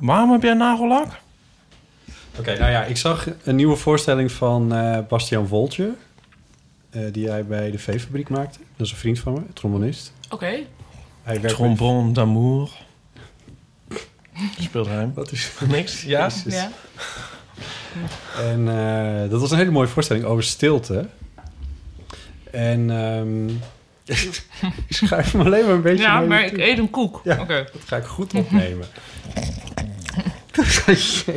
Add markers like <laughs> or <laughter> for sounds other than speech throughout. Waarom heb jij nagellak? Oké, nou ja, ik zag een nieuwe voorstelling van eh, Bastiaan Voltje. eh, die hij bij de Veefabriek maakte. Dat is een vriend van me, trombonist. Oké. Hij werkt bij- Trombon d'amour. Speelt hij? Wat is Niks? Ja? Jezus. En eh, dat was een hele mooie voorstelling over stilte. En ehm <laughs> ik schuif hem alleen maar een beetje Ja, naar maar <laughs> je ik toe. eet een koek. Ja. Oké. Dat ga ik goed opnemen. <laughs>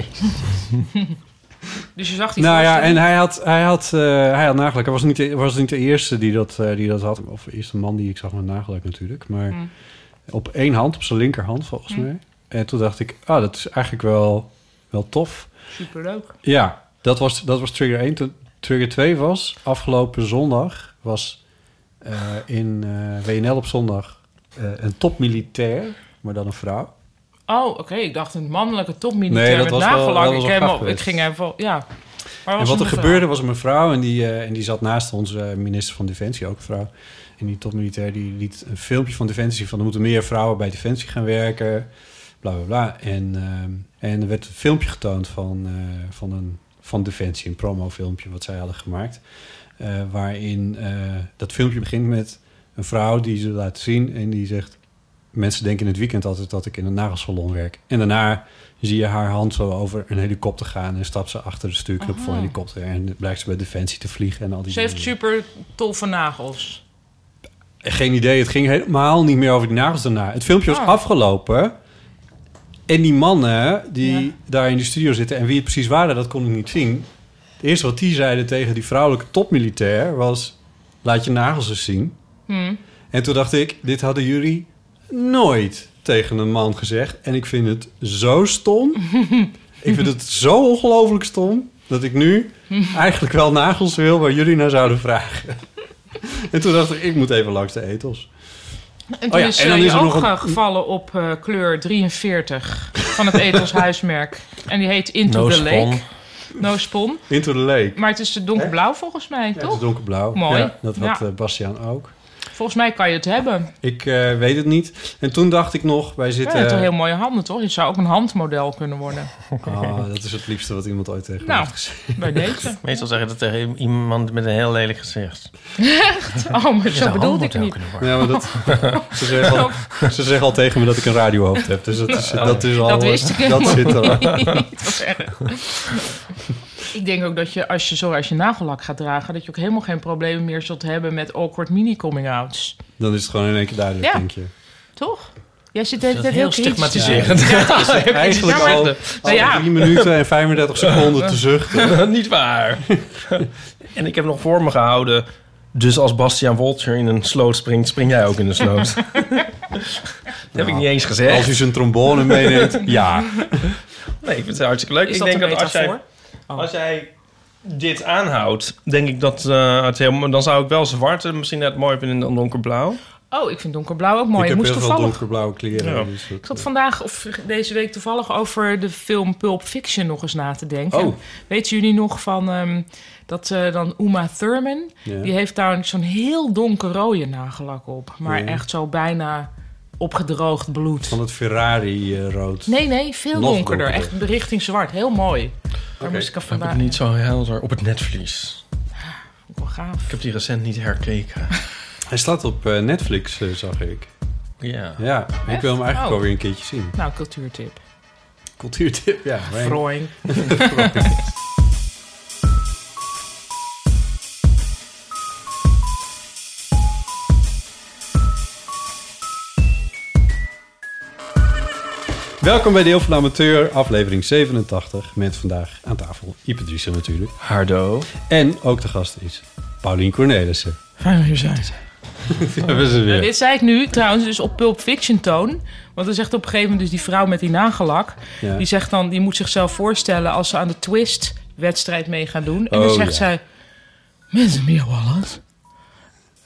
Dus je zag die nou ja, en voorstelling. hij had, hij had, eh, hij had nagelak. Hij was niet de, was niet de eerste die dat, eh, die dat had. Of de eerste man die ik zag met nagelak natuurlijk. Maar op één hand, op zijn linkerhand volgens mij. En toen dacht ik, ah, dat is eigenlijk wel, wel tof. Superleuk. Ja, dat was, dat was trigger 1. Toen trigger 2 was, afgelopen zondag was eh, in eh, WNL op zondag eh, een topmilitair, maar dan een vrouw. Oh, oké. Ik dacht een mannelijke topmilitair Nee, dat met was wel- nagellak. dat was ik, wel heb graag hem op- ik geweest. ging even... Ja. Maar En wat er gebeurde was een mevrouw en die, eh, en die zat naast onze eh, minister van Defensie, ook een vrouw. En die topmilitair die liet een filmpje van Defensie van er moeten meer vrouwen bij Defensie gaan werken. Bla bla bla. En, ehm, en er werd een filmpje getoond van, eh, van, een, van Defensie, een promofilmpje wat zij hadden gemaakt. Eh, waarin eh, dat filmpje begint met een vrouw die ze laat zien en die zegt: Mensen denken in het weekend altijd dat ik in een nagelsalon werk. En daarna zie je haar hand zo over een helikopter gaan en stapt ze achter de stuurknop van een helikopter. En blijkt ze bij Defensie te vliegen en al die Ze heeft dingen. super toffe nagels. Geen idee, het ging helemaal niet meer over die nagels daarna. Het filmpje was Ah. afgelopen. En die mannen die Ja. daar in de studio zitten en wie het precies waren, dat kon ik niet zien. Het eerste wat die zeiden tegen die vrouwelijke topmilitair was: laat je nagels eens zien. Hm. En toen dacht ik, dit hadden jullie nooit tegen een man gezegd. En ik vind het <laughs> zo stom. ik vind het zo ongelooflijk stom dat ik nu eigenlijk wel nagels wil waar jullie naar zouden vragen. en toen dacht ik, ik moet even langs de etels. En toen Oh ja, is, en dan eh, is je er ook nog een- eh, gevallen op eh, kleur 43 van het Ethos huismerk. En die heet Into the Lake. No Spon. Into the lake. Maar het is eh, donkerblauw volgens mij, Ja, het toch? is donkerblauw. Mooi. Ja, dat had Ja. eh, Bastiaan ook. Volgens mij kan je het hebben. Ik eh, weet het niet. En toen dacht ik nog, wij Ja, zitten... je hebt toch heel mooie handen, toch? Je zou ook een handmodel kunnen worden. Ah, dat is het liefste wat iemand ooit tegen me Nou. heeft gezegd. <laughs> Bij <laughs> deze. Meestal zeg je dat tegen iemand met een heel lelijk gezicht. <laughs> Oh, maar zo bedoelde ik het niet. Ja, <laughs> maar dat, <laughs> ze, zeggen al, ze zeggen al tegen me dat ik een radiohoofd heb. Dus dat is, dat is al... Oh. Dat wist ik helemaal Dat zit er al. <laughs> niet. Wat erg. Ik denk ook dat je als je, sorry, als je nagellak gaat dragen... dat je ook helemaal geen problemen meer zult hebben met awkward mini-coming-outs. Dan is het gewoon in één keer duidelijk, Ja. denk je. Toch? Jij zit de Dat hele is tijd heel heel kritisch. stigmatiserend. <laughs> Eigenlijk Ja, maar- al, al Nou ja. 3 minuten en <laughs> 35 seconden te zuchten. Niet waar. <laughs> en ik heb nog voor me gehouden. Dus als Bastiaan Wolter in een sloot springt, spring jij ook in de <laughs> sloot. dat heb ik niet eens Als gezegd. u zijn trombone <laughs> meeneemt, ja. Nee, ik vind het hartstikke leuk. Is ik dat denk een dat als jij, metafoor? Oh. als jij dit aanhoudt, denk ik dat eh, het helemaal... Dan zou ik wel zwart en misschien net mooier vinden dan donkerblauw. Oh, ik vind donkerblauw ook mooi. Ik, ik heb moest heel veel toevallig... donkerblauwe kleren. Ja. dus dat- Ik zat vandaag of deze week toevallig over de film Pulp Fiction nog eens na te denken. Oh. Weten jullie nog van ehm, dat eh, dan Uma Thurman? Ja. Die heeft daar zo'n heel donkerrode nagelak op. Maar Ja. echt zo bijna opgedroogd bloed. Van het eh, Ferrari-rood. Nee, nee, veel Nog donkerder. donkerder. Echt richting zwart. Heel mooi. Daar moest ik aan Ik heb vandaag... het niet zo helder op het netvlies. Wel gaaf. Ik heb die recent niet herkeken. Hij staat op eh, Netflix, eh, zag ik. Ja. Ja, ik wil hem eigenlijk Oh. wel weer een keertje zien. Nou, cultuurtip. <laughs> Cultuurtip, ja. Vrooi. <laughs> Vrooi. Welkom bij Deel van de Amateur, aflevering 87. Met vandaag aan tafel Ipe Driessen natuurlijk. Hardo. En ook de gast is Paulien <laughs> Cornelissen. Fijn om hier zijn. Daar hebben ze En weer. dit zei ik nu trouwens dus op Pulp Fiction toon. Want dan zegt op een gegeven moment dus die vrouw met die nagellak. Ja. Die zegt dan, die moet zichzelf voorstellen als ze aan de twist wedstrijd mee gaan doen. En dan Oh, zegt ja. zij, mensen meer Wallace.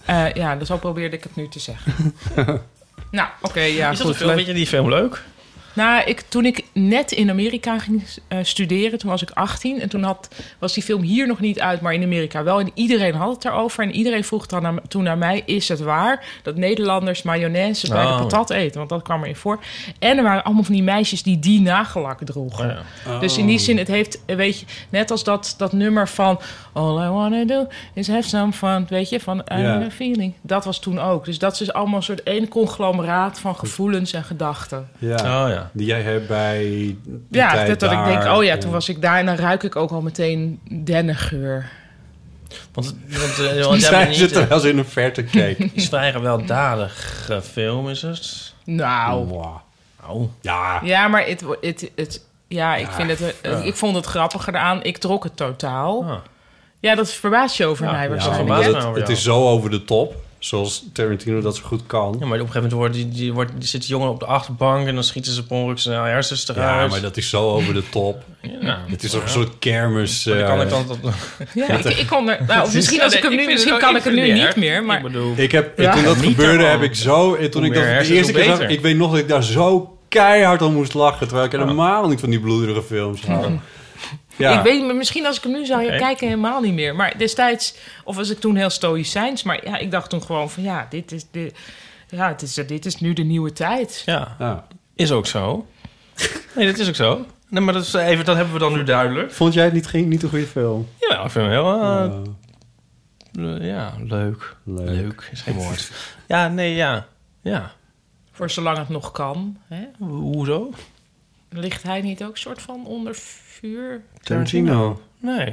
Eh, ja, dus zo probeerde ik het nu te <laughs> zeggen. nou, oké, ja. Is dat goed, een film? leuk. Vind je die film leuk? Nou, ik, toen ik net in Amerika ging eh, studeren, toen was ik 18. En toen had, was die film hier nog niet uit, maar in Amerika wel. En iedereen had het daarover. En iedereen vroeg dan aan- toen naar mij, is het waar dat Nederlanders mayonaise bij Oh. de patat eten? Want dat kwam erin voor. En er waren allemaal van die meisjes die die nagelak droegen. Oh. Dus in die zin, het heeft, eh, weet je, net als dat, dat nummer van... All I wanna do is have some fun, weet je, van I Ja. have a feeling. Dat was toen ook. Dus dat is dus allemaal een soort één conglomeraat van gevoelens en gedachten. Ja, Oh, ja. Die jij hebt bij. die Ja, tijd dat, dat ik daar. denk, oh ja, toen was ik daar en dan ruik ik ook al meteen dennengeur. Want, want, eh, Die want jij zijn bent ze niet... eh, terwijl ze in een verte <laughs> keek. Is vrij gewelddadige eh, film, is het? Nou. Mwah. Au. Ja. Ja, maar het, wo- het, het, ja, ik, vind het, eh, ja. ik vond het grappiger aan. Ik trok het totaal. Ah. Ja, dat verbaast je over mij waarschijnlijk. verbaast hè? me over Het jou. is zo over de top, zoals Tarantino dat zo goed kan. Ja, maar op een gegeven moment wordt, die, die, wordt, die zit die jongen op de achterbank... en dan schieten ze per ongeluk zijn hersens eruit. Ja, maar dat is zo over de top. Ja. nou, het is ook een soort kermis. Maar dan kan eh, ik dan dat... Ja, ik, ik kon er, <laughs> nou, of misschien Ja, als nee, ik hem ik nu, vind misschien het kan ook- ik ik hem nu vind het niet niet meer. erg. Maar Ik bedoel- Ik heb, Ja. toen dat Niet gebeurde, helemaal. heb ik zo... eh, Toen Hoe ik dat meer de hersens, eerste hoe keer zag, beter. ik weet nog dat ik daar zo keihard om moest lachen. Terwijl ik helemaal niet van die bloederige films hou. Ja. Ik weet, maar misschien als ik hem nu zou Oké. kijken, helemaal niet meer. Maar destijds, of was ik toen heel stoïcijns, maar ja, ik dacht toen gewoon van ja, dit is, dit, ja, dit is, dit is nu de nieuwe tijd. Ja, Ja. is ook zo. Nee, dat is ook zo. Nee, maar dat, is even, dat hebben we dan nu duidelijk. Vond jij het niet, geen, niet een goede film? Ja, ik vind hem heel... eh, Oh, eh, ja, leuk. leuk. Leuk is geen woord. Ja, nee, ja. Ja. Voor zolang het nog kan. Hè? Ho- Hoezo? Ligt hij niet ook soort van onder vuur? Tarantino. Nee.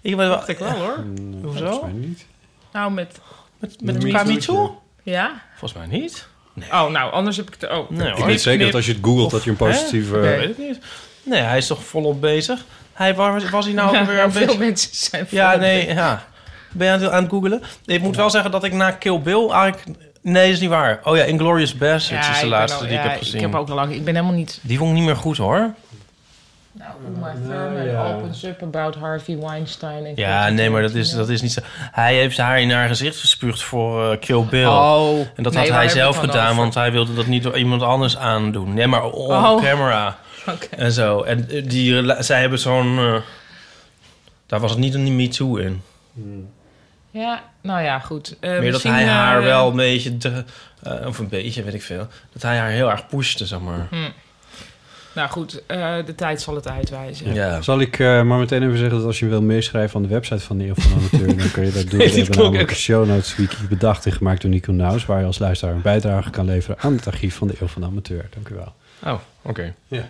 Ik weet wel... Dacht ik wel hoor. Mm, Volgens Hoezo? mij niet. Nou, met. Met, met Me elkaar Too? niet toe? Ja? Volgens mij niet. Oh, nou, anders heb ik het. Oh, Nee, Ik hoor. weet zeker dat als je het googelt dat je een Hè? positieve... Nee, weet ik niet. Nee, hij is toch volop bezig? Hij, waar was hij nou <laughs> ook Ja, weer een veel beetje... mensen zijn. Ja, voor- nee, ja. Ben je aan het, aan het googelen? Ik moet wel zeggen dat ik na Kill Bill eigenlijk... Nee, is niet waar. Oh ja, Inglourious Basterds Ja, is de ben laatste al- die ja, ik heb gezien. Ik heb ook al lang. Ik ben helemaal niet. Die vond ik niet meer goed, hoor. Nou, Uma Thurman opens up about Harvey Weinstein. En Ja, nee, maar dat is, dat is niet zo... Hij heeft haar in haar gezicht gespuugd voor eh, Kill Bill. Oh. En dat Nee, waar had hij heb ik zelf het dan gedaan, over? want hij wilde dat niet door iemand anders aandoen. Nee, maar on Oh. camera <laughs> Oké. en zo. En eh, die, rela- zij hebben zo'n... eh, daar was het niet een Me Too in. Ja, nou ja, goed. Eh, Meer dat misschien, hij eh, haar wel een beetje... de- eh, of een beetje, weet ik veel. Dat hij haar heel erg pushte, zeg maar. hm. Nou goed, eh, de tijd zal het uitwijzen. Ja. Zal ik eh, maar meteen even zeggen dat als je wil meeschrijven aan de website van de Eeuw van de Amateur, dan kun je <laughs> dat doen. <laughs> We dit hebben klonk namelijk ook. een show notes wiki bedacht en gemaakt door Nico Nauws, waar je als luisteraar een bijdrage kan leveren aan het archief van de Eeuw van de Amateur. Dank u <laughs> wel. Oh, oké. Ja.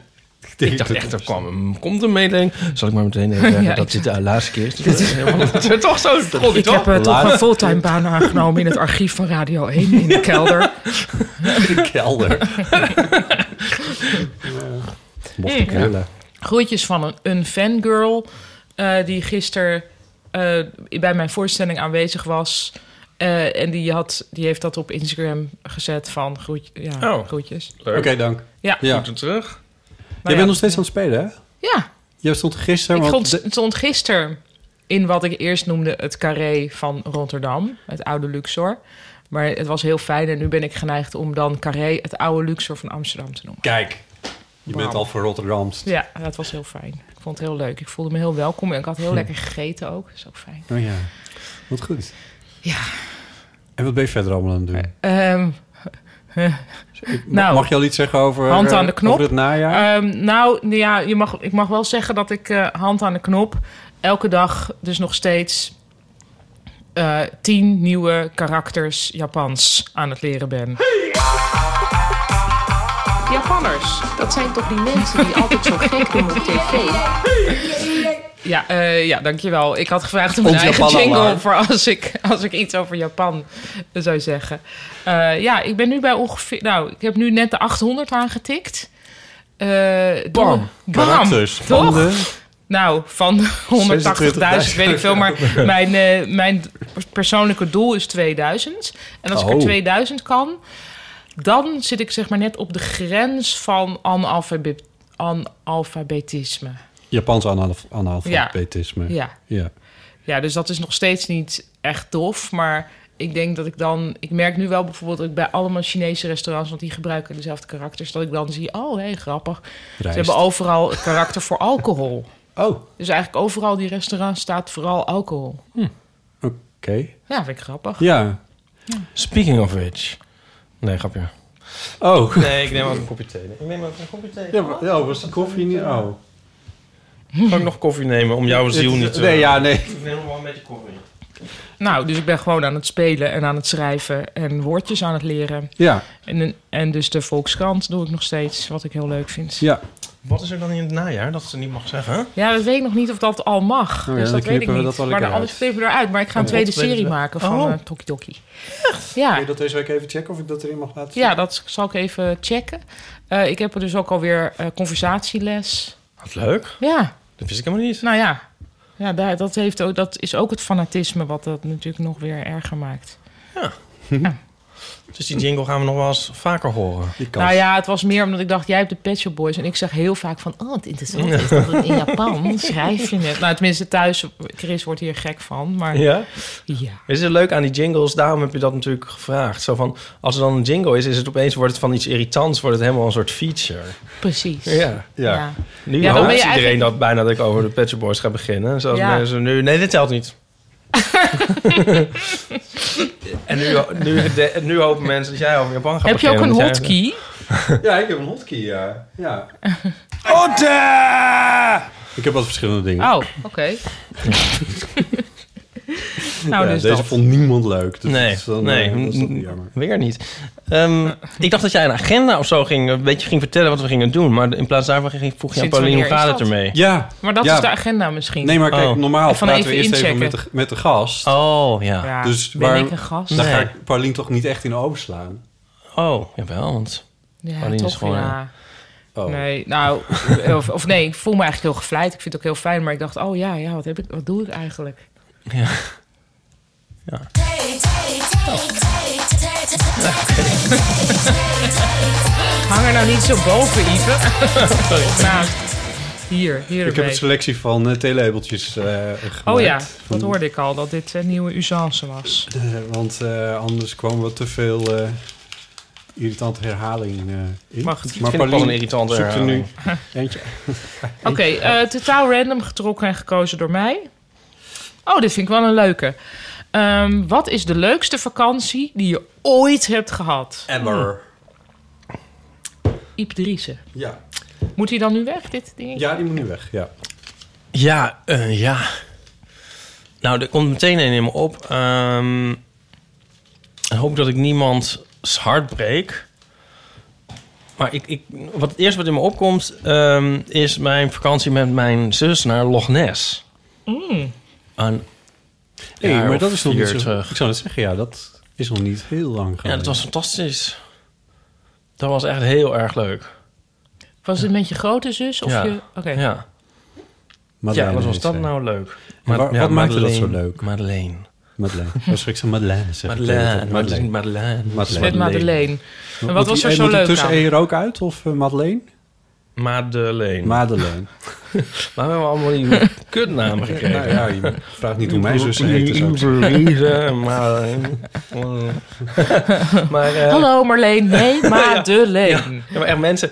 Ik dacht echt, er kwam een- komt een mededeling. Zal ik maar meteen <laughs> even zeggen Ja, dat ik- dit de laatste <laughs> keer is. Dat is helemaal- toch zo? Toch, Ik heb eh, toch een fulltime baan aangenomen in het archief van Radio 1 in de <laughs> kelder. kelder. Mocht ik Ja. willen. Groetjes van een, een fangirl eh, die gisteren eh, bij mijn voorstelling aanwezig was. Eh, en die, had, die heeft dat op Instagram gezet van groet, ja, Oh. groetjes. Leuk. Oké, dank. Ja, Ja. Goed en terug. Jij bent nog steeds aan het spelen, hè? ja Jij stond gisteren... ik want stond, de- stond gisteren in wat ik eerst noemde het carré van Rotterdam. Het oude Luxor. Maar het was heel fijn en nu ben ik geneigd om dan carré het oude Luxor van Amsterdam te noemen. Kijk, je bent Wauw. al voor Rotterdam. Ja, dat was heel fijn. Ik vond het heel leuk. Ik voelde me heel welkom en ik had Hm. heel lekker gegeten ook. Dat is ook fijn. Oh ja, wat goed. Ja. En wat ben je verder allemaal aan het doen? Ehm, nou, nou, Mag je al iets zeggen over, hand eh, aan de knop. over het najaar? ehm, nou, ja, je mag, ik mag wel zeggen dat ik eh, hand aan de knop elke dag dus nog steeds eh, tien nieuwe karakters Japans aan het leren ben. Japanners. Dat zijn toch die mensen die altijd zo gek <laughs> doen op tv? Ja, eh, ja, dankjewel. Ik had gevraagd om Ons een eigen Japan jingle alarm. voor als ik, als ik iets over Japan zou zeggen. Eh, ja, ik ben nu bij ongeveer... Nou, ik heb nu net de 800 aangetikt. Eh, doe- Bam. Bam! Karakters van Toch? de- Nou, van 180.000 weet ik veel. Maar <laughs> 26.000. mijn, eh, mijn persoonlijke doel is 2000. En als ik er Oh. 2000 kan... dan zit ik zeg maar net op de grens van analfabe- analfabetisme. Japans analf- analfabetisme. Ja. ja. Ja, dus dat is nog steeds niet echt tof. Maar ik denk dat ik dan. Ik merk nu wel bijvoorbeeld dat ik bij allemaal Chinese restaurants, want die gebruiken dezelfde karakters, dat ik dan zie: oh hé, grappig. Rijst. Ze hebben overal het karakter voor alcohol. Oh. Dus eigenlijk overal die restaurants staat vooral alcohol. Oké. Ja, vind ik grappig. Ja. Speaking of which. Nee, grapje. Oh. Nee, ik neem ook een kopje thee. Ik neem ook een kopje thee. Ja, maar, ja was die koffie niet... Oh. Kan ik nog koffie nemen om <laughs> jouw ziel niet te... Nee, ja, nee. Ik neem nog wel een beetje koffie. Nou, dus ik ben gewoon aan het spelen en aan het schrijven en woordjes aan het leren. Ja. En, en dus de Volkskrant doe ik nog steeds, wat ik heel leuk vind. Ja. Wat is er dan in het najaar dat ze niet mag zeggen? Ja, dat weet ik nog niet of dat al mag. Oh ja, dus dat dan weet ik knippen we niet. dat wel maar lekker dan- anders uit. knippen we eruit. Maar ik ga een Oh, tweede wat tweede serie dag. maken van Oh. eh Toki Toki. Ja. Wil je dat deze week even checken of ik dat erin mag laten Ja, dat zal ik even checken. Eh, ik heb er dus ook alweer eh, conversatieles. Wat <laughs> leuk. Ja. Dat wist ik helemaal niet. Nou ja, ja daar, dat, heeft ook, dat is ook het fanatisme wat dat natuurlijk nog weer erger maakt. Dus die jingle gaan we nog wel eens vaker horen. Die Nou ja, het was meer omdat ik dacht, jij hebt de Pet Shop Boys. En ik zeg heel vaak van, oh, het interessant is dat het in Japan <laughs> schrijf je het. Nou, tenminste thuis, Chris wordt hier gek van. Maar Ja? Ja. Is het leuk aan die jingles? Daarom heb je dat natuurlijk gevraagd. Zo van, als er dan een jingle is, is het opeens wordt het van iets irritants, wordt het helemaal een soort feature. precies. Ja, ja. Nu Ja, dan hoopt ben je iedereen eigenlijk- dat bijna dat ik over de Pet Shop Boys ga beginnen. Zoals Ja. mensen nu, nee, dit telt <laughs> niet. en nu, nu, de- nu hopen mensen dat jij over Japan gaat Heb je ook beginnen. een want jij- hotkey? Ja, ik heb een hotkey, ja. ja. Ik heb wat verschillende dingen. Oh, oké. <laughs> nou, Ja, dus deze dat. vond niemand leuk. Dus nee, dat is dan, nee, eh, dat is dan n- jammer. weer niet. Ehm, ik dacht dat jij een agenda of zo ging, een beetje ging vertellen wat we gingen doen. Maar in plaats daarvan ging, vroeg je aan Sinds Pauline, hoe wanneer gaat is het dat? ermee? Ja. Maar dat Ja. is de agenda misschien. Nee, maar kijk, Oh. normaal Even praten we even eerst even met inchecken. de, met de gast. Oh, ja. Ja, Dus ben waar, ik een gast? Dan ga Nee. ik Paulien toch niet echt in de ogen slaan. Oh, jawel, want Ja, Pauline toch, is gewoon... ja. Oh. Nee, nou, <laughs> of, of nee, ik voel me eigenlijk heel gevleid. Ik vind het ook heel fijn, maar ik dacht, oh ja, ja wat, heb ik, wat doe ik <laughs> eigenlijk? Hang er nou niet zo boven, Ive. nou, hier, hier Ik heb erbij. een selectie van eh theelabeltjes eh gemaakt. Oh ja, dat Van- hoorde ik al, dat dit een nieuwe usance was. eh, want eh, anders kwamen we te veel eh, irritante herhaling eh in. Maar goed, dit vind ik wel een irritante zoekt er herhaling. nu eh, <laughs> eentje. Oké, eh, totaal random getrokken en gekozen door mij. Oh, dit vind ik wel een leuke. Ehm, wat is de leukste vakantie die je ooit hebt gehad? Ever. Iep Driessen. Ja. Moet hij dan nu weg, dit ding? ja, die moet nu weg, ja. Ja, eh, ja. Nou, er komt meteen een in me op. Ehm, ik hoop dat ik niemands hart breek. Maar ik, ik, wat, het eerste wat in me opkomt... ehm, is mijn vakantie met mijn zus naar Loch Ness. Mm. Aan Hey, jaar maar of dat is nog niet Hm. vier zo... terug. Ik zou het zeggen, ja, dat is nog niet heel lang geleden. Ja, dat was fantastisch. Dat was echt heel erg leuk. Was het met je grote zus? Of Ja. je... Oké. Ja. Madeleine ja, wat was heet dat zij. nou leuk? En waar- ja, wat maakte dat zo Madeleine- leuk? Madeleine. Madeleine. Was ik zo Madeleine zeg ik Madeleine, tegen. maar het is niet Madeleine. Met Madeleine. En wat Moet was die- er eh, zo moet die leuk tussen aan? E er ook uit of eh, Madeleine? Madeleine. Madeleine. <laughs> Maar we hebben allemaal die kutnamen gekregen. Nou ja, je vraagt niet hoe mijn zussen heten, zou ik zeggen. Louise, <laughs> Madeleine. maar, eh, Hallo Marleen, <laughs> nee, Madeleine. Ja, maar echt mensen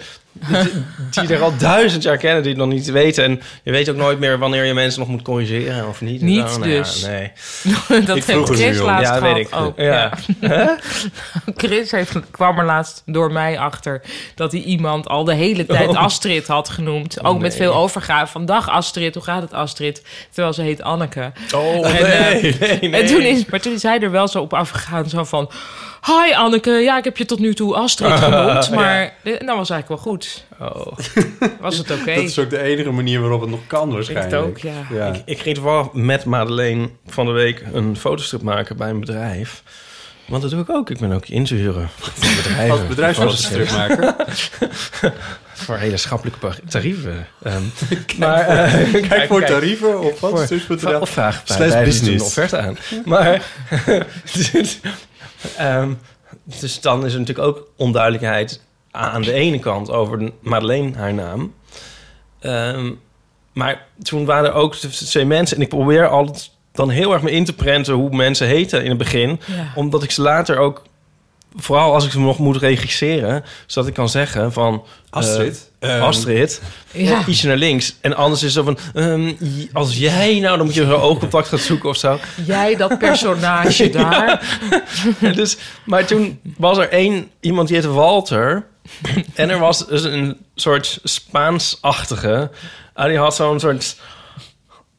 die er al duizend jaar kennen, die het nog niet weten. En je weet ook nooit meer wanneer je mensen nog moet corrigeren of niet. Niet Nou, nou ja, dus. <laughs> nee. dat Ik heeft vroeg het Chris nu al. laatst Ja, gehad weet ik. ook. Ja. Ja. <laughs> <laughs> Chris heeft, kwam er laatst door mij achter dat hij iemand al de hele tijd Oh. Astrid had genoemd. Ook Oh, met nee. veel overgave van dag Astrid, hoe gaat het Astrid? Terwijl ze heet Anneke. Oh, eh, nee, nee, nee. En toen is, maar toen is hij er wel zo op afgegaan, zo van... Hi Anneke, ja, ik heb je tot nu toe <laughs> Astrid genoemd, Ja. maar eh, dat was eigenlijk wel goed. Oh. Was <laughs> het oké? Dat is ook de enige manier waarop het nog kan waarschijnlijk. het ook, ja. Ik, ik ging wel met Madeleine van de week een fotostrip maken bij een bedrijf. Want dat doe ik ook. Ik ben ook inzuren van bedrijven. <laughs> Als bedrijfsfotostrip maken. <laughs> voor hele schappelijke par- tarieven. Ehm, <laughs> eh, Kijk voor- kijk voor tarieven op voor- fotostrips.nl Of vraag bij slash wijze van business. een offerte aan. Maar <laughs> dus, ehm, dus dan is er natuurlijk ook onduidelijkheid aan de ene kant over Madeleine, haar naam. Ehm, maar toen waren er ook t- twee mensen... en ik probeer altijd dan heel erg me in te prenten... hoe mensen heten in het begin. Ja. Omdat ik ze later ook... vooral als ik ze nog moet registreren... zodat ik kan zeggen van... Astrid. eh, Ehm, Astrid. Ja. Ietsje naar links. En anders is het zo van... ehm, j- als jij nou... dan moet je zo oogcontact gaan zoeken of zo. Jij, dat <laughs> personage daar. Ja. <laughs> dus, maar toen was er één iemand die heette Walter. en er was dus een soort Spaans-achtige. En die had zo'n soort...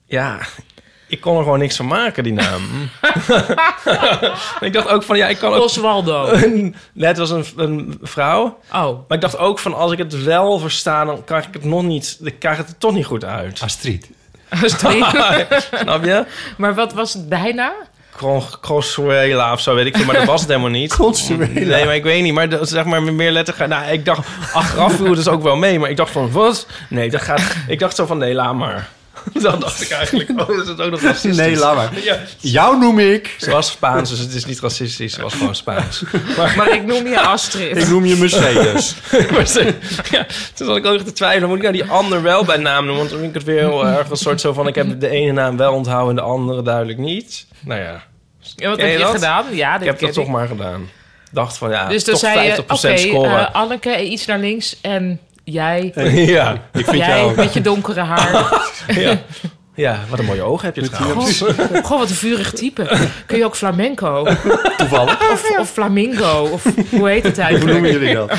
Ja, ik kon er gewoon niks van maken, die <laughs> naam. <laughs> ik dacht ook van, ja, ik kan ook... Oswaldo. <laughs> Net was een, een vrouw. Oh. Maar ik dacht ook van, als ik het wel versta... dan krijg ik het nog niet... ik krijg het er toch niet goed uit. Astrid. Astrid. <laughs> Snap je? Maar wat was het bijna? Cron- Consuela of zo, weet ik veel. Maar dat was het helemaal <laughs> niet. Nee, maar ik weet niet. Maar de- zeg maar met meer letter... Nou, ik dacht... Achteraf viel het dus ook wel mee. Maar ik dacht van, wat? Nee, dat gaat... Ik dacht zo van, nee, laat maar. Dat dacht ik eigenlijk. Oh, is het ook <laughs> nog racistisch? Nee, laat maar. Ja. Jou noem ik. Ze was Spaans, dus het is niet racistisch. Ze was gewoon <laughs> Spaans. Maar ik noem je Astrid. Ik noem je <laughs> Mercedes. ja, toen zat ik ook echt te twijfelen. Moet ik nou die ander wel bij naam noemen? Want dan vind ik het weer heel erg een soort zo van... Ik heb de ene naam wel onthouden en de andere duidelijk niet. Nou ja. Ja, wat Ken heb je dat? gedaan? Ja, dat ik heb ken dat toch ik. maar gedaan. Dacht van ja, dus dan toch 50% zei je, oké, scoren. eh, Anneke, iets naar links en jij... Ja, ik vind jij jou- met je donkere <laughs> haar. ja. ja, wat een mooie ogen heb je trouwens. <laughs> Goh, goh, wat een vurig type. Kun je ook flamenco? Toevallig. Of, of flamingo? Of hoe heet het eigenlijk? Nou, Hoe noemen jullie dat?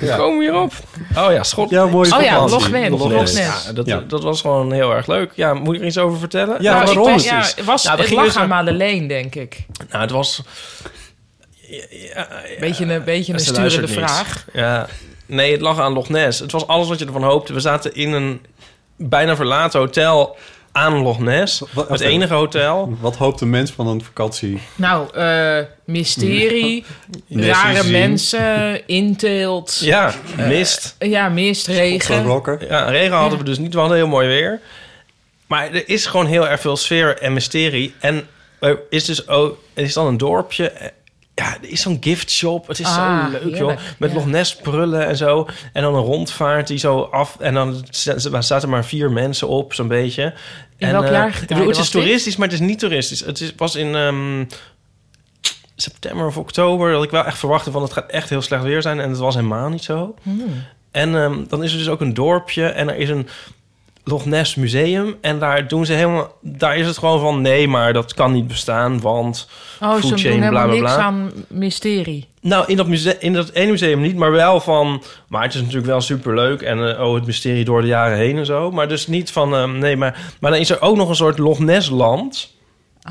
Hoe komen we hierop? Oh ja, Schot. Ja, mooi. Oh ja, Schotland. Lochnen, Lochnes. Lochnes. Ja, dat, Ja. dat was gewoon heel erg leuk. Ja, moet ik er iets over Nou, vertellen? ik weet- het Ja, was, Nou, we het gingen lag dus- aan Madeleine, denk ik. Nou, het was... Beetje een, beetje een Ze sturende luistert niet. vraag. Ja. Nee, het lag aan Loch Ness. Het was alles wat je ervan hoopte. We zaten in een bijna verlaten hotel aan Loch Ness. het enige hotel. Wat hoopt een mens van een vakantie? Nou, eh, mysterie, Nessen rare zien. mensen, inteelt. Ja, mist. Eh, ja, mist, regen. rocker. Ja, regen hadden we dus niet. We hadden heel mooi weer. Maar er is gewoon heel erg veel sfeer en mysterie. En er is dus ook... Er is dan een dorpje. Eh, Ja, er is zo'n gift shop. Het is Ah, zo leuk, heerlijk, joh. Met ja. Loch Ness prullen en zo. En dan een rondvaart die zo af... En dan sta- zaten maar vier mensen op, zo'n beetje. In en, welk eh, jaar ik bedoel, Het was is dit? toeristisch, maar het is niet toeristisch. Het is, was in... ehm, september of oktober dat ik wel echt verwachtte van het gaat echt heel slecht weer zijn en het was helemaal niet zo. Hmm. En ehm, dan is er dus ook een dorpje en er is een Loch Ness museum en daar doen ze helemaal daar is het gewoon van nee, maar dat kan niet bestaan, want Oh, ze doen food chain helemaal bla bla niks bla. aan mysterie. Nou, in dat, muse- in dat ene museum niet, maar wel van... Maar het is natuurlijk wel superleuk en eh, oh, het mysterie door de jaren heen en zo. Maar dus niet van... ehm, nee, maar, maar dan is er ook nog een soort Loch Ness land.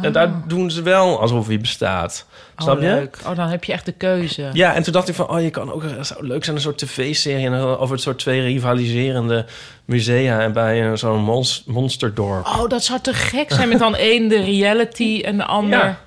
En daar doen ze wel alsof hij bestaat. Snap Ah. oh, je? leuk. Oh, dan heb je echt de keuze. Ja, en toen dacht ik van, oh, je kan ook, het zou leuk zijn een soort tv-serie en dan over het soort twee rivaliserende musea en bij eh, zo'n mons- monsterdorp. Oh, dat zou te gek zijn met dan één de reality en de ander... Ja.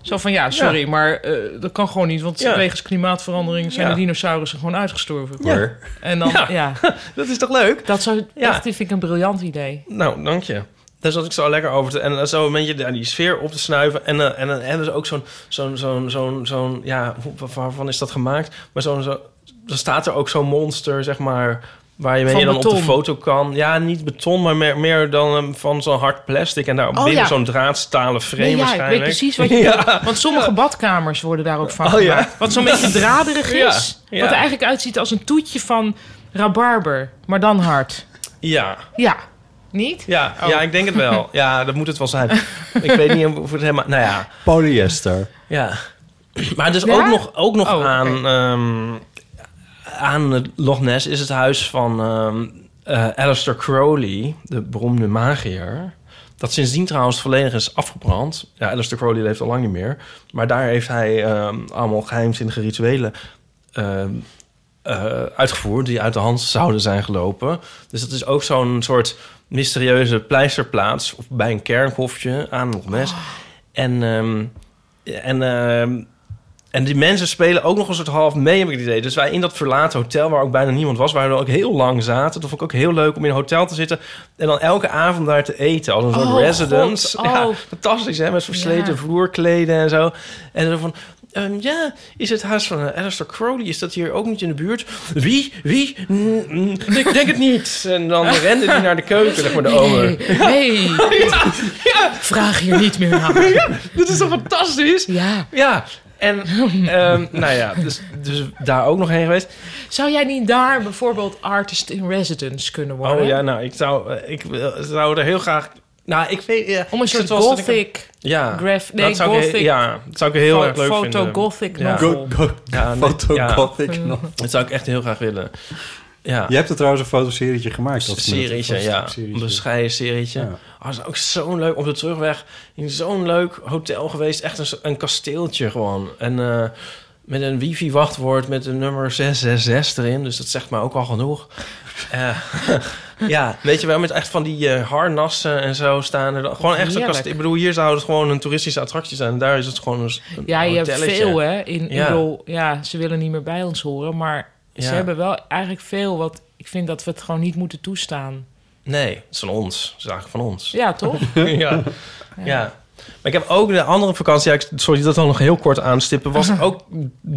Zo van, ja, sorry, maar eh, dat kan gewoon niet. Want Ja. wegens klimaatverandering zijn Ja. de dinosaurussen gewoon uitgestorven. Ja. En dan, ja. Ja. <laughs> Dat is toch leuk? Dat zou, Ja. echt, vind ik een briljant idee. Nou, dank je. Daar zat ik zo lekker over te... En eh, zo een beetje daar die sfeer op te snuiven. En, eh, en dan hebben ze ook zo'n... zo'n zo'n zo'n zo'n ja, hoe- waar- waarvan is dat gemaakt? Maar zo'n... Zo, dan staat er ook zo'n monster, zeg maar... Waar je, Van mee dan op de beton. foto kan. Ja, niet beton, maar meer, meer dan eh, van zo'n hard plastic. En daar Oh, binnen ja. zo'n draadstalen frame Nee, ja, ik waarschijnlijk. weet precies wat je <laughs> Ja. bedoelt. Want sommige badkamers worden daar ook van Oh, ja. gemaakt. Wat zo'n beetje draderig <laughs> Ja, is. ja. Wat er eigenlijk uitziet als een toetje van rabarber. Maar dan hard. Ja, Ja. <laughs> Niet? Oh. ja, ja, ik denk het wel. Ja, dat moet het wel <laughs> zijn. ik weet niet of het helemaal... Nou ja, Polyester. Ja. <clears throat> Maar dus Ja? ook nog, ook nog Oh, oké. aan, ehm, aan het Loch Ness is het huis van ehm eh, Alistair Crowley, de beroemde magier. Dat sindsdien trouwens volledig is afgebrand. Ja, Alistair Crowley leeft al lang niet meer. Maar daar heeft hij ehm, allemaal geheimzinnige rituelen ehm, eh, uitgevoerd... die uit de hand zouden zijn gelopen. Dus dat is ook zo'n soort mysterieuze pleisterplaats... Of bij een kerkhofje aan nog mes. En, ehm, en, ehm, en die mensen spelen ook nog een soort half mee, heb ik het idee. Dus wij in dat verlaten hotel, waar ook bijna niemand was... waar we ook heel lang zaten. Dat vond ik ook heel leuk om in een hotel te zitten... en dan elke avond daar te eten, als een soort Oh, residence. God, Ja, oh. fantastisch, hè? Met versleten Ja. vloerkleden en zo. En dan van... ehm, ja, is het huis van eh, Alistair Crowley? Is dat hier ook niet in de buurt? Wie? Wie? Mm, mm, ik denk het niet. <laughs> En dan rende die naar de keuken, zeg maar, de omer. Nee, nee. <laughs> Vraag hier niet meer naar. Dit is toch fantastisch? Ja. <laughs> Ja, en ehm, nou ja, dus, dus daar ook nog heen geweest. Zou jij niet daar bijvoorbeeld artist in residence kunnen worden? Oh ja, nou, ik zou, eh, ik wil- zou er heel graag... Nou, ik weet... eh, Om een soort zoals dat ik- gothic... Ja, graf- nee, dat zou ik, gothic- he- ja, dat zou ik heel fo- erg leuk vinden. photogothic ja. novel. Go- go- nee, <laughs> photogothic ja. novel. Dat zou ik echt heel graag willen. Ja. Je hebt er trouwens een fotoserietje gemaakt. Een dat is net- serietje, dat is ja. een Een serietje. bescheiden serietje. Ja. Oh, dat is ook zo'n leuk... Op de terugweg in zo'n leuk hotel geweest. Echt een, s- een kasteeltje gewoon. En eh, met een wifi-wachtwoord met een nummer 666 erin. Dus dat zegt mij ook al genoeg. Eh, <laughs> ja, weet je wel, met echt van die eh, harnassen en zo staan er. dan- Gewoon echt zo'n Heerlijk. kasteel. Ik bedoel, hier zou het gewoon een toeristische attractie zijn. En daar is het gewoon een, s- een Ja, je hebt hotelletje. veel, hè? In, Ja. ik bedoel, ja, ze willen niet meer bij ons horen, maar ze Ja. hebben wel eigenlijk veel wat... Ik vind dat we het gewoon niet moeten toestaan. Nee, het is van ons. Het is eigenlijk van ons. Ja, toch? <laughs> ja. ja. Maar ik heb ook de andere vakantie, ja, ik- sorry dat dan nog heel kort <laughs> aanstippen, was ook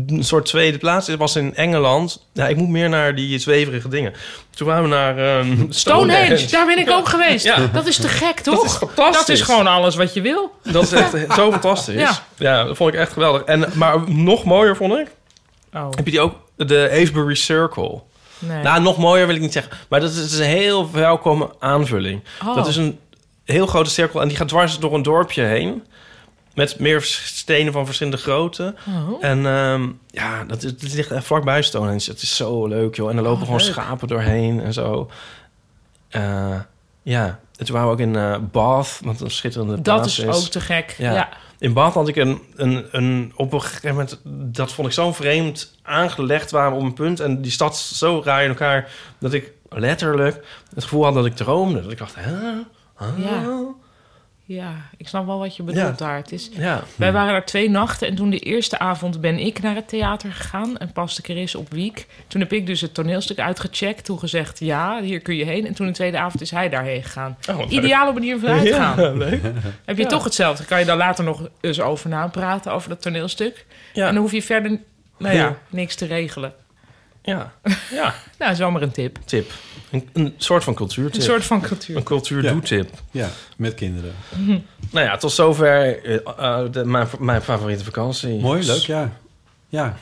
een soort tweede plaats. Het was in Engeland. Ja, ik moet meer naar die zweverige dingen. Toen waren we naar ehm, Stonehenge, daar ben ik ook geweest. Ja. Dat is te gek, Dat toch? is fantastisch. Dat is gewoon alles wat je wil. Dat is echt zo fantastisch. Ja. Ja. dat vond ik echt geweldig. En, maar nog mooier vond ik, Oh. heb je die ook, de Avebury Circle. Nee. Nou, nog mooier wil ik niet zeggen. Maar dat is, dat is een heel welkome aanvulling. Oh. Dat is een heel grote cirkel en die gaat dwars door een dorpje heen. Met meer vers- stenen van verschillende grootte. Oh. En ehm, ja, dat, is, dat ligt echt vlakbij Stonehenge. Het is zo leuk, joh. En er lopen Oh, gewoon leuk. schapen doorheen en zo. Eh, ja, en toen waren we ook in eh, Bath, wat een schitterende Dat plaats is ook te gek, ja. In Bath had ik een, een, een... Op een gegeven moment, dat vond ik zo vreemd aangelegd waren we op een punt. En die stad zo raar in elkaar, dat ik letterlijk het gevoel had dat ik droomde. Dat ik dacht, hè? Huh? Ja. ja, ik snap wel wat je bedoelt Ja. daar. Het is, Ja. Wij waren daar twee nachten en toen de eerste avond ben ik naar het theater gegaan. En paste Chris op Wiek. Toen heb ik dus het toneelstuk uitgecheckt. Toen gezegd, ja, hier kun je heen. En toen de tweede avond is hij daarheen gegaan. Oh, leuk. Ideale manier van uitgaan. Ja, leuk. Heb je Ja. toch hetzelfde. Kan je daar later nog eens over napraten, over dat toneelstuk. Ja. En dan hoef je verder, nou ja, Ja. niks te regelen. Ja, ja. <laughs> nou, is wel maar een tip. Tip. Een, een soort van cultuurtip. Een soort van cultuur. Een cultuurdoetip. Ja, met kinderen. Nou ja, tot zover eh, eh, de- mijn, mijn favoriete vakantie. Mooi, leuk, ja. Ja.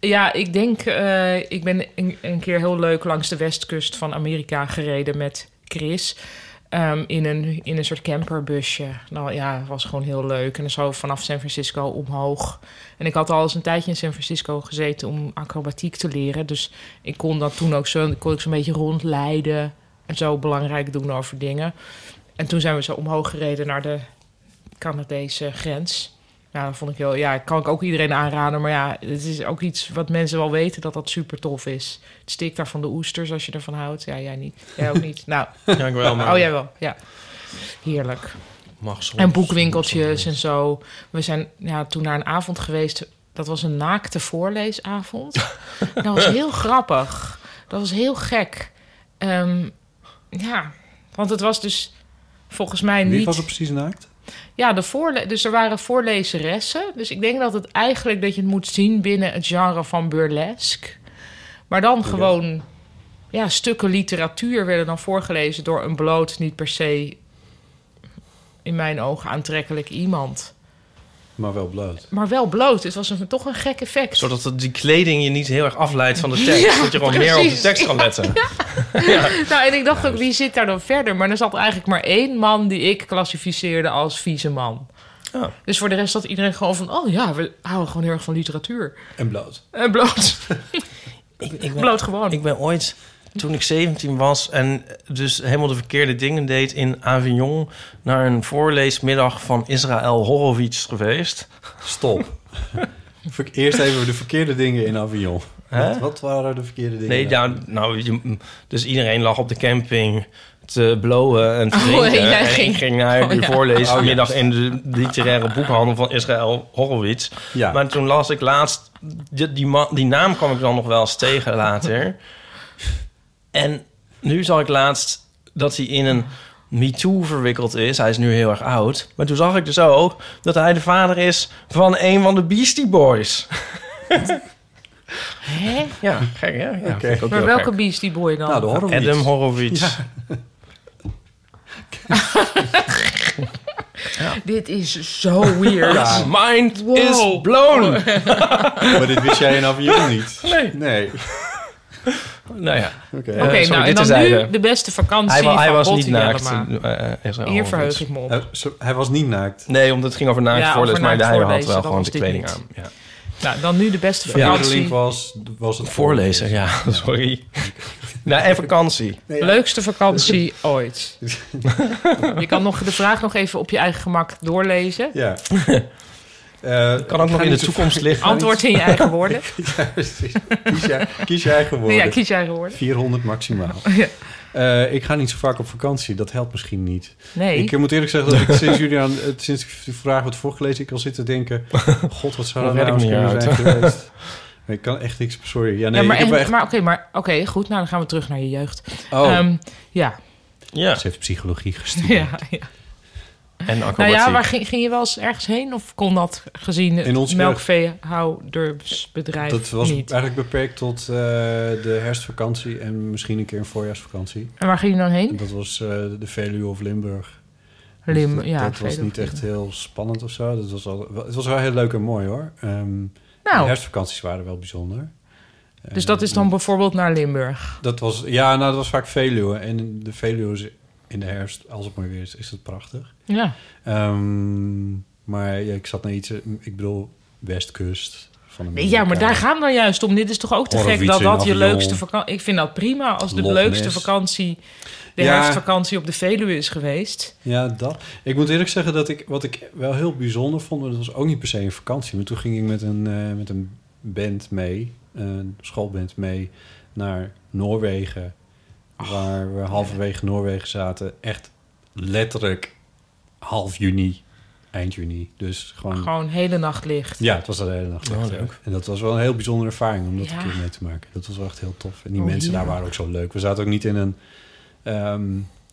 Ja, ik denk, eh, ik ben een, een keer heel leuk langs de westkust van Amerika gereden met Chris. ehm, in, een, in een soort camperbusje. Nou ja, het was gewoon heel leuk. En zo vanaf San Francisco omhoog. En ik had al eens een tijdje in San Francisco gezeten om acrobatiek te leren. Dus ik kon dat toen ook zo, kon ik zo'n beetje rondleiden. En zo belangrijk doen over dingen. En toen zijn we zo omhoog gereden naar de Canadese grens. Ja, dat vond ik heel... Ja, kan ik ook iedereen aanraden. Maar ja, het is ook iets wat mensen wel weten dat dat super tof is. Het steek daar van de oesters als je ervan houdt. Ja, jij niet. Jij ook niet. Nou. <laughs> Ja, ik wel, maar- Oh, jij wel. Ja. Heerlijk. Mag soms. En boekwinkeltjes en zo. We zijn ja, toen naar een avond geweest. Dat was een naakte voorleesavond. <laughs> dat was heel grappig. Dat was heel gek. Ehm, ja, want het was dus volgens mij niet... Wie was er precies naakt? Ja, de voorle dus er waren voorlezeressen. Dus ik denk dat het eigenlijk dat je het moet zien binnen het genre van burlesque. Maar dan gewoon ja, stukken literatuur werden dan voorgelezen door een bloot, niet per se in mijn ogen aantrekkelijk iemand. Maar wel bloot. Maar wel bloot. Het was een, toch een gek <laughs> effect. Zodat het- die kleding je niet heel erg afleidt van de tekst. <laughs> Ja, dat je gewoon meer op de precies. tekst kan letten. <laughs> Nou, en ik dacht ook, wie zit daar dan verder? Maar er zat eigenlijk maar één man die ik klassificeerde als vieze man. Ja. Dus voor de rest zat iedereen gewoon van... oh ja, we houden gewoon heel erg van literatuur. En bloot. En bloot. Ik ben- bloot gewoon. Ik ben ooit toen ik 17 was en dus helemaal de verkeerde dingen deed in Avignon... naar een voorleesmiddag van Israël Horowitz geweest. <laughs> Stop. Eerst even de verkeerde dingen in Avignon. Hè? Wat, wat waren de verkeerde dingen? Nee, nou, nou, je- dus iedereen lag op de camping te blowen en te Oh, drinken. <laughs> en jij en ging- ik ging naar Oh, die ja. voorleesmiddag Oh, ja. in de literaire boekhandel van Israël Horowitz. Ja. Maar toen las ik laatst... Die, die, man, die naam kwam ik dan nog wel eens tegen later. En nu zag ik laatst dat hij in een MeToo verwikkeld is. Hij is nu heel erg oud. Maar toen zag ik dus ook dat hij de vader is van een van de Beastie Boys. Hè? Ja, gek hè? Ja, Oké. vind ik ook Maar heel welke gek. Beastie Boy dan? Nou, de Horowitz. Adam Horowitz. <laughs> Dit is zo weird. Ja. Mind Wow. is Oh. blown. <laughs> Maar dit wist jij in Avignon niet. Nee. Nee. Nou ja. Oké. Oké, nou en dan nu de beste vakantie eh, Hij wa- hij van was niet Botti naakt. Jellema. Eh, eh, Israël Hier Horowitz. verheug ik me op. Hij, Eh, zo- hij was niet naakt. Nee, omdat het ging over naakt Ja, Nou, voorlees, over maar naakt hij had voorlezen, wel dat gewoon was de dit kleding niet. aan. Ja. Nou, dan nu de beste De enige vakantie. link was, was het Voorlezen, ja, <laughs> <laughs> sorry. nou, en vakantie. Leukste <laughs> vakantie ooit. Je kan nog de vraag nog even op je eigen gemak doorlezen. Ja. <laughs> Eh, kan ook nog in de toekomst liggen. Antwoord in je eigen woorden. <laughs> ja, precies. Kies je, kies je eigen woorden. Ja, kies je eigen woorden. 400 maximaal. <laughs> Ja. Eh, ik ga niet zo vaak op vakantie. Dat helpt misschien niet. Nee. Ik eh, moet eerlijk zeggen <laughs> dat ik sinds jullie aan... eh, Sinds ik die vraag werd voorgelezen, ik al zit te <laughs> denken... God, wat zou dat Dat red nou ik eens niet <laughs> kunnen zijn uit. geweest? Maar ik kan echt niks... Sorry. Ja, nee, ja, maar ik heb en- echt... maar oké, maar, oké, goed. Nou, dan gaan we terug naar je jeugd. Oh. Ehm, ja. Ja. Ze heeft psychologie gestudeerd. ja, ja. En Nou acrobatie. ja, waar ging, ging je wel eens ergens heen? Of kon dat gezien In ons het melkveehoudersbedrijf Dat was niet? eigenlijk beperkt tot eh, de herfstvakantie en misschien een keer een voorjaarsvakantie. En waar ging je dan heen? Dat was eh, de Veluwe of Limburg. Dus Lim- dat ja, dat was Veluwe niet of echt heel spannend of zo. Dat was al, wel- het was wel heel leuk en mooi hoor. Ehm, Nou. De herfstvakanties waren wel bijzonder. Ehm, Dus dat is dan bijvoorbeeld naar Limburg. Dat was, ja, nou, dat was vaak Veluwe. En de Veluwe is in de herfst, als het mooi weer is, is het prachtig. Ja. Ehm, maar ja, ik zat naar iets, eh, ik bedoel, westkust. Van Nee, ja, maar Amerika. daar gaan we juist om. Dit is toch ook te Horowitz gek dat in dat je Avignon. leukste vakantie... Ik vind dat prima als de Loch leukste Ness. vakantie... de Ja. herfstvakantie op de Veluwe is geweest. Ja, dat. Ik moet eerlijk zeggen dat ik wat ik wel heel bijzonder vond, maar dat was ook niet per se een vakantie. Maar toen ging ik met een, eh, met een band mee, een schoolband mee, naar Noorwegen. waar we halverwege Noorwegen zaten. Echt letterlijk half juni, eind juni. Dus gewoon. Gewoon hele nacht licht. Ja, het was de hele nacht. Oh, letterlijk. leuk. En dat was wel een heel bijzondere ervaring om dat Ja. een keer mee te maken. Dat was wel echt heel tof. En die Oh, mensen daar heerlijk. waren ook zo leuk. We zaten ook niet in een, ehm,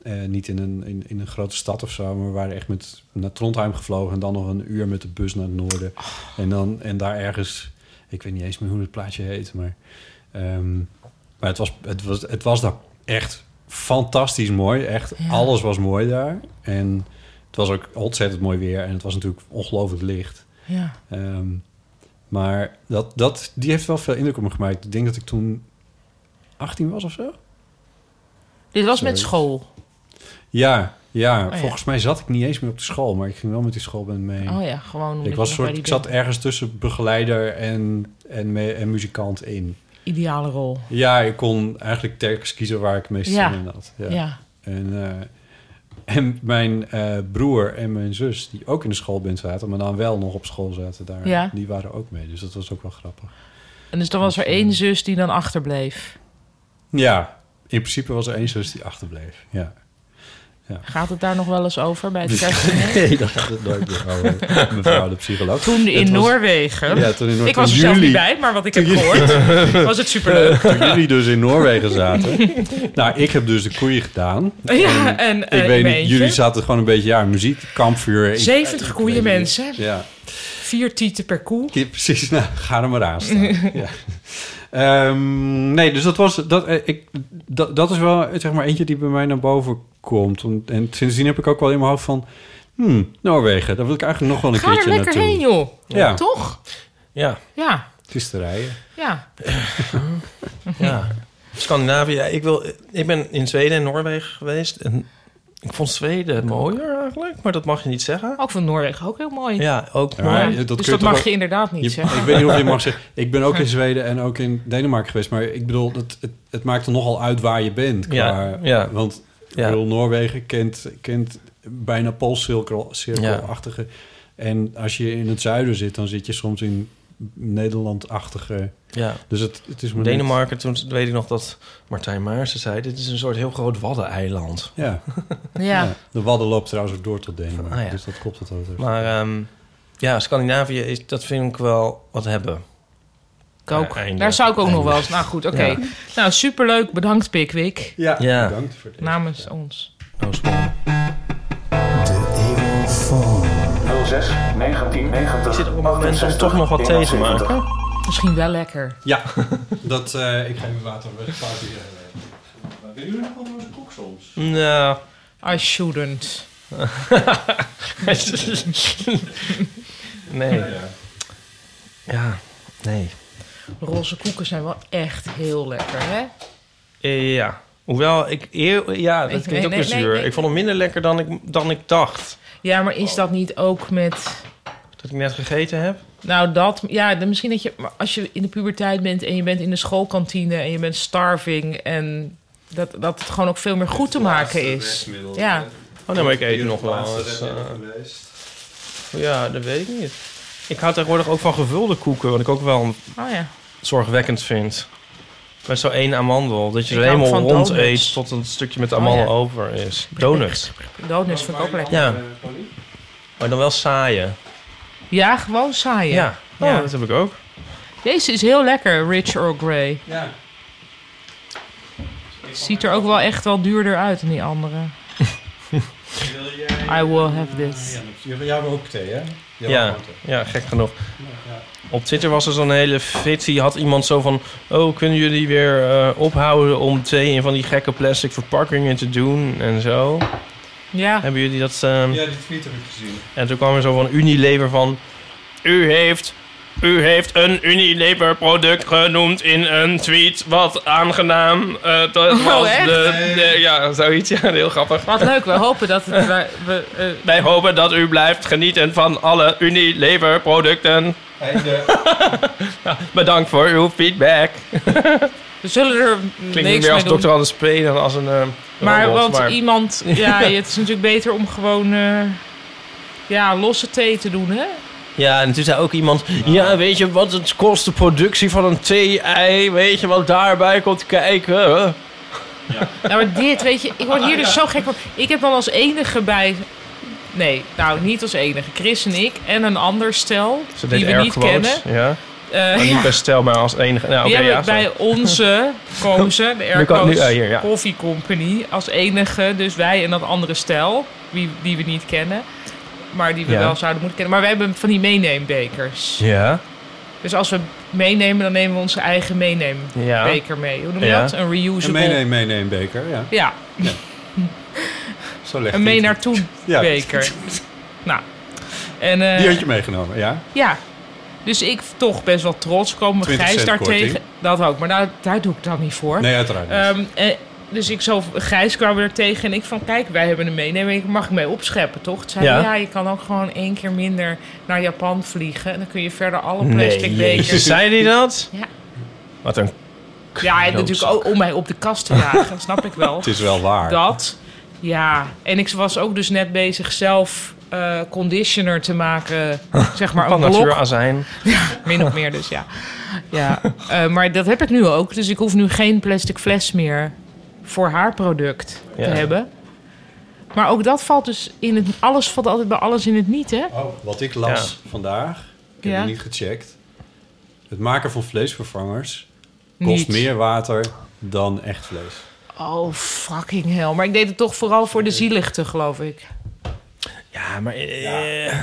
eh, niet in een, in, in een grote stad of zo. Maar we waren echt met, naar Trondheim gevlogen. En dan nog een uur met de bus naar het noorden. Oh. En, dan, en daar ergens, ik weet niet eens meer hoe het plaatje heet. Maar, ehm, maar het, was, het, was, het was daar echt fantastisch mooi. Echt Ja. alles was mooi daar. En het was ook ontzettend mooi weer. En het was natuurlijk ongelooflijk licht. Ja. Ehm, maar dat, dat, die heeft wel veel indruk op me gemaakt. Ik denk dat ik toen 18 was of zo. Dit was met Zoiets. school. Ja, ja. Oh, ja. volgens mij zat ik niet eens meer op de school, maar ik ging wel met die schoolband mee. Oh ja, gewoon omdat Ik, je was nog bij soort, die ik zat band- ergens tussen begeleider en, en, me- en muzikant in. Ideale rol. Ja, ik kon eigenlijk telkens kiezen waar ik het meest Ja. zin in had. Ja. En, eh, en mijn eh, broer en mijn zus, die ook in de schoolband zaten, maar dan wel nog op school zaten daar, Ja. die waren ook mee. Dus dat was ook wel grappig. En dus dan was er één zus die dan achterbleef. Ja, in principe was er één zus die achterbleef. Ja. Dus- Gaat het daar nog wel eens over bij <laughs> het kerstdiner? Nee, daar gaat het nooit meer over. Mevrouw de psycholoog. Toen in Het was- Noorwegen. Ja, toen in Noorwegen. Ik was er Toen zelf niet jullie- bij, maar wat ik toen heb <laughs> gehoord, jullie- was het superleuk. Toen jullie dus in Noorwegen <laughs> zaten. nou, ik heb dus de koeien gedaan. Ja, en, eh, Ehm, ik weet in mijn niet, jullie eentje. zaten gewoon een beetje, ja, muziek, kampvuur. Ik- 70 koeien mensen. Ja. Vier tieten per koe. Ja, precies. Nou, ga er maar <laughs> aan staan. ja. Ehm, nee, dus dat was... Dat, eh, ik, dat, dat is wel eh, zeg maar eentje die bij mij naar boven komt. Om- En sindsdien heb ik ook wel in mijn hoofd van... Hmm, Noorwegen, daar wil ik eigenlijk nog wel een Ga er keertje lekker naartoe. heen, joh. Ja. Toch? Ja. Ja, Het is te rijden. ja. Ja. Scandinavië. Ik, wil, ik ben in Zweden en Noorwegen geweest. En ik Ik vond Zweden Hm. het mooier eigenlijk, maar dat mag je niet zeggen. Ook van Noorwegen ook heel mooi. Ja, ook Ja, mooi. maar dus kun je dat toch mag ook- je inderdaad niet Je- zeggen. Ik weet niet of je <laughs> mag zeggen. Ik ben ook in Zweden en ook in Denemarken geweest. Maar ik bedoel, het, het, het maakt er nogal uit waar je bent. Ja, qua- ja. Want ik bedoel, Noorwegen kent, kent bijna Poolcirkelachtige. En als je in het zuiden zit, dan zit je soms in Nederlandachtige. Ja. Dus het, het is maar net- Denemarken, toen weet ik nog dat Martijn Maarsen zei... dit is een soort heel groot waddeneiland. Ja. Ja. De wadden loopt trouwens ook door tot Denemarken. Ah, ja. Dus dat klopt wat dat betreft. Maar ehm, ja, Scandinavië, is, dat vind ik wel wat hebben. Kook. Einde. Daar zou ik ook nog Einde. wel eens. Nou goed, oké. Ja. Nou, superleuk. Bedankt, Pickwick. Ja, Ja. bedankt voor dit. Namens ons. 06 1990. Zit op Mensen toch nog wat thee te maken. Misschien wel lekker. Ja, <laughs> dat, eh, ik ga even water wegpakken. Willen jullie nog wel door de kok soms? Nou, I shouldn't. <laughs> nee. Ja, ja. Ja, nee. Roze koeken zijn wel echt heel lekker, hè? Eh, Ja. Hoewel, ik, eer- ja, dat Nee, klinkt ook nee, weer nee, zuur. nee. Ik vond hem minder lekker dan ik, dan ik dacht Ja, maar is dat niet ook met... dat ik net gegeten heb. Nou, dat... Ja, dan misschien dat je... Maar als je in de puberteit bent en je bent in de schoolkantine... en je bent starving en... Dat, dat het gewoon ook veel meer goed te maken is. Ja. Oh nee, maar ik eet nog laatste wel eens. redmiddel eh, ja, Ah, dat weet ik niet. Ik hou tegenwoordig ook van gevulde koeken, wat ik ook wel Oh ja. zorgwekkend vind. Met zo één amandel, dat je Ik er hou helemaal van rond donuts. eet tot een stukje met de Oh, amandel ja. over is. Donuts. Donuts vind ik eh, ook lekker. Ja. Maar dan wel saaie. Ah, Ja, gewoon saaien. Ja, oh, Ja. dat heb ik ook. Deze is heel lekker, Rich Earl Grey. Ja. Ziet er ook wel echt wel duurder uit dan die andere. I will have this. Jij jij hebt ook thee, hè? Jij Ja, hebt ook thee. ja, gek genoeg. Op Twitter was er zo'n hele fit. Die had iemand zo van... Oh, kunnen jullie weer eh, ophouden om thee in van die gekke plastic verpakkingen te doen en zo? Ja. Hebben jullie dat... ehm, Ja, die tweet heb ik gezien. En toen kwam er zo van Unilever van... U heeft, u heeft een Unilever product genoemd in een tweet. Wat aangenaam. Eh, dat Oh, was echt? De, de- ja, zoiets. <laughs> Ja, heel grappig. Wat leuk, we hopen dat het... wij- we, eh, Wij hopen dat u blijft genieten van alle Unilever producten. <laughs> Bedankt voor uw feedback. we zullen er Klinkt niet niks meer mee als doen. dokter Anders P. dan als een eh, Maar robot, want <laughs> iemand... Ja, het is natuurlijk beter om gewoon... eh, ja, losse thee te doen, hè? Ja, en toen zei ook iemand... Ja, weet je wat het kost, de productie van een thee-ei? Weet je wat daarbij komt kijken? Nou, maar dit, weet je, ik word hier dus zo gek van. Ik heb dan als enige bij... Nee, nou, niet als enige. Chris en ik en een ander stel, Ze deed die we erg niet quotes, kennen. Ja. Eh, maar niet ja. bij Stel, maar als enige. Nou, die oké, hebben ja, zo. bij <laughs> onze Koze, de Nu kan- nu- Airco's eh, hier, ja. Coffee Company, als enige. Dus wij en dat andere stel, wie, die we niet kennen. Maar die we Ja. wel zouden moeten kennen. Maar wij hebben van die meeneembekers. Ja. Dus als we meenemen, dan nemen we onze eigen Ja. meeneembeker mee. Hoe noem je Ja. dat? Een reusable... Een meeneem, meeneem beker, ja. Ja, <laughs> Zo legt een hij mee het. naartoe Ja. <laughs> beker. nou. En, eh, Die had je meegenomen, ja. Ja. Dus ik toch best wel trots. Komen we 20 Gijs cent daar korting. tegen. Dat ook. Maar daar, daar doe ik dan niet voor. Nee, uiteraard niet. Ehm, eh, dus ik zo, Gijs kwam er tegen en ik van, kijk, wij hebben hem meenemen. Ik mag hem mee opscheppen, toch? Toen zei Ja. hij, ja, je kan ook gewoon één keer minder naar Japan vliegen. En dan kun je verder alle Nee, plastic jezus. bekers... Zei die <laughs> dat? Ja. Wat een... Ja, en natuurlijk ook om mij op de kast te jagen, snap ik wel. <laughs> Het is wel waar. Dat, ja. En ik was ook dus net bezig zelf eh, conditioner te <laughs> maken. Zeg maar Van een blok. natuurazijn. Ja, min of meer dus, ja. ja. eh, maar dat heb ik nu ook. Dus ik hoef nu geen plastic fles meer voor haar product Ja. te hebben. Maar ook dat valt dus in het... Alles valt altijd bij alles in het niet, hè? Oh, wat ik las vandaag, ik heb Ja. het niet gecheckt. Het maken van vleesvervangers Niet. kost meer water dan echt vlees. Oh, fucking hell. Maar ik deed het toch vooral voor de zielichten, geloof ik. <laughs> Ja, maar... eh,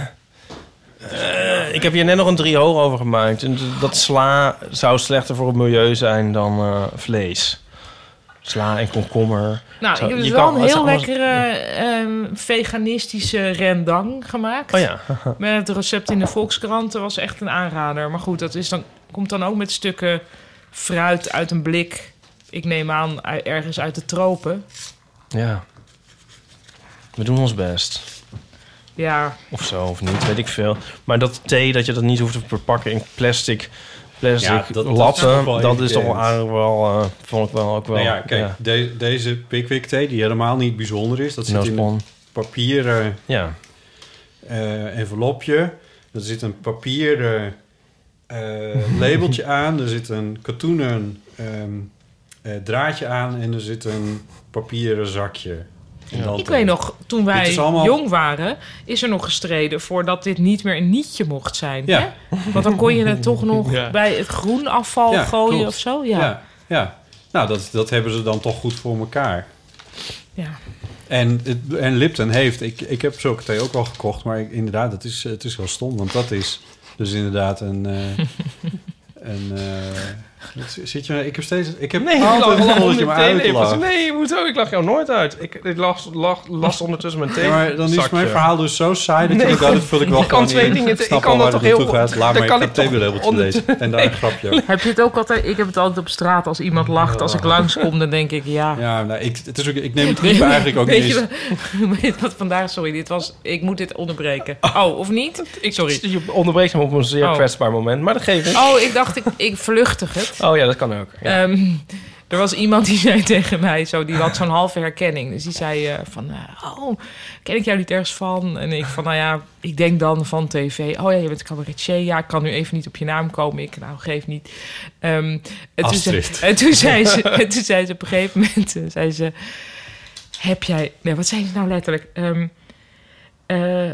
eh, ik heb hier net nog een driehoog over gemaakt. En d- Dat sla zou slechter voor het milieu zijn dan eh, vlees. Sla en komkommer. Nou, Zo, ik heb dus je wel kan- een als- heel als- lekkere ehm, veganistische rendang gemaakt. Oh <laughs> ja. Met het recept in de Volkskrant. Dat was echt een aanrader. Maar goed, dat is dan, komt dan ook met stukken fruit uit een blik. Ik neem aan, u- ergens uit de tropen. Ja. We doen ons best. Ja, Of zo, of niet, weet ik veel. Maar dat thee, dat je dat niet hoeft te verpakken in plastic, plastic Ja, dat- dat is latten, toch wel dat is toch wel, evident. aardig wel eh, vond ik wel ook wel. Nou ja, kijk, de- deze Pickwick thee, die helemaal niet bijzonder is. Dat zit in Noosepon. een papieren Nou, Ja. eh, envelopje. Er zit een papieren eh, <laughs> labeltje aan. Er zit een katoenen ehm, eh, draadje aan. En er zit een papieren zakje. En dan- Ik weet nog, toen eh, Dit wij is allemaal- jong waren, is er nog gestreden voordat dit niet meer een nietje mocht zijn. Ja. Hè? Want dan kon je het toch nog Ja. bij het groen afval Ja, gooien klopt. of zo. Ja. Ja, ja. nou dat, dat hebben ze dan toch goed voor elkaar. Ja. En, het- en Lipton heeft, ik, ik heb zulke thee ook wel gekocht, maar ik- inderdaad, het is, het is wel stom, want dat is dus inderdaad een. <laughs> eh, een eh, wat zit je, ik heb steeds. Ik heb Nee, ik altijd lag- het lag gevoel dat je me meteen even. uitlacht. Nee, hoezo? Ik lach jou nooit uit. Ik, ik las, las, las ondertussen mijn thee. Ja, maar dan is zakje. mijn verhaal dus zo saai dat Nee, ik dat goed. vul ik wel Ik kan gewoon twee in. dingen te- snap ik kan wel waar dat het toch naartoe heel gaat. Laat goed. maar Dan even kan het ik toch theebelabeltje onder- lezen. En daar een <laughs> grapje. Heb je het ook altijd? Ik heb het altijd op straat. Als iemand lacht, als ik langskom, dan denk ik ja. Ja, nou, ik, het is ook, ik neem het niet eigenlijk ook niet Weet je eens. wat- <laughs> weet je wat vandaag? Sorry, dit was. Ik moet dit onderbreken. Oh, of niet? Ik, sorry. Je onderbreekt hem op een zeer Oh. kwetsbaar moment, maar dat geeft niet. Oh, ik dacht ik, ik vluchtig het. Oh ja, dat kan ook. Ja. Ehm, er was iemand die <laughs> zei tegen mij, zo, die had zo'n halve herkenning. Dus die zei eh, van, eh, oh, ken ik jou niet ergens van? En ik van, nou ja, ik denk dan van tv. Oh ja, je bent cabaretier. Ja, ik kan nu even niet op je naam komen. Ik, nou, geef niet. Ehm, en, toen zei, Astrid. en, toen zei ze, <laughs> en toen zei ze op een gegeven moment, eh, zei ze, heb jij... Nee, wat zei ze nou letterlijk? Ehm, eh,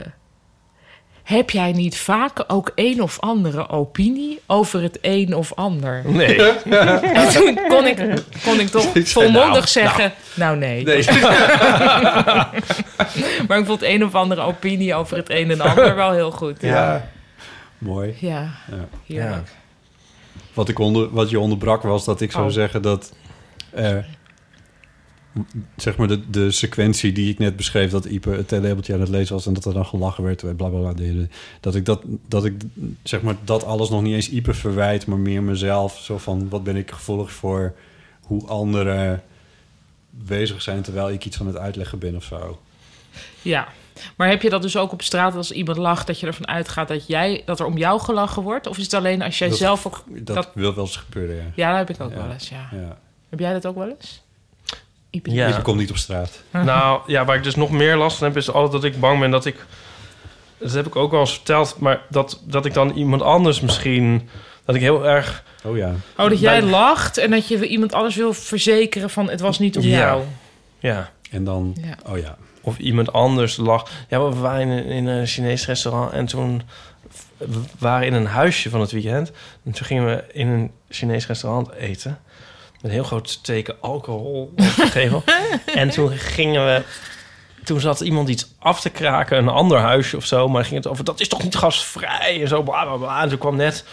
heb jij niet vaak ook een of andere opinie over het een of ander? Nee. <laughs> en toen kon ik, kon ik toch Ik zei, volmondig nou, zeggen... Nou, nee. Nee. <laughs> maar ik vond een of andere opinie over het een en ander wel heel goed. Ja. Mooi. Ja, heerlijk. Wat, ik onder, wat je onderbrak was dat ik zou Oh. zeggen dat... eh, m- zeg maar de, de sequentie die ik net beschreef... dat Ipe het labeltje aan het lezen was... en dat er dan gelachen werd, eh, bla bla bla. deden, Dat ik, dat, dat, ik zeg maar, dat alles nog niet eens Ipe verwijt... maar meer mezelf. Zo van, wat ben ik gevoelig voor hoe anderen bezig zijn... terwijl ik iets aan het uitleggen ben of zo. Ja. Maar heb je dat dus ook op straat als iemand lacht... dat je ervan uitgaat dat, jij, dat er om jou gelachen wordt? Of is het alleen als jij Dat- zelf ook... Dat, wil wel eens gebeuren, ja. Ja, dat heb ik ook wel eens, ja. Heb jij dat ook wel eens? Ipe? Ja. Ipe komt niet op straat. <laughs> Nou, ja, waar ik dus nog meer last van heb, is altijd dat ik bang ben dat ik... Dat heb ik ook wel eens verteld, maar dat, dat ik dan iemand anders misschien... Dat ik heel erg... Oh ja. Oh, dat jij Bij- lacht en dat je iemand anders wil verzekeren van... het was niet om Ja. jou. Ja. En dan, Ja. oh ja. Of iemand anders lacht. Ja, we waren in, in een Chinees restaurant en toen... We waren in een huisje van het weekend. En toen gingen we in een Chinees restaurant eten. Met een heel groot teken alcohol op de <laughs> gevel. en toen gingen we... Toen zat iemand iets af te kraken, een ander huisje of zo. Maar dan ging het over, dat is toch niet gasvrij? En zo, bla, bla, bla. En toen kwam net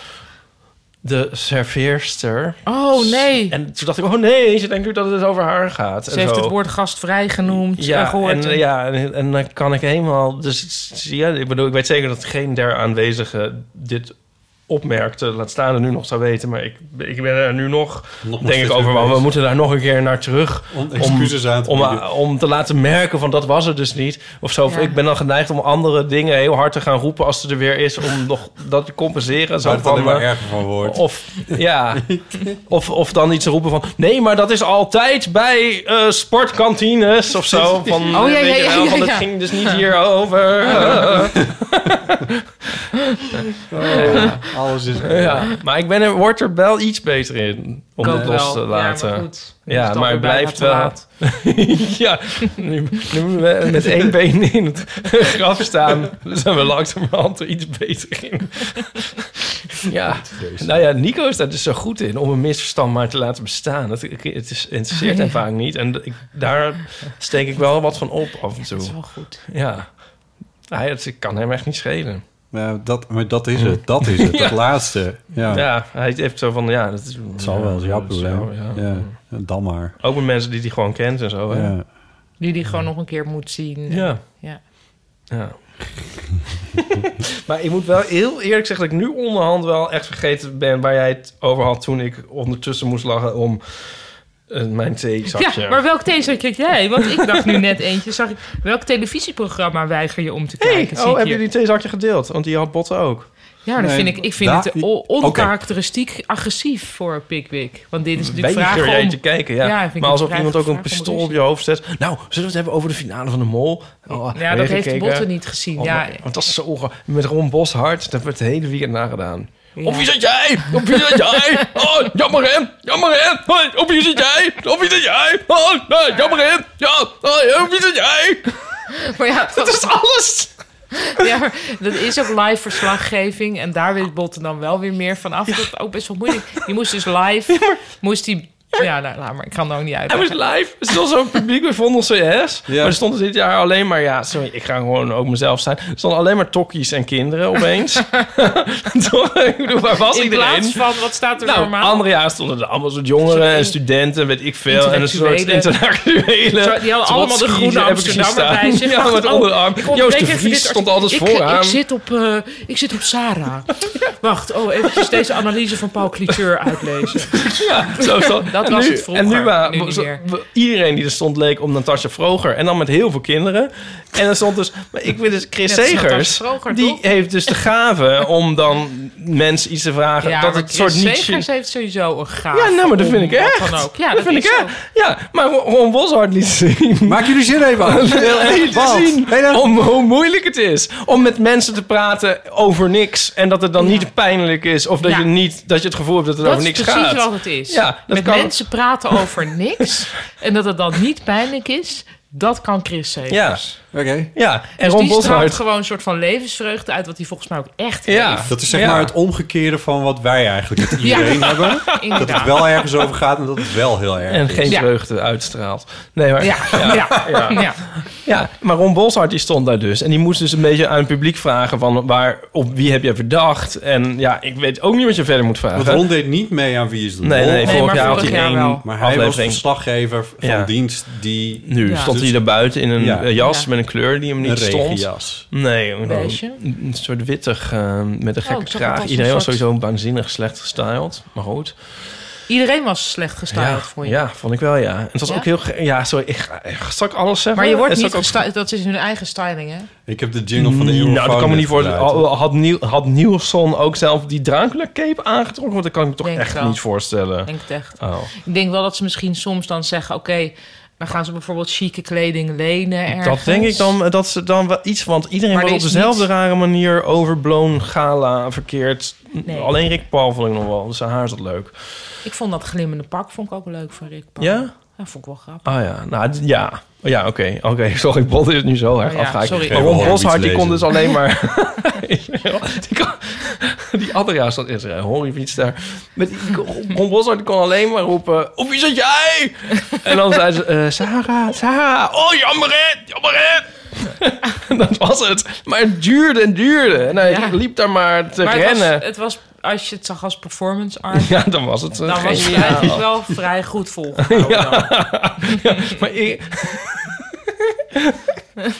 de serveerster. Oh, nee. En toen dacht ik, oh nee, ze denkt nu dat het over haar gaat. Ze en heeft zo. het woord gastvrij genoemd. Ja, eh, gehoord. en, ja en, en dan kan ik helemaal... Dus ja, ik bedoel, ik weet zeker dat geen der aanwezigen dit opmerkte. Laat staan er nu nog zou weten. Maar ik, ik ben er nu nog, denk steeds ik, over. mee Want we bezig. moeten daar nog een keer naar terug. Om excuses aan te om, eh, bieden. om te laten merken van dat was het dus niet. Of zo. Of Ja. Ik ben dan geneigd om andere dingen heel hard te gaan roepen... als ze er weer is, om <laughs> nog dat te compenseren. Zo Waar het alleen van, maar eh, erger van wordt. Of, ja. of, of dan iets roepen van... Nee, maar dat is altijd bij eh, sportkantines of <laughs> zo. Van, Oh, ja, weet ja, je ja, wel, ja, van, ja. Het ging dus niet hierover. Oh, Ja, alles is... ja, maar ik ben er, word er wel iets beter in om Kan het los wel. te Ja, laten. maar goed. Dan Ja, is het alweer maar het blijft bijna te wel... laat. <laughs> ja, nu, nu we met één been in het graf <laughs> staan... zijn we langzamerhand er iets beter in. <laughs> ja, nou ja, Nico is daar dus zo goed in... om een misverstand maar te laten bestaan. Het, het is, <laughs> interesseert hem vaak niet. En ik, daar steek ik wel wat van op af en toe. dat is wel goed. Ja, Hij, het kan hem echt niet schelen. Ja, dat, maar dat is het, dat is het, <laughs> Ja. dat laatste. Ja, Ja, hij heeft zo van, ja, dat is... het zal wel eens jouw dat is probleem. wel, ja. Ja. dan maar. Ook met mensen die hij gewoon kent en zo, hè? Ja. Die die gewoon nog een keer moet zien. Ja. ja. Ja. maar ik moet wel heel eerlijk zeggen dat ik nu onderhand wel echt vergeten ben... waar jij het over had toen ik ondertussen moest lachen om... eh, mijn theezakje. Ja, maar welk theezakje kreeg jij? Want ik dacht nu net eentje. Zag ik, welk televisieprogramma weiger je om te kijken? Hey, Zie ik oh, hebben hier. jullie theezakje gedeeld? Want die had botten ook. Ja, dat vind ik, ik vind Da- het o- Oké. onkarakteristiek agressief voor Pickwick. Want dit is natuurlijk Weiger vragen jij om... te kijken, ja. vind ik maar alsof vragen- iemand ook een vragen om pistool ruzie. op je hoofd zet. Nou, zullen we het hebben over de finale van de mol? Oh, heb dat je heeft gekeken? Botten niet gezien, ja. maar- Want dat is zo... ge- Met Ron Boshart, dat werd het hele weekend nagedaan. Ja. Of wie zit jij? Op wie zit <laughs> jij? Oh, jammer hè? Jammer hè? Hoi, Op wie zit jij? Op wie zit jij? Oh, nee, jammer hè? Ja, oh, op wie zit <laughs> jij? Maar ja, <laughs> Dat is alles! <laughs> Ja, maar dat is ook live verslaggeving. En daar weet Botten dan wel weer meer van af. Dat is ook best wel moeilijk. Die moest dus <laughs> live... Moest die... Ja, nou, laat maar. Ik kan er ook niet uit. Hij was live. Er stond zo'n publiek bij Vondel CS. Ja. Maar er stonden dit jaar alleen maar... Ja, sorry, ik ga gewoon ook mezelf zijn. Er stonden alleen maar tokkies en kinderen <laughs> opeens. <laughs> Toch? Ik bedoel, waar was In iedereen? plaats van, wat staat er nou, normaal? andere jaar stonden er allemaal soort jongeren en studenten, weet ik veel. En een soort Zo, intellectuelen. Die hadden allemaal de Trotsky, groene heb ik gezien Amsterdammer bij staan. zich. Ja, Dacht, met oh, onderarm. ik ontbreek Joost de even dit Vries stond altijd artikel. vooraan. Ik, ik, zit op, eh, ik zit op Sarah. Wacht, oh, eventjes deze analyse van Paul Cliteur uitlezen. Ja, zo <laughs> stond- Dat en was nu- het vroeger. En nu, wa- Nu niet zo- meer. wa- iedereen die er stond leek om Natasja Vroger. En dan met heel veel kinderen. En dan stond dus... Maar ik weet dus Chris Net als Segers. Natasja Vroger, die toch? heeft dus de gave om dan mensen iets te vragen. Ja, dat maar het Chris soort niet... Segers heeft sowieso een gaaf. Ja, nou, maar dat vind ik echt. Van ook. Ja, dat, dat, vind ik is zo. echt. Ja, maar Ron- Ron Boshart liet zien. Maak jullie zin even <laughs> af. Liet Want- zien om, hoe moeilijk het is om met mensen te praten over niks. En dat het dan niet pijnlijk is. Of dat, Ja. je, niet, dat je het gevoel hebt dat het Dat over is niks precies gaat. wat het is. Ja, dat Met kan- mensen praten <laughs> over niks en dat het dan niet pijnlijk is, dat kan Chris Segers. Ja. Oké. Ja, en dus Ron die straalt Boshart. gewoon een soort van levensvreugde uit, wat hij volgens mij ook echt heeft. Dat is zeg maar het omgekeerde van wat wij eigenlijk <laughs> met Ja. <laughs> iedereen hebben. Dat het Inderdaad. wel ergens over gaat en dat het wel heel erg En is. geen vreugde uitstraalt. Nee, maar... Ja, ja, ja. <laughs> ja. Ja, maar Ron Boshart die stond daar dus. En die moest dus een beetje aan het publiek vragen van... Waar, op wie heb jij verdacht? En ja, ik weet ook niet wat je verder moet vragen. Want Ron deed niet mee aan Wie is de Nee, Mol. nee, Nee, vorig maar jaar had vorig hij jaar één wel. Maar hij was aflevering. verslaggever van Ja. dienst die... Dus- Nu stond hij daar buiten in een Ja. eh, jas met een kleur die hem niet Een stond. regenjas. Nee, een, Beige? een soort wittig eh, met een gekke Oh, ik zag het kraag. als Iedereen een was soort- sowieso waanzinnig slecht gestyled, maar goed. Iedereen was slecht gestyled, ja, vond je? ja, vond ik wel, ja. En het was Ja? ook heel... ge- Ja, sorry, ik ga, ik- zal ik alles zeggen? Maar je wordt En zal niet ik ook- gestyled, dat is hun eigen styling, hè? Ik heb de jingle van de Nou, Eurofoon dat kan me net niet voorstellen. gedraaid, Had, had, Niel- had Nielsen ook zelf die Dracula-cape aangetrokken? Want dat kan ik me toch Denk echt wel. niet voorstellen. Denk het echt. Oh. Ik denk wel dat ze misschien soms dan zeggen, oké, dan gaan ze bijvoorbeeld chique kleding lenen ergens. Dat denk ik dan, eh, dat ze dan wel iets... Want iedereen Maar wordt er op is dezelfde niets- rare manier overblown, gala, verkeerd. Nee. Alleen Rick Paul vond ik nog wel. Zijn haar zat leuk. Ik vond dat glimmende pak vond ik ook leuk van Rick Paul. Ja? Dat vond ik wel grappig. Ah ja, nou d- ja. Oh Ja, oké. Oké, <laughs> sorry, Bot is het nu zo erg Oh ja, afgehaakt. sorry. Maar Ron Geen Boshart, die horrorfiets kon dus lezen. <laughs> alleen maar... die, kan, die andere jaar zat in zijn horrorfiets daar. Met, die- Ron Boshart die kon alleen maar roepen... Op wie zat <laughs> jij? En dan zei ze... eh, Sarah, Sarah. Oh, jammer hè, jammer <laughs> hè. En dat was het. Maar het duurde en duurde. En hij Ja. liep daar maar te maar rennen. Het was, het was, als je het zag als performance art, <laughs> Ja, dan was het eh, dan was het geniaal. eigenlijk wel vrij goed volgen. <laughs> Ja. Ja, <laughs> maar ik... <laughs>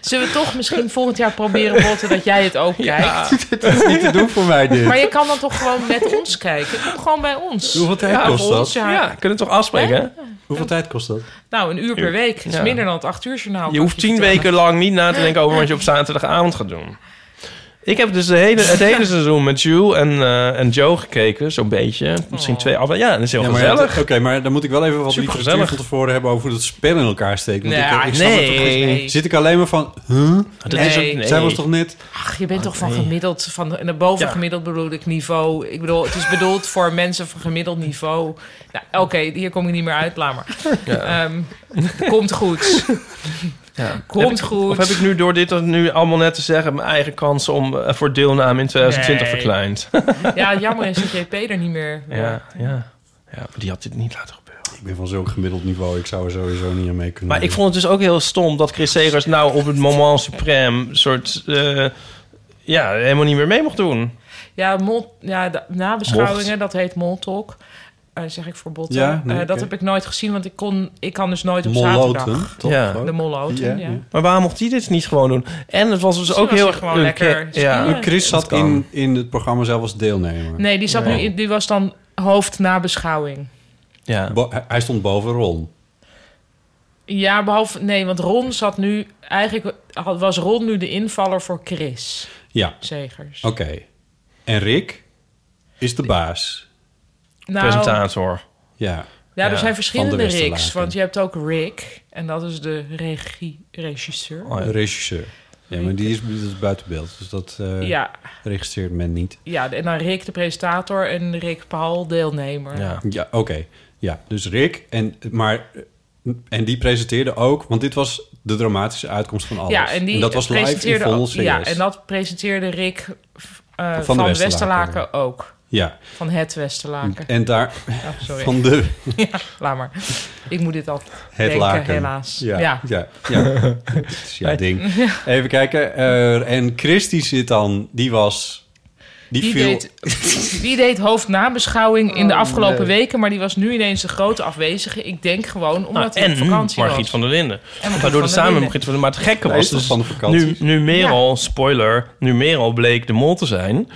Zullen we toch misschien volgend jaar proberen, Botten, dat jij het <laughs> ook kijkt? <laughs> dit is niet te doen voor mij dit. Maar je kan dan toch gewoon met ons kijken? Kom gewoon bij ons. Hoeveel tijd ja, kost voor dat? ons jaar. Ja, kunnen we toch afspreken, hè? Hoeveel tijd kost dat? Nou, een uur per week. Dat is Ja. minder dan het acht uur journaal. Je hoeft tien weken lang niet na te denken over wat je op zaterdagavond gaat doen. Ik heb dus de hele, <laughs> het hele seizoen met Jules en, eh, en Joe gekeken, zo'n beetje. Oh. Misschien twee afleveringen. Ja, dat is heel Ja, maar gezellig. ja, Oké, maar dan moet ik wel even wat Supergezellig. literatuur van tevoren hebben over hoe dat spel in elkaar steekt. Want Nee, ik, ik snap nee. het toch niet. Zit ik alleen maar van... Huh? Dat is ook- nee. Ah, Zij was toch net... Ach, je bent toch van nee. gemiddeld, van de- naar boven Ja. gemiddeld bedoel ik niveau. Ik bedoel, het is bedoeld voor mensen van gemiddeld niveau. Nou, oké, hier kom ik niet meer uit, laat maar. <laughs> Ja. Ehm, komt goed. Ja. Komt Heb ik- goed. Of heb ik nu door dit dat nu allemaal net te zeggen... mijn eigen kansen om, eh, voor deelname in 2020 Nee. verkleind? Ja, jammer is dat JP er niet meer. ja, ja. ja, maar die had dit niet laten gebeuren. Ik ben van zo'n gemiddeld niveau. Ik zou er sowieso niet aan mee kunnen Maar ik vond het dus ook heel stom dat Chris Segers nou op het moment suprême... soort, eh, ja, helemaal niet meer mee mocht doen. Ja, mol, ja de nabeschouwingen, dat heet moltalk. Eh zeg ik voor botten. Ja, nee, Eh, dat oké. heb ik nooit gezien, want ik, kon, ik kan dus nooit op Molloten, zaterdag. toch? Ja. De molloten, ja. Maar waarom mocht hij dit niet gewoon doen? En het was dus Misschien ook was heel hij gewoon lekker Ja, skiën. Chris zat kan. in, in het programma zelf als deelnemer. Nee, die, zat Nu, in- die was dan hoofd nabeschouwing. Ja. Bo- hij- hij stond boven Ron. Ja, behalve... Nee, want Ron zat nu... Eigenlijk had- was Ron nu de invaller voor Chris. Ja. Zegers. Oké. En Rick is de baas. Nou, Presentator. Ja. Ja, er zijn Van verschillende de Westerlaken. Ricks. Want je hebt ook Rick. En dat is de regie, regisseur. Oh Een regisseur. Ja, maar die is, dat is buiten beeld. Dus dat eh, Ja. registreert men niet. Ja, en dan Rick de presentator en Rick Paul deelnemer. Ja, oké. Ja, dus Rick. En, maar, en die presenteerde ook... Want dit was de dramatische uitkomst van alles. Ja, en die dat was live in presenteerde Vondel ook- Ja, CS. en dat presenteerde Rick eh, Van de van, Westerlaken. Westerlaken ook. Ja. Van het Westerlaken. En daar- Oh, sorry. van de- <laughs> ja, laat maar. Ik moet dit al Het denken, laken. helaas. Ja, ja. ja. ja, <laughs> Het is jouw ding. Even kijken. eh, en Christy zit dan... Die was... Die, Die, viel... <laughs> deed, die deed hoofdnabeschouwing Oh, in de afgelopen nee. weken, maar die was nu ineens de grote afwezige. Ik denk gewoon Nou, omdat hij op en vakantie Margriet was. van der Linden. Margriet Waardoor de van der samen Linden. Margriet van der Maar het gekke Hij was is toch dus... van de nu, vakantie? nu Merel, spoiler, nu Merel bleek de mol te zijn...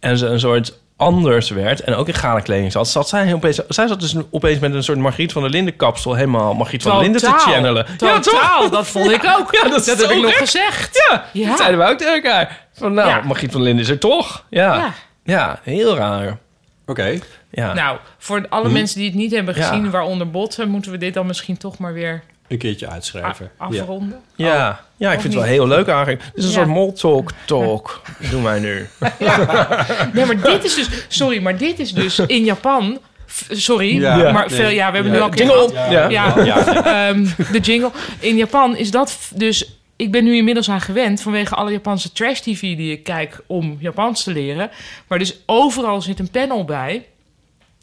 en ze een soort anders werd en ook in gala kleding zat... zat zij, opeens, zij zat dus opeens met een soort Margriet van der Linden kapsel... helemaal Margriet van der Linden te Totaal. channelen. Totaal, dat vond ik ook. <laughs> Ja, dat is heb zo ik nog gek. gezegd. Ja, dat zeiden we ook tegen elkaar. Van nou, Margriet van der Linden is er toch. Ja, ja. heel raar. Oké. Ja. Nou, voor alle Hm. mensen die het niet hebben Ja. gezien, waaronder botten, moeten we dit dan misschien toch maar weer Een keertje uitschrijven. a- afronden. Oh. Ja, ja ik of vind het wel niet? heel leuk eigenlijk. Het is een Ja. soort moltalk talk, doen wij nu. Nee, maar dit is dus, sorry, maar dit is dus in Japan. f- Sorry, Ja. maar Nee. veel, ja, we hebben nu Ja. al een keer Jingle. gehad. Ja. Ja, Ja. ehm, de jingle. In Japan is dat f- dus. Ik ben nu inmiddels aan gewend vanwege alle Japanse trash TV die ik kijk om Japans te leren. Maar dus overal zit een panel bij.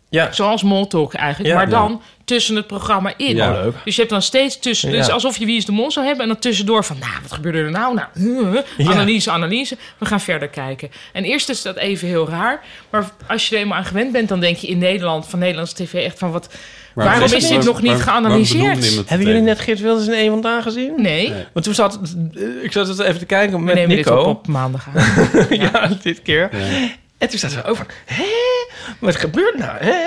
Ja. Zoals Moltalk eigenlijk, Ja. maar dan Ja. tussen het programma in. Ja, leuk. Dus je hebt dan steeds tussen. Dus Ja. alsof je Wie is de Mol zou hebben. En dan tussendoor van, nou, wat gebeurde er nou? Nou, eh, Ja. analyse, analyse. We gaan verder kijken. En eerst is dat even heel raar. Maar als je er eenmaal aan gewend bent, dan denk je in Nederland, van Nederlandse tv, echt van wat. waarom is dit nog niet geanalyseerd? Hebben jullie net Geert Wilders in één vandaag gezien? Nee. Want toen zat... eh, Ik zat het even te kijken met nemen dit Nico. op op maandag <laughs> ja. dit keer. En toen zaten we over. Hé, wat gebeurt nou? Hè?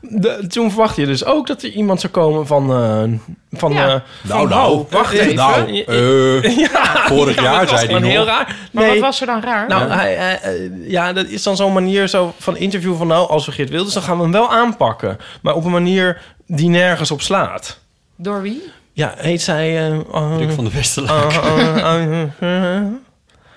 De- toen verwachtte je dus ook dat er iemand zou komen van... eh, van Ja. eh, Nou, van, nou. oh, wacht Eh, even. nou, Ja, eh, vorig <laughs> Ja, jaar dat zei was die gewoon nog. heel raar. Maar Nee. wat was er dan raar? Nou, hij, hij- eh, ja, dat is dan zo'n manier zo van interview van... nou, als we Geert Wilders, dan gaan we hem wel aanpakken. Maar op een manier die nergens op slaat. Door wie? Ja, heet zij... eh eh, Rick van de Westerlaak. eh, eh, eh, eh,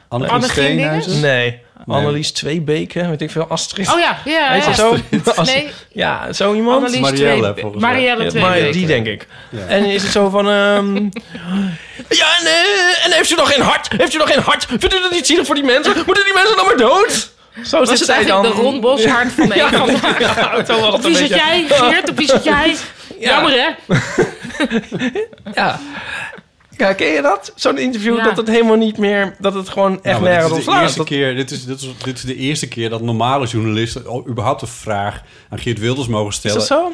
Annelies Anne Steenhuizen? Grinninges? Nee. Annelies Tweebeke, weet ik veel, Astrid. Oh ja, ja, Weet je ja. zo? Astrid. Ast- Nee. Ja, zo iemand. Annelies Marielle, Tweebe- volgens mij. Marielle Ja, Tweebeke. maar Die denk ik. Ja. En is het zo van... ehm, <laughs> ja, en, eh, en heeft u nog geen hart? Heeft u nog geen hart? Vindt u dat niet zielig voor die mensen? Moeten die mensen dan maar dood? Zo Was zit het zij dan. eigenlijk de Ron Boshart van de Ja, een van de- ja, zo was het Op wie een zit jij, beetje. <laughs> Geert? Op wie zit jij? Jammer, hè? Ja. Ja, ken je dat? Zo'n interview Ja. dat het helemaal niet meer... Dat het gewoon echt Ja, Nou, maar nergens dit op is de slaat. eerste Dat- keer, dit, is, dit, is, dit is de eerste keer dat normale journalisten al überhaupt de vraag aan Geert Wilders mogen stellen. dat zo?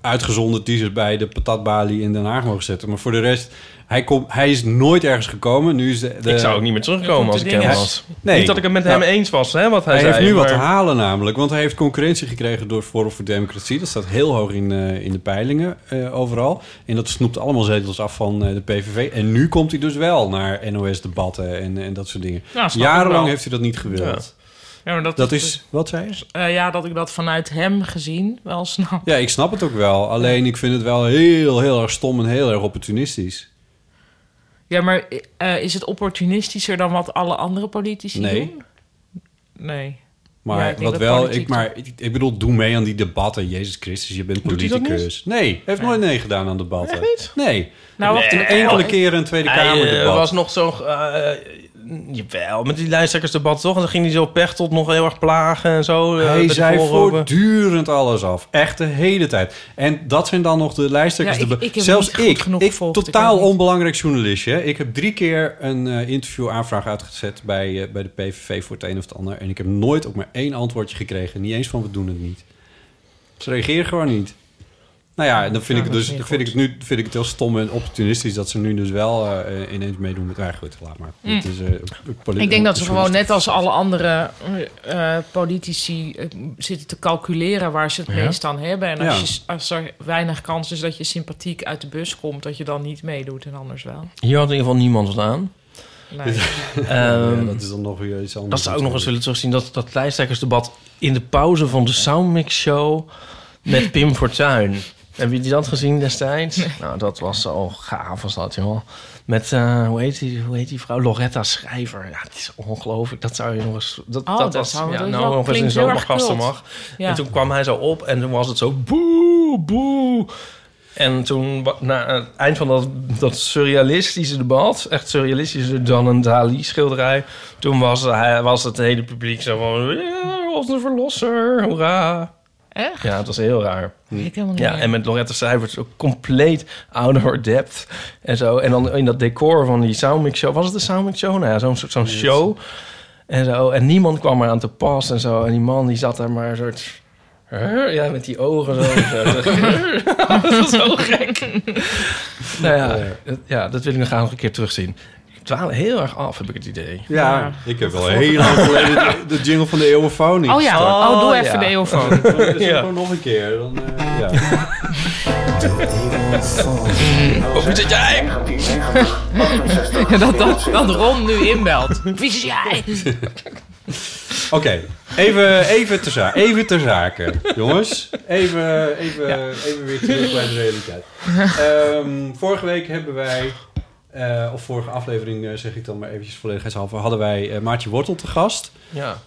Uitgezonderd die ze bij de patatbalie in Den Haag mogen zetten. Maar voor de rest, hij, komt hij is nooit ergens gekomen. Nu is de, de- Ik zou ook niet meer terugkomen als ik hem was. Nee. Niet dat ik het met Nou, hem eens was, hè, wat hij, Hij, zei. heeft nu wat maar- te halen namelijk, want hij heeft concurrentie gekregen door Forum voor Democratie. Dat staat heel hoog in, eh, in de peilingen eh, overal. En dat snoept allemaal zetels af van eh, de PVV. En nu komt hij dus wel naar NOS-debatten en, en dat soort dingen. Ja, snap ik wel. Jarenlang heeft hij dat niet gewild. Ja, maar dat, Dat is, wat zei je? Eh, ja, dat ik dat vanuit hem gezien wel snap. Ja, ik snap het ook wel. Alleen ik vind het wel heel, heel erg stom en heel erg opportunistisch. Ja, maar eh, is het opportunistischer dan wat alle andere politici Nee. doen? Nee. Ja, Maar ik denk wat dat wel, politiek ik, maar, ik, ik bedoel, doe mee aan die debatten. Jezus Christus, je bent Doet hij dat politicus. Nee, hij heeft nooit nee gedaan aan debatten. Echt niet? Nee. Nou, Nou, wacht, een nee. enkele keer een Tweede Hij, Kamer eh, was nog zo... eh, jawel, met die lijsttrekkersdebat toch? En dan ging hij zo pech tot nog heel erg plagen en zo. eh, Hij met de zei voorroepen. voortdurend alles af. Echt de hele tijd. En dat zijn dan nog de lijsttrekkers. Ja, ik- debat- ik heb Zelfs niet goed ik, genoeg ik gevolgd. Ik totaal weet niet. onbelangrijk journalistje. Ik heb drie keer een eh, interviewaanvraag uitgezet bij, eh, bij de PVV voor het een of het ander. En ik heb nooit ook maar één antwoordje gekregen. Niet eens van we doen het niet. Ze reageren gewoon niet. Nou ja, en dan vind ik Ja, het dat dus is niet dan vind ik het goed. nu vind ik het heel stom en opportunistisch dat ze nu dus wel eh, ineens meedoen met eigen goed, laat maar. Mm. Het is, eh, politiek- Ik denk dat ze is gewoon net als alle andere eh, eh, politici eh, zitten te calculeren waar ze het Ja. meest aan hebben. En als, Ja. je s- als er weinig kans is dat je sympathiek uit de bus komt, dat je dan niet meedoet en anders wel. Hier had in ieder geval niemand wat aan. Dus, <laughs> Nee. ehm, Ja, dat is dan nog weer iets anders Dat zou ook nog natuurlijk. eens willen terugzien. Dat, dat lijsttrekkersdebat in de pauze van de Soundmix Show met <laughs> Pim Fortuyn. Hebben jullie dat gezien destijds? Nou, dat was zo gaaf was dat, joh. Met, eh, hoe, heet die, hoe heet die vrouw? Loretta Schrijver. Ja, het is ongelooflijk. Dat zou je nog eens... Dat, Oh, dat was- zou- ja, dat is nou, wel- nog eens in klinkt heel erg zomergasten kult. mag. Ja. En toen kwam hij zo op en toen was het zo boe, boe. En toen, wa- na het eind van dat, dat surrealistische debat, echt surrealistischer dan een Dali-schilderij, toen was, hij, was het hele publiek zo van, "Ja, onze verlosser, hoera. Echt? Ja, het was heel raar. Ik helemaal niet ja, meer. en met Loretta Cijfers ook compleet out of her depth en zo. En dan in dat decor van die Soundmix Show, was het de Soundmix Show? Nou ja, zo'n soort- zo'n show. En zo, en niemand kwam eraan te pas en zo. En die man die zat daar maar een soort... "Huh?" Ja, met die <laughs> ogen zo. zo. <laughs> dat is zo gek. nou ja, dat- ja, dat wil ik nog graag nog een keer terugzien. Ik dwaal heel erg af, heb ik het idee. Ja, ik heb wel heel lang geleden de, de jingle van de eeuwenfoon niet Oh ja, gestart. oh, doe even de <laughs> eeuwenfoon. Dus Ja. gewoon nog een keer. Dan, eh, ja. Hoe zit jij? Ja, dat, dat, dat Ron nu inbelt. Wie is jij? Oké, even, even, ter za- even ter zake, jongens. Even, even, even weer terug bij de realiteit. Ehm, vorige week hebben wij, eh, of vorige aflevering eh, zeg ik dan maar eventjes volledigheidshalve, hadden wij eh, Maartje Wortel te gast. Ja,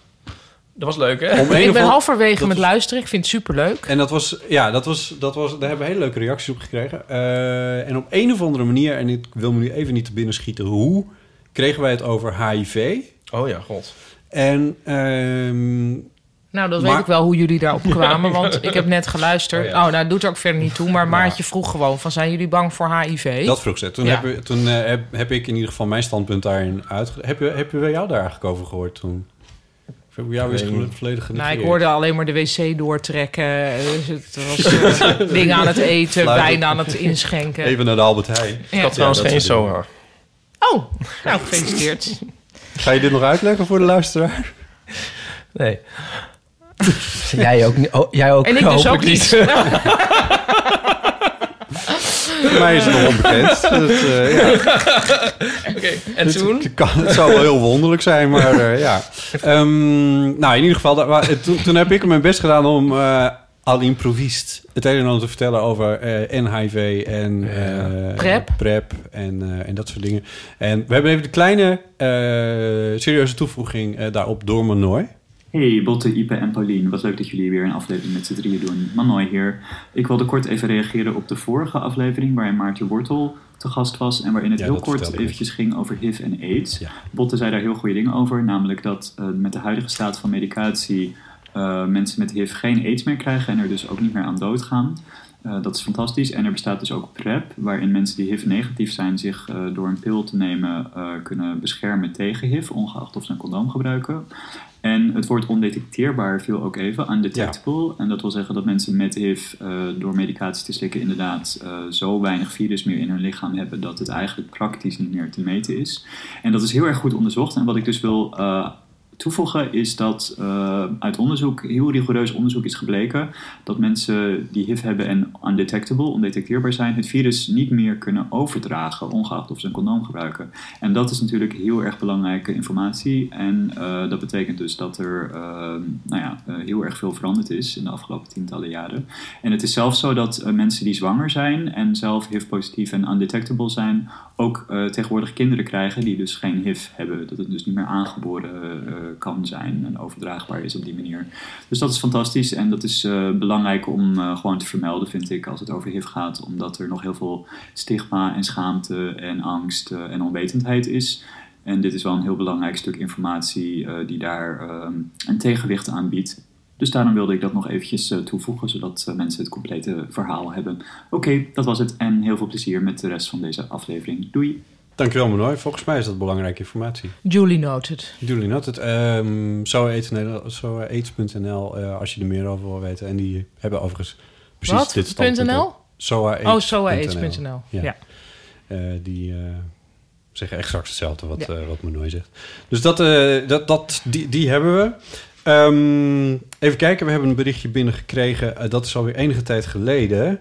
dat was leuk hè? Om een ik of ben ander- halverwege dat met was- luisteren. Ik vind het superleuk. En dat was, ja, dat was, dat was, daar hebben we hele leuke reacties op gekregen. Eh, en op een of andere manier, en ik wil me nu even niet te binnen schieten hoe, kregen wij het over HIV. Oh ja, god. En, ehm, Nou, dat Maar- weet ik wel hoe jullie <laughs> daarop kwamen, Ja. want ik heb net geluisterd. Oh, nou, doet er ook verder niet toe, maar Maartje vroeg gewoon van... zijn jullie bang voor HIV? Dat vroeg ze. Toen, Ja. heb, toen eh, heb, heb ik in ieder geval mijn standpunt daarin uitgelegd. Heb, je- heb je bij jou daar eigenlijk over gehoord toen? Of heb ik jou Ik eens weet gel- niet. volledig Nou, genegeerd? ik hoorde alleen maar de wc doortrekken. Dus het was <laughs> eh, dingen aan het eten, Sluit op. wijn aan het inschenken. Even naar de Albert Heijn. Ik had trouwens dat geen soort dingen. soa. Oh, nou, gefeliciteerd. Ga je dit nog uitleggen voor de luisteraar? Nee. <laughs> jij ook, niet- oh, jij ook En ik dus hopelijk ook niet. <laughs> Voor mij is het nog onbekend. Dus, eh, ja. Oké, en toen? Het, <laughs> kan, het zou wel heel wonderlijk zijn, maar eh, ja. Ehm, nou, in ieder geval, daar, wa- eh, toen, toen heb ik mijn best gedaan om eh al improvist het een en ander te vertellen over eh NHIV en eh, Prep. PrEP en, eh, en dat soort dingen. En we hebben even de kleine eh, serieuze toevoeging eh, daarop door Manoy. Hey Botte, Ipe en Paulien, wat leuk dat jullie weer een aflevering met z'n drieën doen. Manoy hier. Ik wilde kort even reageren op de vorige aflevering waarin Maartje Wortel te gast was en waarin het Ja, heel dat kort vertelde ik. eventjes ging over HIV en AIDS. Botte zei daar heel goede dingen over, namelijk dat eh, met de huidige staat van medicatie eh, mensen met HIV geen AIDS meer krijgen en er dus ook niet meer aan doodgaan. Eh, dat is fantastisch. En er bestaat dus ook PrEP, waarin mensen die HIV-negatief zijn zich eh, door een pil te nemen eh, kunnen beschermen tegen HIV, ongeacht of ze een condoom gebruiken. En het woord ondetecteerbaar viel ook even, undetectable. En dat wil zeggen dat mensen met HIV eh, door medicatie te slikken inderdaad eh, zo weinig virus meer in hun lichaam hebben dat het eigenlijk praktisch niet meer te meten is. En dat is heel erg goed onderzocht. En wat ik dus wil eh, toevoegen is dat eh, uit onderzoek, heel rigoureus onderzoek is gebleken dat mensen die HIV hebben en undetectable, ondetecteerbaar zijn, het virus niet meer kunnen overdragen, ongeacht of ze een condoom gebruiken. En dat is natuurlijk heel erg belangrijke informatie. En eh, dat betekent dus dat er eh, nou ja, eh, heel erg veel veranderd is in de afgelopen tientallen jaren. En het is zelfs zo dat eh, mensen die zwanger zijn en zelf HIV-positief en undetectable zijn, ook eh, tegenwoordig kinderen krijgen die dus geen HIV hebben. Dat het dus niet meer aangeboren eh, kan zijn en overdraagbaar is op die manier. Dus dat is fantastisch en dat is eh, belangrijk om eh, gewoon te vermelden, vind ik, als het over HIV gaat. Omdat er nog heel veel stigma en schaamte en angst eh, en onwetendheid is. En dit is wel een heel belangrijk stuk informatie eh, die daar ehm, een tegenwicht aan biedt. Dus daarom wilde ik dat nog eventjes eh, toevoegen, zodat eh, mensen het complete verhaal hebben. Oké, dat was het en heel veel plezier met de rest van deze aflevering. Doei! Dankjewel Manoy, volgens mij is dat belangrijke informatie. Julie noted. Jullie not het. ehm zoaids.nl eh, als je er meer over wil weten. En die hebben overigens precies Wat? dit standpunt .nl? ook. SoaAids.nl. Oh, SoaAids.nl, ja. Eh, die eh, zeggen exact hetzelfde wat, Ja. eh wat Manoy zegt. Dus dat, eh, dat, dat, die, die hebben we. Ehm, even kijken, we hebben een berichtje binnengekregen. eh, dat is alweer enige tijd geleden.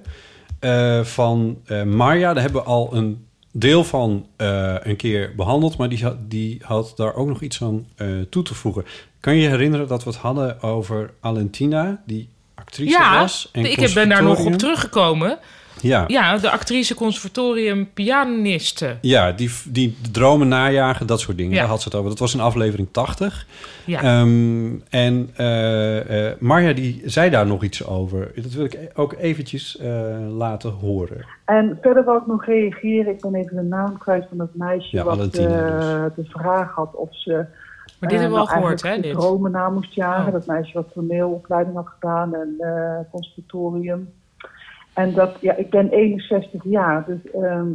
eh, van eh Marja. Daar hebben we al een deel van eh, een keer behandeld. Maar die, had- die had daar ook nog iets aan eh, toe te voegen. Kan je je herinneren dat we het hadden over Alentina? Die actrice ja, was. en ik heb- ben daar nog op conservatorium? teruggekomen. Ja. Ja, de actrice conservatorium pianiste. Ja, die, die dromen najagen, dat soort dingen. Ja. Daar had ze het over. Dat was in aflevering 80. Ja. Ehm, en eh, eh, Marja die zei daar nog iets over. Dat wil ik e- ook eventjes eh, laten horen. En verder wou ik nog reageren. Ik ben even de naam kwijt van dat meisje Ja, wat Valentina eh, de vraag had of ze. Maar dit hebben eh, we al nou gehoord, eigenlijk hè, de dit? Oh. dromen na moest jagen. Dat meisje wat toneelopleiding had gedaan en eh conservatorium. En dat, ja, ik ben 61 jaar, dus ehm,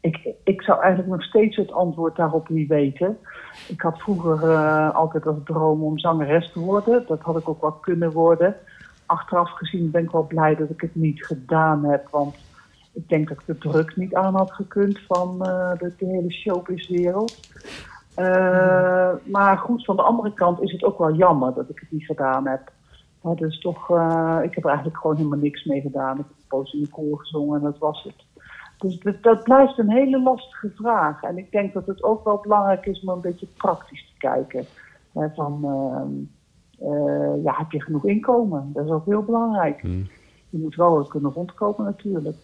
ik, ik zou eigenlijk nog steeds het antwoord daarop niet weten. Ik had vroeger eh, altijd als droom om zangeres te worden. Dat had ik ook wel kunnen worden. Achteraf gezien ben ik wel blij dat ik het niet gedaan heb, want ik denk dat ik de druk niet aan had gekund van eh, de, de hele showbizwereld. Eh, Maar goed, van de andere kant is het ook wel jammer dat ik het niet gedaan heb. Hè, dus toch, eh, ik heb er eigenlijk gewoon helemaal niks mee gedaan. Ik heb een poos in de koor gezongen en dat was het. Dus dat, dat blijft een hele lastige vraag. En ik denk dat het ook wel belangrijk is om een beetje praktisch te kijken. Hè, van, ehm, eh, ja, heb je genoeg inkomen? Dat is ook heel belangrijk. Je moet wel kunnen rondkomen natuurlijk.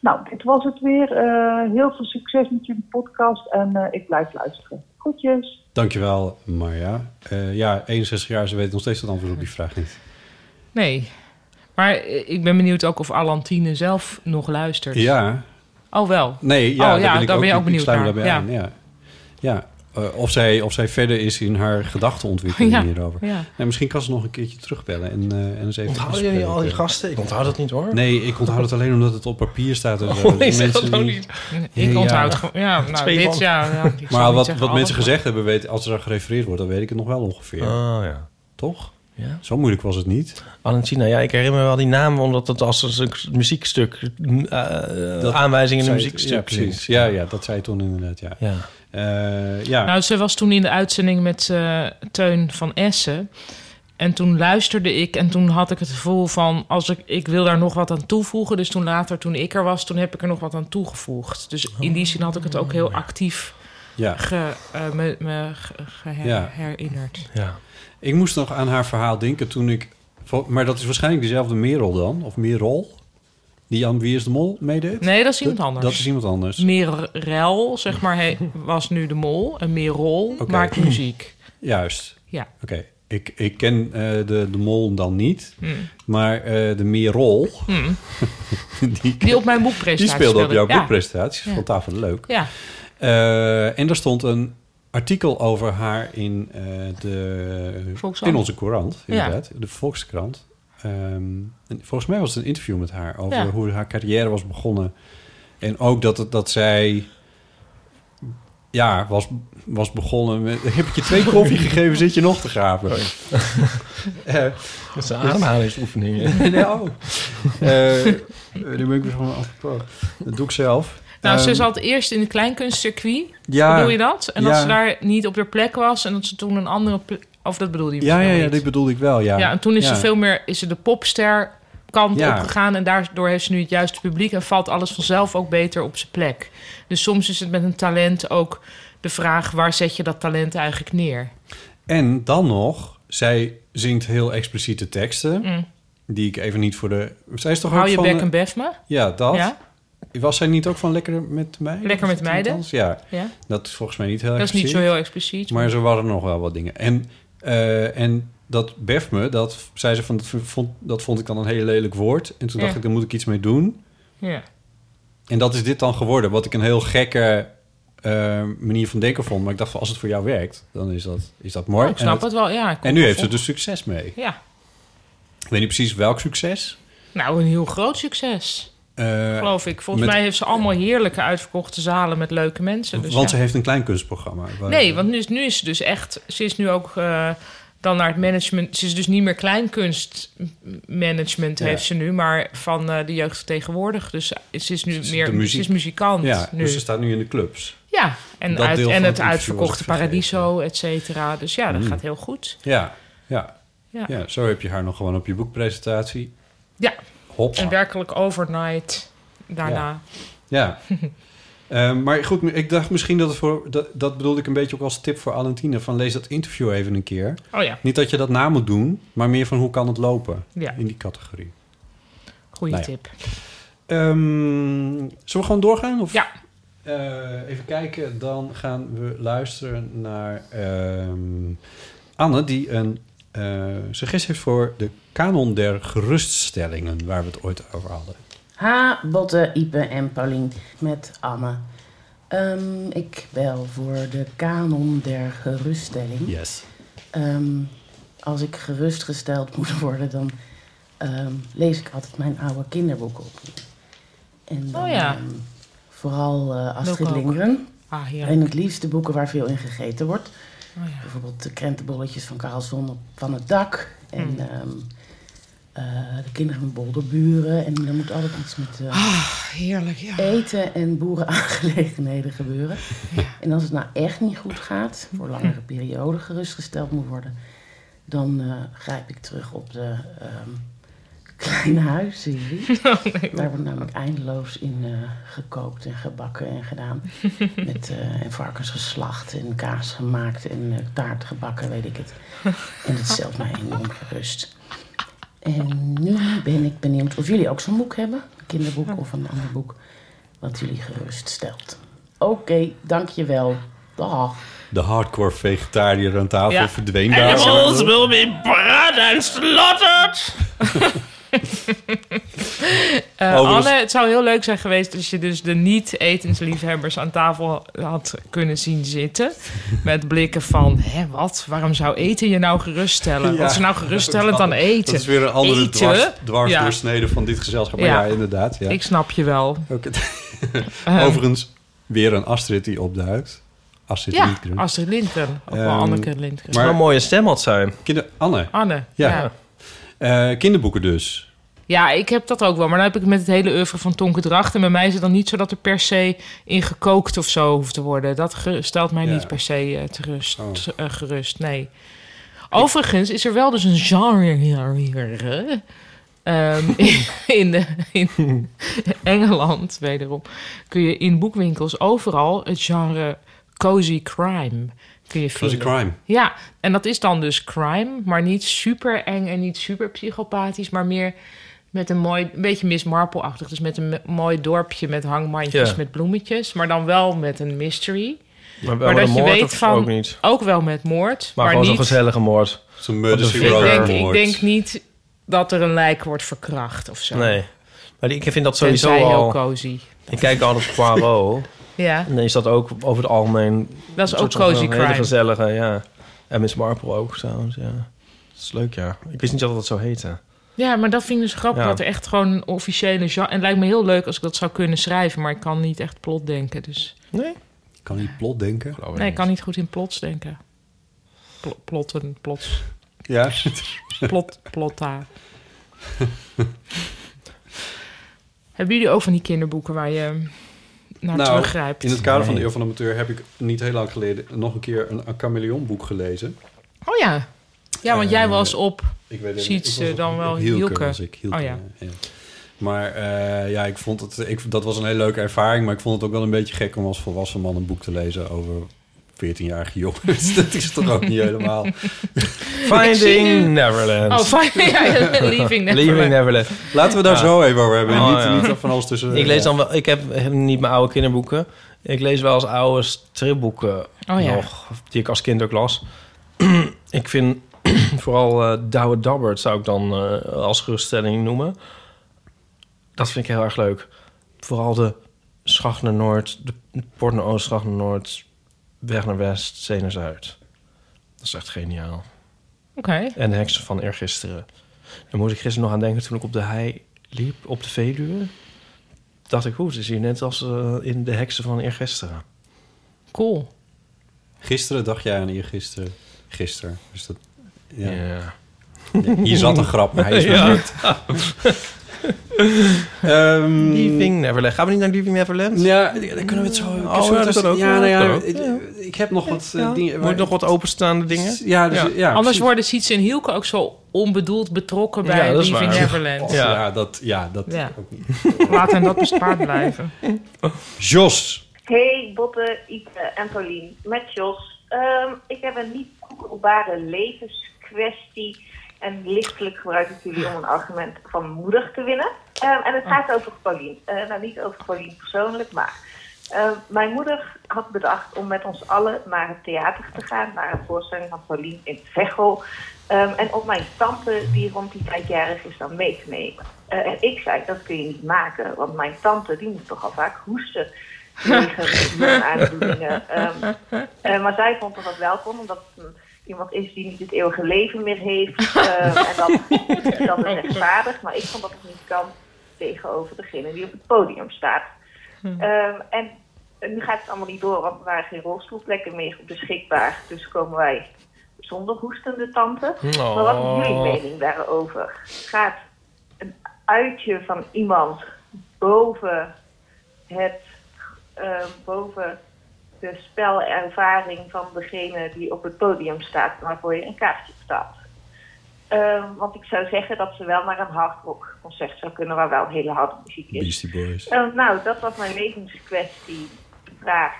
Nou, dit was het weer. Eh, heel veel succes met jullie podcast en eh, ik blijf luisteren. Groetjes! Dankjewel, Marja. Eh, ja, 61 jaar, ze weet nog steeds het antwoord op die <laughs> vraag niet. Nee. Maar eh, ik ben benieuwd ook of Alantine zelf nog luistert. Ja. Oh, wel. Nee, ja, oh, daar, ja ben ik daar ben je ook ik- ik benieuwd sluit me naar. daarbij aan, ja. ja. Eh, of, zij, of zij verder is in <laughs> haar gedachtenontwikkeling Ja, hierover. ja. Nee, misschien kan ze nog een keertje terugbellen en, eh, en eens even Onthouden bespreken. jullie al die gasten? Ik onthoud dat niet, hoor. eh. Oh. Nee, ik onthoud het alleen omdat het op papier staat. En <laughs> zo. Oh, nee, Dus zeg dat mensen nou die- niet. Nee, Ik onthoud gewoon- <laughs> ja, nou, Twee dit, van. ja, ja, <laughs> ik zal Maar niet wat, zeggen wat alles, mensen maar- gezegd hebben, weet, als er aan gerefereerd wordt, dan weet ik het nog wel ongeveer. Ah, ja. Toch? Ja. Zo moeilijk was het niet. Valentina, ja, ik herinner me wel die naam, omdat het als een muziekstuk, Dat aanwijzingen aanwijzing in een zei- muziekstuk. Ja, precies. klinkt. Ja, ja, dat zei je toen inderdaad, ja. Ja. Eh, ja. Nou, ze was toen in de uitzending met eh, Teun van Essen. En toen luisterde ik en toen had ik het gevoel van... Als ik, ik wil daar nog wat aan toevoegen. Dus toen later, toen ik er was, toen heb ik er nog wat aan toegevoegd. Dus in die zin had ik het ook heel actief Oh. Ja. ge, eh, me, me ge- geher- Ja. herinnerd. Ja. Ik moest nog aan haar verhaal denken toen ik... vol- Maar dat is waarschijnlijk dezelfde Merel dan, of Merol... Die aan Wie is de Mol meedeed? Nee, dat is iemand anders. Dat is iemand anders. Merel, zeg maar, he- was nu de mol. En Merol Oké. maakt muziek. <clears throat> Juist. Ja. Oké. Ik, ik ken eh, de, de mol dan niet, Mm. maar eh, de Merol... Mm. <laughs> die, Die op mijn boekpresentatie <laughs> Die speelde op jouw speelde, ja. boekpresentatie. Ja. Van tafel leuk. Ja. Eh, en er stond een artikel over haar in, eh, de, Volkskrant. in onze courant, Ja. inderdaad. De Volkskrant. Ehm, en volgens mij was het een interview met haar over Ja. hoe haar carrière was begonnen. En ook dat, het- dat zij... Ja, was, was begonnen met... <laughs> Heb ik je twee <laughs> koffie gegeven, zit je nog te graven. <laughs> Eh, Dat is een ademhalingsoefening, hè? <laughs> nee, oh. Eh, eh, daar ben ik weer van apropos. Dat doe ik zelf. Nou, ze Ehm, zat eerst in het kleinkunstcircuit. Ja. Bedoel je dat? En dat Ja. ze daar niet op haar plek was en dat ze toen een andere... ple- Of dat bedoelde je Ja, ja, misschien ja, niet? dit bedoelde ik wel, ja. Ja, en toen is Ja. ze veel meer is ze de popster kant Ja. opgegaan. En daardoor heeft ze nu het juiste publiek. En valt alles vanzelf ook beter op zijn plek. Dus soms is het met een talent ook de vraag... waar zet je dat talent eigenlijk neer? En dan nog, zij zingt heel expliciete teksten... Mm. die ik even niet voor de... Zij is toch Hou ook je van... bek en bef me? Ja, dat. Ja. Was zij niet ook van Lekker met Meiden? Lekker met Meiden? Althans, Ja. Ja. dat is volgens mij niet heel Dat is niet expliciet. zo heel expliciet, Maar maar- zo waren er nog wel wat dingen. En, eh, en dat bef me, dat zei ze van... Dat vond, dat vond ik dan een heel lelijk woord. En toen Ja. dacht ik, daar moet ik iets mee doen. Ja. En dat is dit dan geworden, wat ik een heel gekke eh, manier van denken vond. Maar ik dacht, van, als het voor jou werkt, dan is dat, is dat mooi. Oh, ik snap en dat- het wel, ja. Ik kom En nu wel heeft ze voor. dus succes mee. Ja. Ik weet niet precies welk succes. Nou, een heel groot succes. eh, geloof ik. Volgens met- mij heeft ze allemaal heerlijke uitverkochte zalen met leuke mensen. Dus want ja. ze heeft een klein kunstprogramma. waar- Nee, want nu is, nu is ze dus echt... Ze is nu ook eh, dan naar het management. Ze is dus niet meer kleinkunstmanagement Ja. heeft ze nu, maar van eh, de jeugd tegenwoordig. Dus ze is nu meer de ze muziek. is muzikant Ja, nu. dus ze staat nu in de clubs. Ja, en, Dat uit, deel en van het interview was uitverkochte ik vergeten. Paradiso, et cetera. Dus ja, dat Mm. gaat heel goed. Ja, ja. Ja. Ja. zo heb je haar nog gewoon op je boekpresentatie. Ja, Hop. en werkelijk overnight daarna. <laughs> Ja. Eh, maar goed, ik dacht misschien dat het voor... Dat, dat bedoelde ik een beetje ook als tip voor Alentine. Van lees dat interview even een keer. Oh ja. Niet dat je dat na moet doen, maar meer van hoe kan het lopen. Ja. In die categorie. Goeie Nou ja. tip. Ehm, zullen we gewoon doorgaan? Of? Ja. Eh, even kijken, dan gaan we luisteren naar ehm, Anne, die een eh suggestie heeft voor de kanon der geruststellingen, waar we het ooit over hadden. Ha, Botte, Ipe en Paulien met Anne. Ehm, ik bel voor de kanon der geruststelling. Yes. Ehm, als ik gerustgesteld moet <laughs> worden, dan ehm, lees ik altijd mijn oude kinderboeken op. En dan, Oh ja. ehm, vooral eh, Astrid Welke ook? Lindgren. Ah, heerlijk. en het liefste boeken waar veel in gegeten wordt. Oh ja. Bijvoorbeeld de krentenbolletjes van Karlsson op, van het dak. En Mm. ehm, eh, de kinderen van bolderburen. En er moet altijd iets met eh, Ah. heerlijk, ja. eten en boerenaangelegenheden gebeuren. En als het nou echt niet goed gaat, voor langere perioden gerustgesteld moet worden, dan eh, grijp ik terug op de ehm Kleine Huisserie. Daar wordt namelijk eindeloos in eh, gekookt en gebakken en gedaan. Met eh, en varkens geslacht en kaas gemaakt en eh, taart gebakken, weet ik het. En dat stelt mij enorm gerust. En nu ben ik benieuwd of jullie ook zo'n boek hebben. Een kinderboek of een ander boek. Wat jullie gerust stelt. Oké, dankjewel. Dag. De hardcore vegetariër aan tafel Ja. verdween daar. Animals will be bred and slaughtered. Eh, Overigens- Anne, het zou heel leuk zijn geweest als je dus de niet-etensliefhebbers aan tafel had kunnen zien zitten. Met blikken van, hè, wat? Waarom zou eten je nou geruststellen? Wat is nou geruststellend dan eten? Dat is weer een andere Eten? dwars, dwars Ja. doorsnede van dit gezelschap. Maar Ja. ja, inderdaad. Ja. Ik snap je wel. Ehm. <laughs> Overigens, weer een Astrid die opduikt. Astrid ja, Lindgren. Astrid Lindgren. Ook wel Ehm, Anneke Lindgren. Maar een mooie stem had zij. Kinder, Anne. Anne, ja. Eh, kinderboeken dus. Ja, ik heb dat ook wel. Maar dan heb ik met het hele oeuvre van Tonke Dracht. En bij mij is het dan niet zo dat er per se in gekookt of zo hoeft te worden. Dat ge- stelt mij niet per se eh, te rust, Oh. eh, gerust, nee. Overigens is er wel dus een genre hier, hier, hè? Ehm, <laughs> in, in, de- <laughs> in Engeland, wederom, kun je in boekwinkels overal het genre cozy crime kun je Cozy vinden. crime. Ja, en dat is dan dus crime, maar niet super eng en niet super psychopathisch, maar meer met een mooi, een beetje Miss Marple-achtig. Dus met een me- mooi dorpje met hangmandjes, Ja. met bloemetjes, maar dan wel met een mystery. Maar wel met een moord of ook niet? Ook wel met moord, Maar maar, gewoon niet... zo'n gezellige moord. Zo'n ik, denk, ik denk niet dat er een lijk wordt verkracht of zo. Nee. Maar die- ik vind dat Tenzij sowieso heel al... cozy. Ik kijk altijd Poirot. <laughs> Ja. En dan is dat ook over het algemeen... Dat is een soort ook cozy van een crime. Hele gezellige, ja. En Miss Marple ook trouwens, ja. Dat is leuk, ja. Ik wist niet dat dat zo heette. Ja, maar dat vind ik dus grappig, Ja. dat er echt gewoon een officiële genre... En het lijkt me heel leuk als ik dat zou kunnen schrijven, maar ik kan niet echt plot denken, dus... Nee? Ik kan niet plot denken. Nee, ik kan niet goed in plots denken. Pl- plotten, plots. Ja. <laughs> <laughs> Plot, plotta. Hebben jullie ook van die kinderboeken waar je ehm, naar Nou, teruggrijpt? In het kader van de Nee. Eeuw van de Amateur heb ik niet heel lang geleden nog een keer een, een chameleon boek gelezen. Oh ja. Ja, want Eh, jij was op Ik weet het niet. Ik Siets was eh, op- dan op wel Hielke. Hielke. was ik, Hielke, oh ja. ja. Maar eh, ja, ik vond het, ik, dat was een hele leuke ervaring. Maar ik vond het ook wel een beetje gek om als volwassen man een boek te lezen over 14-jarige jongens. <laughs> dat is toch ook niet helemaal. Finding Ik zie nu- Neverland. Oh, fijn. <laughs> Ja, Leaving Neverland. Leaving Neverland. Laten we daar zo even over hebben en Oh, niet- ja. niet van alles tussen- Ik lees ja. dan wel... Ik heb niet mijn oude kinderboeken. Ik lees wel eens oude stripboeken Oh, ja. nog. Die ik als kind ook las. <clears throat> ik vind <clears throat> vooral eh Douwe Dabbert zou ik dan eh, als geruststelling noemen. Dat vind ik heel erg leuk. Vooral de Schacht naar Noord, de Port naar Oost, Schacht naar Noord... Weg naar West, Zee naar Zuid. Dat is echt geniaal. Oké. En de heksen van eergisteren. Daar moest ik gisteren nog aan denken toen ik op de hei liep, op de Veluwe. Dacht ik, hoe, het is hier net als eh, in de heksen <laughs> van eergisteren. Cool. Gisteren dacht jij aan eergisteren. Gisteren. Dus dat Ja. Hier zat een grap, maar hij <laughs> is Ja. mislukt. Leaving Neverland. Gaan we niet naar Leaving Neverland? Ehm, Ja, dan kunnen we het zo... Oh, ja, dat kan ook. Ja, nou Dat ja, kan ook. ik, ik heb nog wat eh, Ja. dingen... Moet nog wat openstaande dingen? Ja, dus, ja. Anders precies. worden Sietse en Hielke ook zo onbedoeld betrokken bij Ja, dat is Leaving waar. Neverland. Ja, dat, ja, dat Ja. ook niet. Laat hen dat bespaard blijven. Jos, Hey Botte, Ike en Paulien, met Jos. Ehm, ik heb een niet koekelbare levenskwestie. En lichtelijk gebruik ik jullie om een argument van moeder te winnen. Ehm, en het gaat over Paulien. Eh, nou, niet over Paulien persoonlijk, maar... ehm, mijn moeder had bedacht om met ons allen naar het theater te gaan. Naar een voorstelling van Paulien in Veghel. Ehm, en om mijn tante, die rond die tijd jarig is, dan mee te nemen. Eh, en ik zei, dat kun je niet maken. Want mijn tante, die moet toch al vaak hoesten tegen aandoeningen. Ehm, eh, maar zij vond dat dat wel kon, omdat het een- iemand is die niet het eeuwige leven meer heeft. Ehm, en dat, dat is rechtvaardig. Maar ik vond dat het niet kan tegenover degene die op het podium staat. Ehm, en nu gaat het allemaal niet door, want er waren geen rolstoelplekken meer beschikbaar. Dus komen wij zonder hoestende tante. Maar wat is jullie Oh. mening daarover? Gaat een uitje van iemand boven het eh, boven de spelervaring van degene die op het podium staat, waarvoor je een kaartje betaalt. Eh, want ik zou zeggen dat ze wel naar een hardrock concert zou kunnen, waar wel hele harde muziek is. Beastie Boys. Eh, nou, dat was mijn levenskwestie, vraag,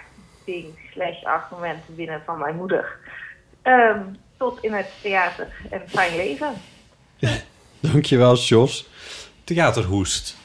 ding, slash argument binnen van mijn moeder. Ehm, tot in het theater en fijn <laughs> leven. dankjewel Jos. Theaterhoest.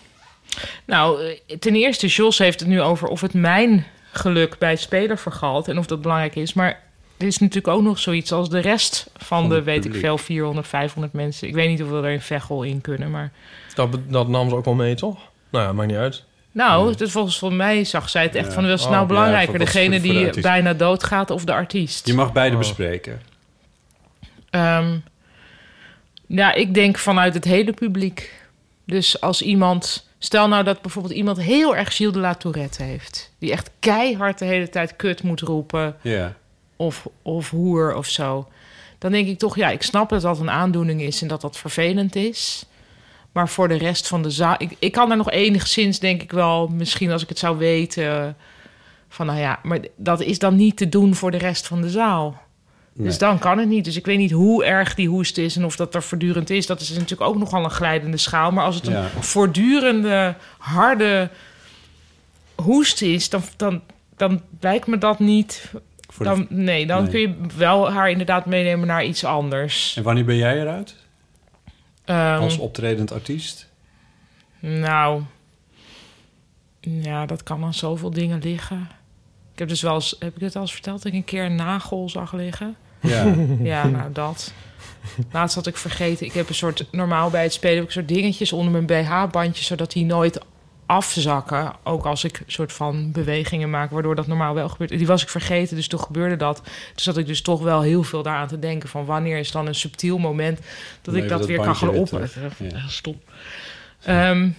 Nou, eh, ten eerste, Jos heeft het nu over of het mijn geluk bij het speler vergalt en of dat belangrijk is. Maar er is natuurlijk ook nog zoiets als de rest van, Van de, het weet ik publiek. veel, 400, 500 mensen. Ik weet niet hoeveel er in Veghel in kunnen, maar... Dat, be- dat nam ze ook wel mee, toch? Nou ja, maakt niet uit. Nou, dus volgens voor mij zag zij het echt Ja. van, was het Oh, nou ja, belangrijker? voor- degene voor- voor de die artiest. bijna doodgaat of de artiest? Je mag Oh. beide bespreken. Ehm, ja, ik denk vanuit het hele publiek. Dus als iemand... Stel nou dat bijvoorbeeld iemand heel erg Gilles de la Tourette heeft. Die echt keihard de hele tijd kut moet roepen. Ja. Of, of hoer of zo. Dan denk ik toch, ja, ik snap dat dat een aandoening is en dat dat vervelend is. Maar voor de rest van de zaal... Ik, ik kan daar nog enigszins, denk ik wel, misschien als ik het zou weten... Van nou ja, maar dat is dan niet te doen voor de rest van de zaal. Nee. Dus dan kan het niet. Dus ik weet niet hoe erg die hoest is en of dat er voortdurend is. Dat is natuurlijk ook nogal een glijdende schaal. Maar als het Ja. een voortdurende, harde hoest is, dan, dan, dan lijkt me dat niet. Voor de- Dan, nee, dan nee. kun je wel haar inderdaad meenemen naar iets anders. En wanneer ben jij eruit? Ehm, Als optredend artiest? Nou, ja, dat kan aan zoveel dingen liggen. Ik heb dus wel eens, heb ik het al eens verteld, dat ik een keer een nagel zag liggen. Ja. <laughs> ja, nou dat. Laatst had ik vergeten, ik heb een soort, normaal bij het spelen heb ik soort dingetjes onder mijn BH-bandje, zodat die nooit afzakken. Ook als ik soort van bewegingen maak, waardoor dat normaal wel gebeurt. Die was ik vergeten, dus toen gebeurde dat. Toen zat ik dus toch wel heel veel daaraan te denken van wanneer is dan een subtiel moment dat Dan ik even dat, dat weer kan bandje gaan weer opleggen. terug. Ja. Ja, Stom. Ehm,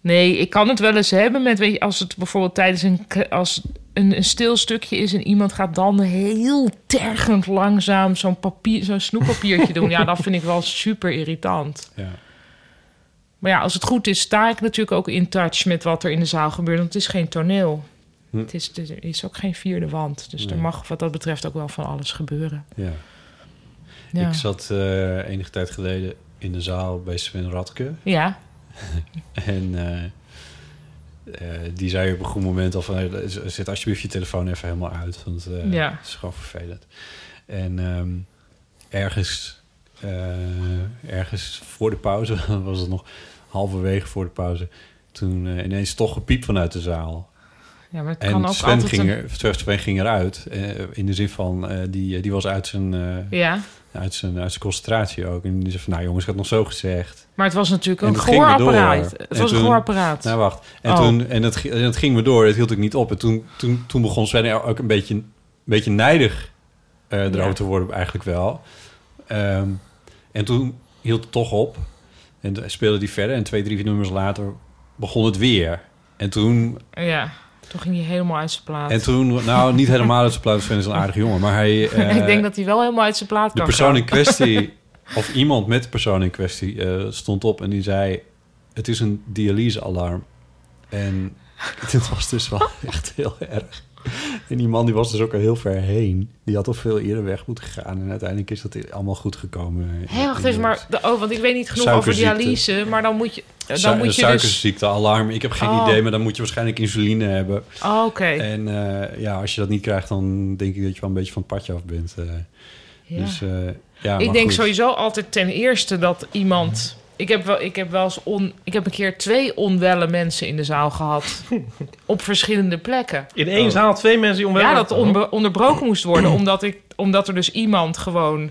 nee, ik kan het wel eens hebben met, weet je, als het bijvoorbeeld tijdens een, k- als een, een stil stukje is en iemand gaat dan heel tergend langzaam zo'n papier, zo'n snoeppapiertje doen. <laughs> Ja, dat vind ik wel super irritant. Ja. Maar ja, als het goed is, sta ik natuurlijk ook in touch met wat er in de zaal gebeurt. Want het is geen toneel. Hm. Het is, er is ook geen vierde wand. Dus Nee. er mag wat dat betreft ook wel van alles gebeuren. Ja. Ja. Ik zat eh, enige tijd geleden in de zaal bij Sven Radke. Ja. en eh, eh, die zei op een goed moment al van... eh, z- zet alsjeblieft je telefoon even helemaal uit. Want eh, Ja. het is gewoon vervelend. En ehm, ergens, eh, ergens voor de pauze <laughs> was het nog... halverwege voor de pauze... toen eh, ineens toch gepiep vanuit de zaal. Ja, maar het en kan ook Sven, altijd ging een- er, Sven ging eruit. eh, in de zin van, eh, die, eh, die was uit zijn, eh, Ja. uit, zijn, uit zijn concentratie ook. En die zei van, nou jongens, ik had nog zo gezegd. Maar het was natuurlijk En een dat ging maar door. gehoorapparaat. Het En was een toen- gehoorapparaat. Nou, wacht. En, Oh. toen, en, het, en het ging me door. Het hield ik niet op. En toen, toen, toen begon Sven er ook een beetje, een beetje nijdig eh erover Ja. te worden eigenlijk wel. Ehm, en toen hield het toch op. En toen speelde die verder. En twee, drie nummers later begon het weer. En toen Ja. Toen ging hij helemaal uit zijn plaat. En toen, nou, niet helemaal uit zijn plaat, Sven is een aardige jongen. Maar hij, eh, <laughs> ik denk dat hij wel helemaal uit zijn plaat de kan persoon gaan. in kwestie, of iemand met de persoon in kwestie, eh, stond op en die zei: Het is een dialysealarm. En <laughs> dit was dus wel <laughs> echt heel erg. En die man die was dus ook al heel ver heen. Die had al veel eerder weg moeten gaan. En uiteindelijk is dat allemaal goed gekomen. <laughs> Hé, wacht even, maar... de- Oh, want ik weet niet genoeg over Suikerziekte. dialyse, maar dan moet je... Dan Su- moet je dus... suikerziektealarm. Ik heb geen Oh. idee, maar dan moet je waarschijnlijk insuline hebben. Oh, oké. En eh, ja, als je dat niet krijgt, dan denk ik dat je wel een beetje van het padje af bent. eh. Ja. Dus eh, ja, ik maar denk goed. sowieso altijd ten eerste dat iemand... Ik heb, wel, ik heb wel eens on, ik heb een keer twee onwelle mensen in de zaal <laughs> gehad. op verschillende plekken. In één Oh. zaal twee mensen die onwel Oh. Ja, waren. dat onbe- onderbroken moest <clears throat> worden. omdat, ik, omdat er dus iemand gewoon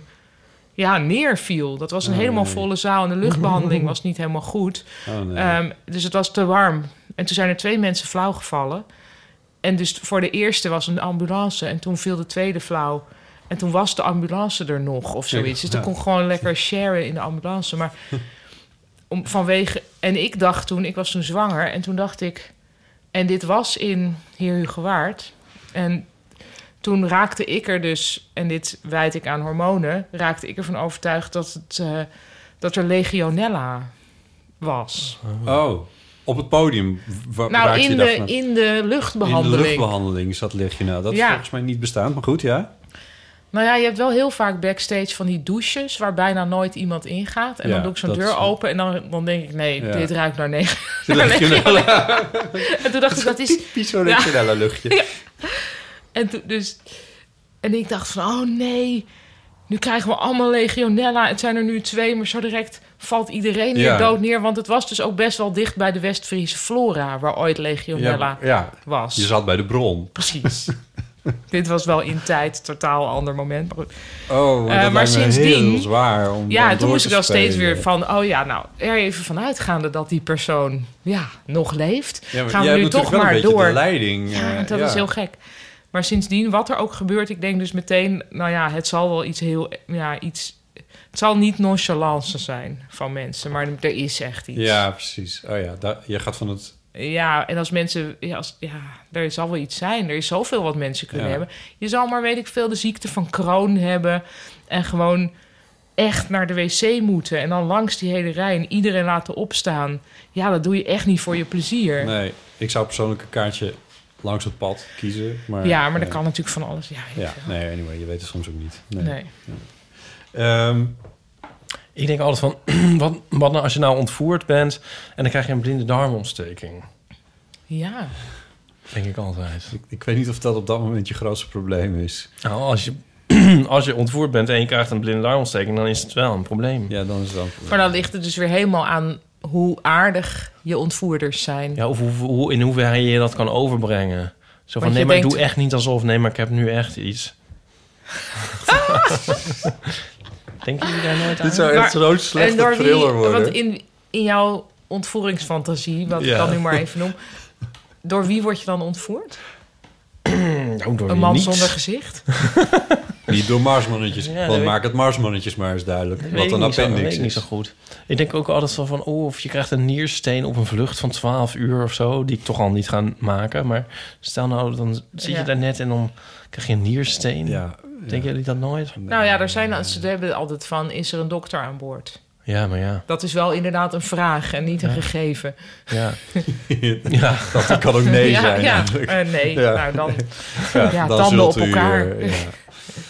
ja, neerviel. Dat was een Oh, Nee. helemaal volle zaal. En de luchtbehandeling was niet helemaal goed. Oh, nee. Ehm, dus het was te warm. En toen zijn er twee mensen flauw gevallen. En dus voor de eerste was een ambulance. En toen viel de tweede flauw. En toen was de ambulance er nog of zoiets. Dus dan Ja. kon gewoon lekker sharen in de ambulance. <laughs> Maar om, vanwege... En ik dacht toen, ik was toen zwanger. En toen dacht ik... En dit was in Heer Hugewaard. En toen raakte ik er dus... En dit wijd ik aan hormonen. Raakte ik ervan overtuigd dat, het, eh, dat er legionella was. Oh, op het podium. wa- nou, raakte je in de, daarvan- in de In de luchtbehandeling. luchtbehandeling zat liggen. Nou, dat is Ja. volgens mij niet bestaand, maar goed, ja. Nou ja, je hebt wel heel vaak backstage van die douches waar bijna nooit iemand ingaat. En Ja, dan doe ik zo'n dat deur is- open en dan, dan denk ik, nee, Ja. dit ruikt <laughs> naar negen. De legionella. <laughs> en toen dacht ik, dat is... Typisch zo'n Ja. legionella luchtje. <laughs> Ja. En toen dus... En ik dacht van, oh nee, nu krijgen we allemaal legionella. Het zijn er nu twee, maar zo direct valt iedereen weer Ja. dood neer. Want het was dus ook best wel dicht bij de West-Friese flora, waar ooit legionella... was. Je zat bij de bron. Precies. <laughs> Dit was wel in tijd, totaal ander moment. Maar goed. Oh, maar, Eh, dat maar lijkt me sindsdien- heel zwaar om Ja, dan en toen door moest te ik dan steeds spelen. weer van... oh ja, nou, er even van uitgaande dat die persoon ja, nog leeft... Ja, maar gaan jij we nu hebt toch natuurlijk wel maar een beetje door. de leiding, ja, eh, dat ja. is heel gek. Maar sindsdien, wat er ook gebeurt, ik denk dus meteen... nou ja, het zal wel iets heel... Ja, iets, het zal niet nonchalance zijn van mensen... maar er is echt iets. Ja, precies. Oh ja, daar, je gaat van het... Ja, en als mensen, ja, als, ja, er zal wel iets zijn. Er is zoveel wat mensen kunnen Ja. hebben. Je zal maar, weet ik veel, de ziekte van Crohn hebben. En gewoon echt naar de wc moeten. En dan langs die hele rij en iedereen laten opstaan. Ja, dat doe je echt niet voor je plezier. Nee, ik zou persoonlijk een kaartje langs het pad kiezen. Maar, ja, maar eh, dat kan natuurlijk van alles. Ja, Ja, nee, anyway, je weet het soms ook niet. Nee. Nee. Ja. Ehm, Ik denk altijd van, <clears throat> wat, wat nou als je nou ontvoerd bent en dan krijg je een blinde darmontsteking? ja. Denk ik altijd. Ik, ik weet niet of dat op dat moment je grootste probleem is. Nou, als je, als je <clears throat> ontvoerd bent en je krijgt een blinde darmontsteking, dan is het wel een probleem. Ja, dan is het wel een Maar dan ligt het dus weer helemaal aan hoe aardig je ontvoerders zijn. Ja, of hoe, hoe, in hoeverre je dat kan overbrengen. Zo van, Want je nee, maar denkt- doe echt niet alsof. Nee, maar ik heb nu echt <laughs> iets. Denken jullie daar nooit aan? Dit zou echt zo'n slechte en door wie- thriller worden. Want in, in jouw ontvoeringsfantasie, wat Ja. ik dan nu maar even noem... door wie word je dan ontvoerd? Nou, Een door wie man niet? zonder gezicht? Niet door marsmannetjes. Ja, dat want weet- maak het marsmannetjes maar eens duidelijk. Dat wat weet ik een niet zo- dat appendix weet ik niet is. zo goed. Ik denk ook altijd wel van, oh, of je krijgt een niersteen op een vlucht van 12 uur of zo, die ik toch al niet ga maken. Maar stel nou, dan zit Ja. je daar net en dan krijg je een niersteen. Denken jullie dat nooit? Nou ja, daar zijn, ze hebben altijd van, is er een dokter aan boord? Ja, maar ja. Dat is wel inderdaad een vraag en niet een Ja. gegeven. <laughs> Ja. ja. <laughs> Dat kan ook nee Ja, zijn. ja. eigenlijk. Eh, nee. Nou, <laughs> dan- ja, dan tanden zult op elkaar. eh, <laughs> ja.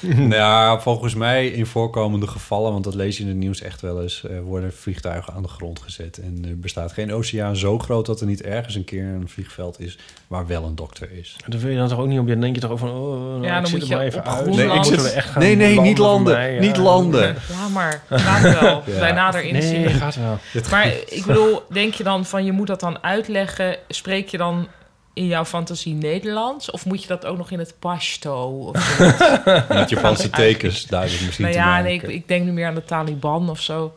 nou ja, volgens mij in voorkomende gevallen, want dat lees je in het nieuws echt wel eens, eh, worden vliegtuigen aan de grond gezet. En er bestaat geen oceaan zo groot dat er niet ergens een keer een vliegveld is waar wel een dokter is. Dan wil je dan toch ook niet op je, dan denk je toch ook van, oh, nou, Ja, dan ik zit moet er je maar even op uit. Groenland. Nee, ik zit- Moeten we echt gaan nee, nee, niet landen, voor niet landen. Ja, maar laat wel. <laughs> Ja. Bij nader inzien. Nee, gaat wel. Maar ik bedoel, denk je dan van, je moet dat dan uitleggen? Spreek je dan in jouw fantasie Nederlands? Of moet je dat ook nog in het Pashto? Of <laughs> zoiets? Met Japanse <laughs> tekens duidelijk misschien Nou te ja, maken. nee, ik, ik denk nu meer aan de Taliban of zo.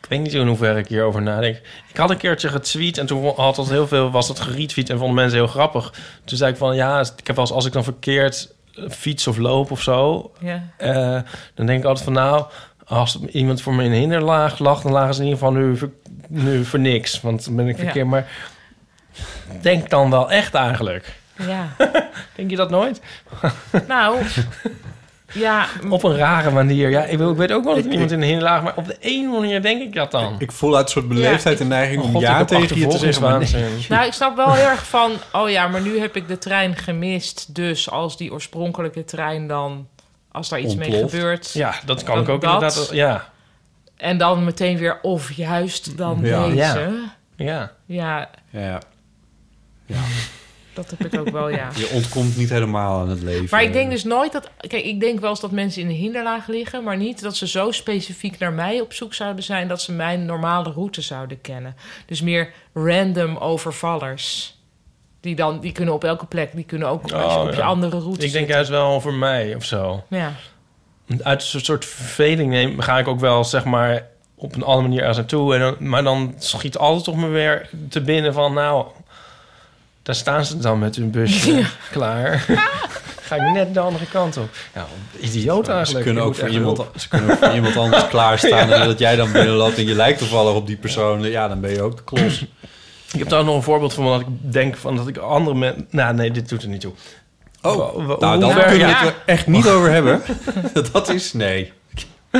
Ik weet niet in hoeverre ik hierover nadenk. Ik had een keertje getweet en toen had dat heel veel, was dat geretweet en vonden mensen heel grappig. Toen zei ik van ja, ik heb wel eens, als ik dan verkeerd eh, fiets of loop of zo, Ja. eh, dan denk ik altijd van nou, als iemand voor me in hinderlaag lag, dan lagen ze in ieder geval nu, ver- nu voor niks. Want dan ben ik Ja. verkeerd. Maar denk dan wel echt eigenlijk. Ja. Denk je dat nooit? Nou, ja. <laughs> Op een rare manier. Ja, ik, wil- ik weet ook wel dat iemand in een hele laag... Maar op de ene manier denk ik dat dan. Ik voel uit een soort beleefdheid en neiging Oh om god, ik ja heb tegen je te zeggen. maar nee. achtervolgingswaanzin. Nou, ik snap wel heel erg van, oh ja, maar nu heb ik de trein gemist. Dus als die oorspronkelijke trein dan, als daar iets mee Ontploft. gebeurt. Ja, dat kan dan ik ook dat. inderdaad, ja. En dan meteen weer, of juist dan Ja. deze. Ja. Ja. Ja, <laughs> Ja, dat heb ik ook wel, ja. je ontkomt niet helemaal aan het leven. Maar ik denk dus nooit dat... Kijk, ik denk wel eens dat mensen in een hinderlaag liggen... maar niet dat ze zo specifiek naar mij op zoek zouden zijn... dat ze mijn normale route zouden kennen. Dus meer random overvallers. Die, dan, die kunnen op elke plek, die kunnen ook als je Oh, Nou, op je ja. andere route Ik denk juist wel over mij of zo. Ja. Uit een soort verveling neem, ga ik ook wel, zeg maar, op een andere manier ergens naartoe. En dan, maar dan schiet alles op me weer te binnen van, nou, daar staan ze dan met hun busje <laughs> klaar. ga ik net de andere kant op. Ja, idioot eigenlijk. Ze kunnen, Je ook moet voor echt iemand, hulp. ze kunnen ook voor iemand <laughs> anders klaarstaan. Ja. En dat jij dan binnenloopt en je lijkt toevallig op die persoon. Ja, dan ben je ook de klos. <clears throat> Ik heb daar nog een voorbeeld van dat ik denk van dat ik andere mensen. Nou, nee, dit doet er niet toe. Oh, Wa- wa- nou, hoe dan ver- kunnen we ja. het er echt niet over <laughs> hebben. <laughs> dat is nee. <laughs>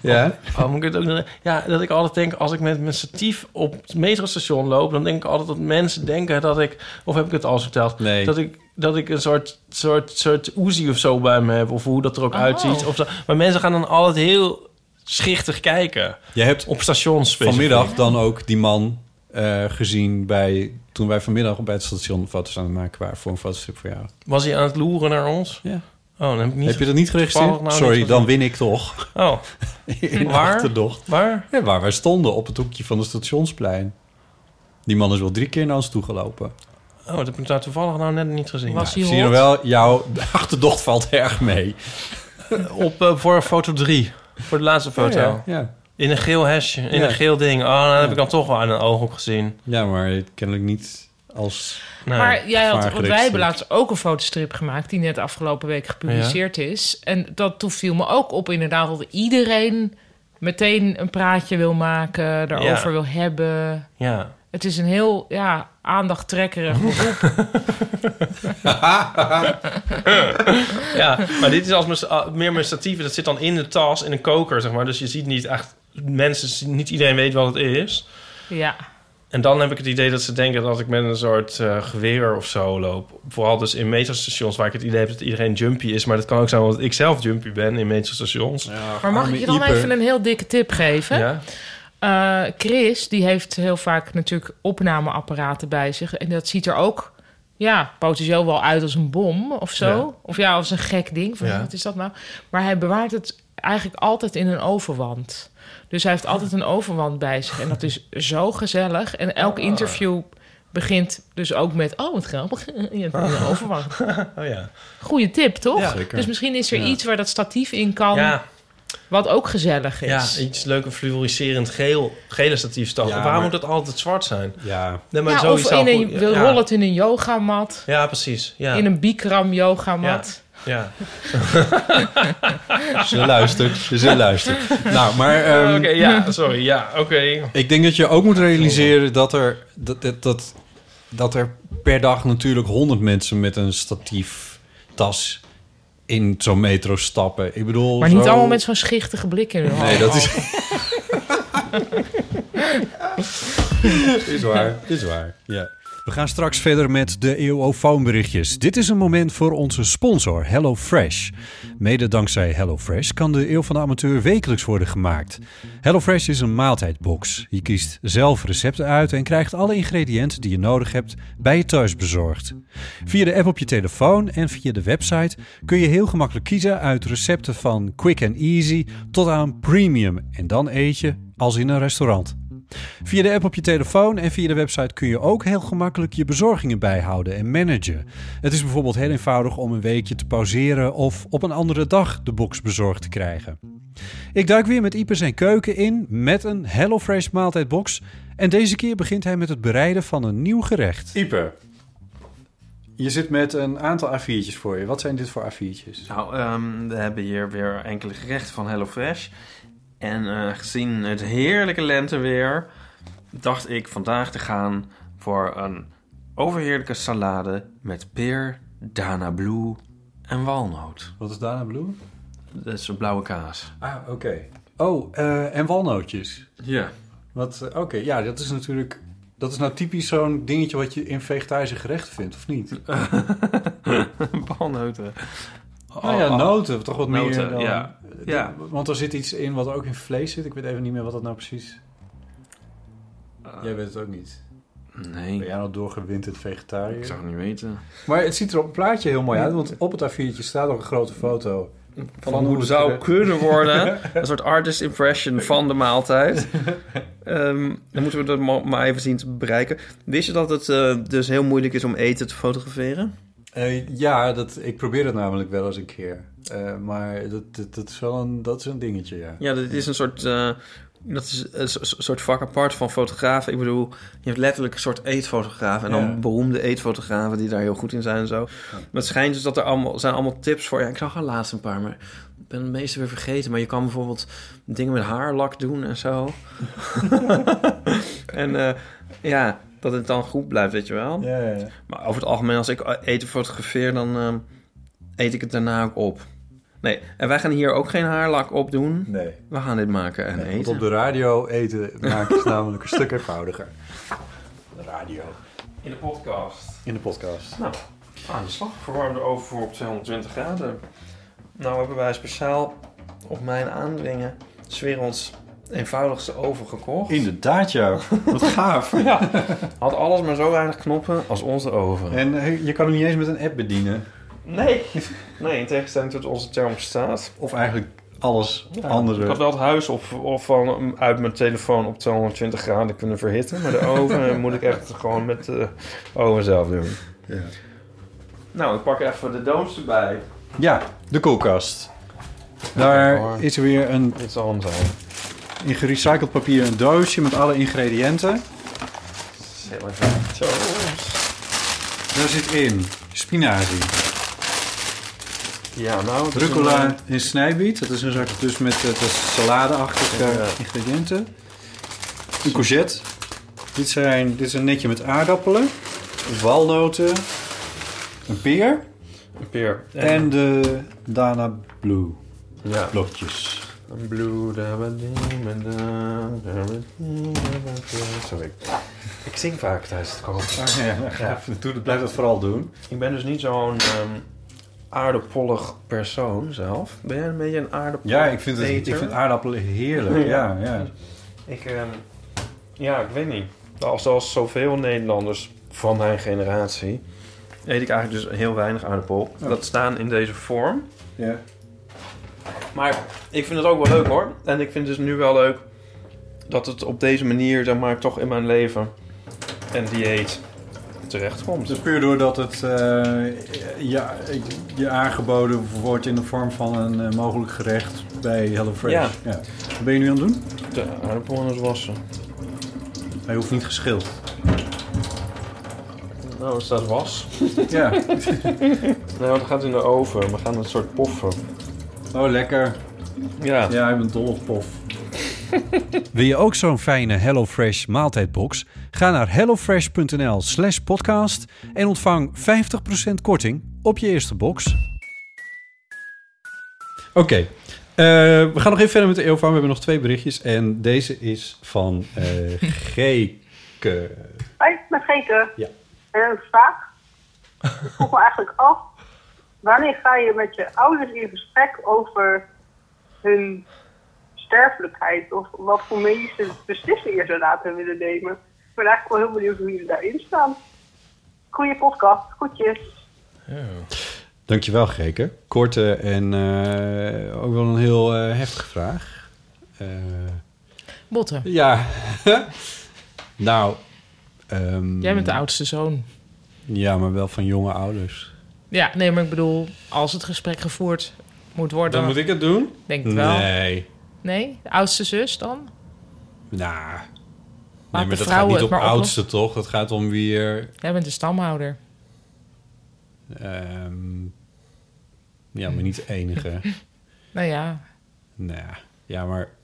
Ja? Oh, moet ik het ook nog- ja, dat ik altijd denk, als ik met mijn statief op het metrostation loop... dan denk ik altijd dat mensen denken dat ik... of heb ik het al eens verteld? Nee. Dat ik, dat ik een soort, soort, soort oezie of zo bij me heb... of hoe dat er ook Oh. uitziet. Of zo. Maar mensen gaan dan altijd heel schichtig kijken. Jij hebt op stations specifiek. vanmiddag dan ook die man eh, gezien bij... toen wij vanmiddag bij het station foto's aan het maken waren... voor een fotostrip voor jou. Was hij aan het loeren naar ons? Ja. Oh, dan heb, ik niet Heb je dat niet geregistreerd? toevallig nou Sorry, niet dan gezien. win ik toch. <laughs> Oh. In Waar? Achterdocht. Waar? Ja, waar wij stonden, op het hoekje van het stationsplein. Die man is wel drie keer naar ons toegelopen. Oh, dat heb ik daar toevallig nou net niet gezien. Nou, ik Zie je wel, jouw achterdocht valt erg mee. <laughs> Op, eh, voor foto 3. Voor de laatste foto. Oh, Ja, ja, ja. In een geel hesje, in Ja. <laughs> een geel <laughs> ding. Oh, dan heb ik dan toch wel aan een ooghoek gezien. Ja, maar kennelijk niet als... maar jij had, want wij hebben laatst ook een fotostrip gemaakt... die net afgelopen week gepubliceerd is. En dat toen viel me ook op inderdaad... dat iedereen meteen een praatje wil maken, daarover Ja. wil hebben. Ja. Het is een heel ja, <laughs> aandachttrekkerig beroep. ja, maar dit is als mijn, ah, meer mijn statieven. Dat zit dan in de tas, in een koker, zeg maar. Dus je ziet niet echt... Mensen, zien- niet iedereen weet wat het is. ja. En dan heb ik het idee dat ze denken dat ik met een soort eh, geweer of zo loop. Vooral dus in metrostations waar ik het idee heb dat iedereen jumpy is. Maar dat kan ook zijn omdat ik zelf jumpy ben in metrostations. Maar mag ik je dan even een heel dikke tip geven? Ja. Eh, Chris, die heeft heel vaak natuurlijk opnameapparaten bij zich. En dat ziet er ook ja, potentieel wel uit als een bom of zo. Ja. Of ja, als een gek ding. Van, Ja. Wat is dat nou? Maar hij bewaart het eigenlijk altijd in een overwand. Dus hij heeft altijd een overwand bij zich. En dat <laughs> is zo gezellig. En Ah. elk interview begint dus ook met... Oh, wat grappig. <laughs> Je hebt een <laughs> overwand. Oh ja. Goeie tip, toch? Ja, zeker. Dus misschien is er Ja. iets waar dat statief in kan... Ja. wat ook gezellig is. Ja, iets leuk, een fluoriserend geel, gele statiefstaf. Ja, Waarom maar- moet dat altijd zwart zijn? Ja. Nee, maar Ja, zo of is in al een, goed- we ja. rollen het in een yogamat. Ja, precies. Ja. In een Bikram yogamat. Ja. Ze luistert, <laughs> ze luistert. Nou, <laughs> maar... ehm, Oké, ja, sorry. Ja, oké. Ik denk dat je ook moet realiseren dat er, dat, dat, dat, dat er per dag natuurlijk honderd mensen met een statief tas in zo'n metro stappen. Ik Oh, bedoel, Maar niet zo- allemaal met zo'n schichtige blik in hun Nee, hand. dat is. <laughs> is waar, is waar. Ja. We gaan straks verder met de EOFoonberichtjes. Dit is een moment voor onze sponsor HelloFresh. Mede dankzij HelloFresh kan de Eeuw van de Amateur wekelijks worden gemaakt. HelloFresh is een maaltijdbox. Je kiest zelf recepten uit en krijgt alle ingrediënten die je nodig hebt bij je thuis bezorgd. Via de app op je telefoon en via de website kun je heel gemakkelijk kiezen uit recepten van quick and easy tot aan premium en dan eet je als in een restaurant. Via de app op je telefoon en via de website kun je ook heel gemakkelijk je bezorgingen bijhouden en managen. Het is bijvoorbeeld heel eenvoudig om een weekje te pauzeren of op een andere dag de box bezorgd te krijgen. Ik duik weer met Ipers en Keuken in met een HelloFresh maaltijdbox. En deze keer begint hij met het bereiden van een nieuw gerecht. Ieper, je zit met een aantal A4'tjes voor je. Wat zijn dit voor A4'tjes? Nou, ehm, we hebben hier weer enkele gerechten van HelloFresh. En eh, gezien het heerlijke lenteweer, dacht ik vandaag te gaan voor een overheerlijke salade met peer, Dana Blue en walnoot. Wat is Dana Blue? Dat is een blauwe kaas. Ah, oké. Oh, eh, en walnootjes. Ja. Wat, eh, oké, ja, dat is natuurlijk... Dat is nou typisch zo'n dingetje wat je in vegetarische gerechten vindt, of niet? <laughs> Walnoten. nou ja, Oh, oh. noten, toch wat meer Noten, dan... ja. Ja. Want er zit iets in wat ook in vlees zit. Ik weet even niet meer wat dat nou precies... Ah. Jij weet het ook niet. Nee. Ben jij nou doorgewinterd vegetariër? Ik zou het niet weten. Maar het ziet er op het plaatje heel mooi uit, want op het A4'tje staat ook een grote foto. Van, hoe het zou kunnen <laughs> <laughs> worden. Een soort artist impression van de maaltijd. Ehm, dan moeten we dat ma- maar even zien te bereiken. Wist je dat het eh, dus heel moeilijk is om eten te fotograferen? Eh, ja, dat, ik probeer dat namelijk wel eens een keer. Eh, maar dat, dat, dat is wel een, dat is een dingetje, ja. Ja, dat is een soort, eh, dat is een so- so- soort vak apart van fotografen. Ik bedoel, je hebt letterlijk een soort eetfotografen. En Ja. dan beroemde eetfotografen die daar heel goed in zijn en zo. Maar het schijnt dus dat er allemaal, zijn allemaal tips voor. Ja, ik zag er laatst een paar, maar ik ben de meeste weer vergeten. Maar je kan bijvoorbeeld dingen met haarlak doen en <laughs> zo. <laughs> en eh, ja, dat het dan goed blijft, weet je wel. Ja, ja, ja. Maar over het algemeen, als ik eh, eten fotografeer, dan ehm, eet ik het daarna ook op. Nee, en wij gaan hier ook geen haarlak op doen. Nee. We gaan dit maken en Want eten. op de radio eten maken is namelijk een stuk eenvoudiger. De radio. In de podcast. In de podcast. Nou, aan de slag. Verwarmde oven voor op 220 graden. Nou hebben wij speciaal op mijn aandringen 's werelds eenvoudigste oven gekocht. Inderdaad, ja. Wat gaaf. <laughs> Ja. Had alles maar zo weinig knoppen als onze oven. En eh, je kan hem niet eens met een app bedienen. Nee. Nee, in tegenstelling tot onze thermostaat. Of eigenlijk alles Ja, andere. Ik had wel het huis op, of van, uit mijn telefoon op 220 graden kunnen verhitten. Maar <laughs> de oven moet ik echt gewoon met de oven zelf doen. Nou, ik pak even de dooms erbij. Ja, de koelkast. Daar hoor. is er weer een... Dit zal hem zijn. In gerecycled papier een doosje met alle ingrediënten. Heel even. Zo. Daar zit in spinazie, Ja, nou. het is rucola een- en snijbiet. Dat is een soort dus met eh, dat is saladeachtige Ja. ingrediënten. Een courgette. Dit, zijn, dit is een netje met aardappelen, walnoten, een peer Een peer. en de Dana Blue. Ja. Blokjes. Een blue Sorry. Ik zing vaak tijdens het koken. <laughs> Ja, af en toe, dat blijf dat vooral doen. Ah, Ik ben dus niet zo'n ehm, aardappollig persoon zelf. Ben jij een beetje een aardappel? Ja, ik vind, het, ik vind aardappelen heerlijk. Ja, ja. Ik, ehm, ja, ik weet niet. Nou, Zoals zoveel Nederlanders van mijn generatie eet ik eigenlijk dus heel weinig aardappel. Ja. Dat staan in deze vorm. ja. Maar ik vind het ook wel leuk hoor. En ik vind het dus nu wel leuk dat het op deze manier, zeg maar, toch in mijn leven en dieet terechtkomt. Dus puur doordat het eh, ja, je aangeboden wordt in de vorm van een eh, mogelijk gerecht bij HelloFresh. Ja. Wat ben je nu aan het doen? De aardappel aan het wassen. Hij hoeft niet geschild. Nou, is dat was? <laughs> <laughs> Ja. nou, dat gaat in de oven. We gaan een soort poffen. Oh, lekker. Ja. Ja, ik ben dol op pof. Wil je ook zo'n fijne HelloFresh maaltijdbox? Ga naar hellofresh.nl slash podcast en ontvang 50% korting op je eerste box. Oké. Eh, we gaan nog even verder met de eeuwfarm. We hebben nog twee berichtjes. En deze is van eh <laughs> Geke. Hoi, met Geke. Ja. Eh, Een vraag. Ik vroeg me eigenlijk af, wanneer ga je met je ouders in gesprek over hun sterfelijkheid? Of wat voor medische beslissingen ze later willen nemen? Ik ben eigenlijk wel heel benieuwd hoe jullie daarin staan. Goeie podcast, goedjes. Dankjewel, Geke. Korte en eh, ook wel een heel eh, heftige vraag. Eh, <laughs> Botten. Ja. nou. ehm, Jij bent de oudste zoon. Ja, maar wel van jonge ouders. Ja, nee, maar ik bedoel, als het gesprek gevoerd moet worden... Dan moet ik het doen? Denk het wel. Nee. Nee? De oudste zus dan? Nou. de nee, maar dat gaat vrouwen niet het op maar oudste, toch? Dat gaat om wie er... Jij bent de stamhouder. ehm, <laughs> ja, maar niet de enige. Nou ja, nou ja, ja, maar...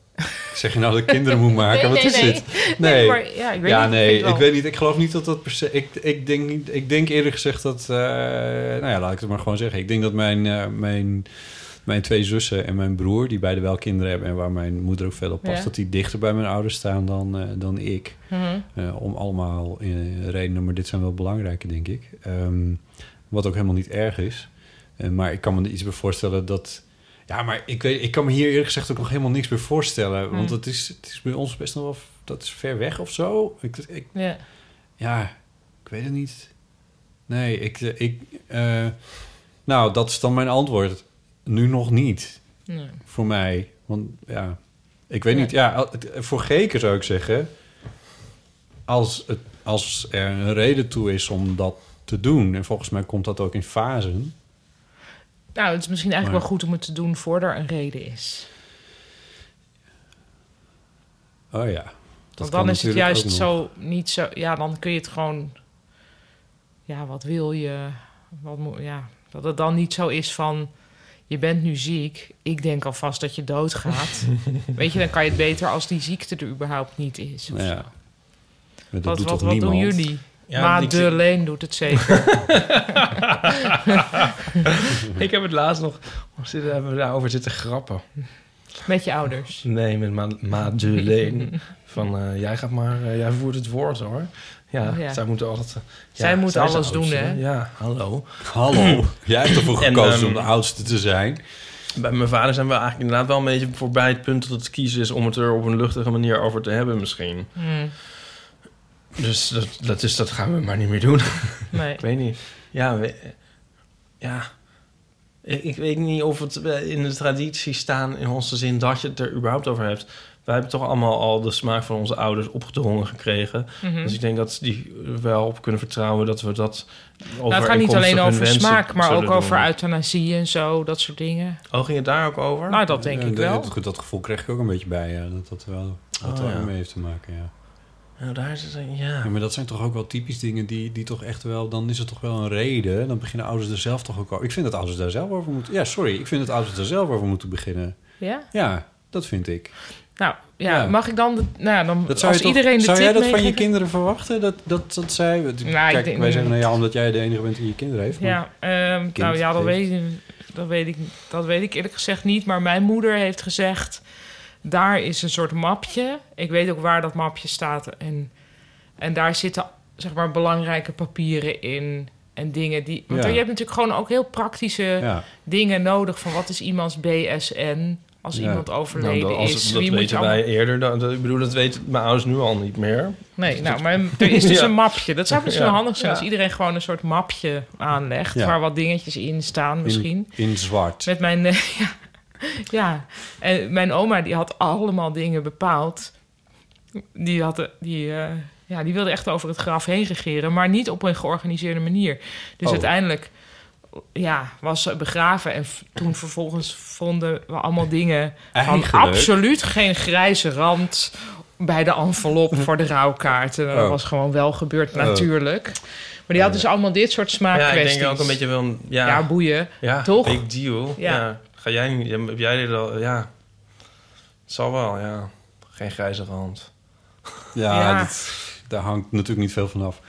Zeg je nou dat ik kinderen moet Nee, maken? nee, Wat is nee. dit? Nee, maar ja, ik weet niet. Ik nee, vind ik, wel. weet niet. Ik geloof niet dat dat per se... Ik, ik, denk, niet, ik denk eerlijk gezegd dat... eh, nou ja, laat ik het maar gewoon zeggen. Ik denk dat mijn, eh, mijn, mijn twee zussen en mijn broer... die beide wel kinderen hebben en waar mijn moeder ook veel op past... Ja. dat die dichter bij mijn ouders staan dan, eh, dan ik. Mhm. Eh, om allemaal eh, redenen, maar dit zijn wel belangrijke, denk ik. Ehm, wat ook helemaal niet erg is. Eh, maar ik kan me er iets bij voorstellen dat... Ja, maar ik, weet, ik kan me hier eerlijk gezegd ook nog helemaal niks bij voorstellen. Want Hmm. het is, het is bij ons best nog wel... Dat is ver weg of zo. Ik, ik, Ja. ja, ik weet het niet. Nee, ik... eh, ik eh, nou, dat is dan mijn antwoord. Nu nog niet. Nee. Voor mij. Want ja, ik weet Ja. niet. Ja, al- het- voor Geken zou ik zeggen... Als, het, als er een reden toe is om dat te doen... en volgens mij komt dat ook in fasen... Nou, het is misschien eigenlijk Maar- wel goed om het te doen voor er een reden is. Oh ja. dat Want kan dan is het natuurlijk ook juist nog. zo niet zo. Ja, dan kun je het gewoon. Ja, wat wil je? Wat moet, ja, dat het dan niet zo is van. Je bent nu ziek. Ik denk alvast dat je <laughs> doodgaat. Weet je, dan kan je het beter als die ziekte er überhaupt niet is. of zo. Ja. Maar dat wat doet wat, toch wat doen niemand? jullie? Ja, maar ik de zie- Leen doet het <laughs> zeker. <laughs> ik heb het laatst nog we zitten- hebben we daarover zitten grappen. Met je ouders. <laughs> Nee, met Ma, ma Duleen. Van eh, jij gaat maar, eh, jij voert het woord hoor. Ja, Oh, Ja. zij moeten altijd. eh, ja, Zij moeten is de alles doen, oudste. hè? Ja, hallo. <clears throat> Hallo. Jij hebt ervoor En, gekozen ehm, om de oudste te zijn. Bij mijn vader zijn we eigenlijk inderdaad wel een beetje voorbij het punt dat het kiezen is om het er op een luchtige manier over te hebben, misschien. Hmm. Dus dat, dat, is, dat gaan we maar niet meer doen. <laughs> Nee. ik weet niet. Ja, we- ja. Ik, ik weet niet of het eh, in de traditie staan in onze zin dat je het er überhaupt over hebt. Wij hebben toch allemaal al de smaak van onze ouders opgedrongen gekregen. Mhm. Dus ik denk dat ze die er wel op kunnen vertrouwen dat we dat Nou, het gaat niet alleen over smaak, maar ook over uit. euthanasie en zo, dat soort dingen. Oh, ging het daar ook over? Nou, dat denk Ja, ik dat- wel. Dat, dat gevoel kreeg ik ook een beetje bij. Ja, dat dat wel wat Oh, er ja. mee heeft te maken, ja. Nou, daar is het een, ja. Ja, maar dat zijn toch ook wel typisch dingen die, die toch echt wel... Dan is het toch wel een reden. Dan beginnen ouders er zelf toch ook over... Ik vind dat ouders daar zelf over moeten... Ja, sorry. Ik vind dat ouders daar zelf over moeten beginnen. Ja? Ja, dat vind ik. Nou, ja, Ja. mag ik dan... de- nou, ja, dan Dat zou als je toch- iedereen de zou jij tip dat van je meegeeft- kinderen verwachten? Dat, dat, dat zij... Kijk, denk wij niet. zeggen nou ja, omdat jij de enige bent die je kinderen heeft. maar- Ja, ehm, Kind nou ja, dat heeft. weet, ik, dat, weet ik, dat weet ik eerlijk gezegd niet. Maar mijn moeder heeft gezegd... daar is een soort mapje. Ik weet ook waar dat mapje staat. En, en daar zitten zeg maar belangrijke papieren in... En dingen die. Want Ja. je hebt natuurlijk gewoon ook heel praktische Ja. dingen nodig. Van wat is iemands BSN als Ja. iemand overleden Nou, dat- als, is? Dat Wie moet je weten allemaal- wij eerder. dan- dat- ik bedoel, dat weten mijn ouders nu al niet meer. Nee, Dus <laughs> nou, dat- maar er is dus Ja. een mapje. Dat zou misschien Ja. wel handig zijn Ja. als iedereen gewoon een soort mapje aanlegt... Ja. waar wat dingetjes in staan misschien. In, in zwart. Met mijn... <laughs> eh, ja, ja, en mijn oma die had allemaal dingen bepaald. Die, had, eh, die, eh, ja, die wilde echt over het graf heen regeren... maar niet op een georganiseerde manier. Dus Oh. uiteindelijk ja, was ze begraven... en v- toen vervolgens vonden we allemaal dingen... van Eigenlijk. absoluut geen grijze rand... bij de <laughs> envelop voor de rouwkaart. En dat Oh. was gewoon wel gebeurd, Oh. natuurlijk. Maar die had dus allemaal dit soort ja, ik smaakkwesties. denk ook een beetje wel... een- Ja, Ja, boeien. Ja, Toch? big deal. Ja. Ja. Ga jij niet... Heb jij dit al... Ja. Zal wel, ja. Geen grijze rand. Ja, Ja. dat- daar hangt natuurlijk niet veel van af.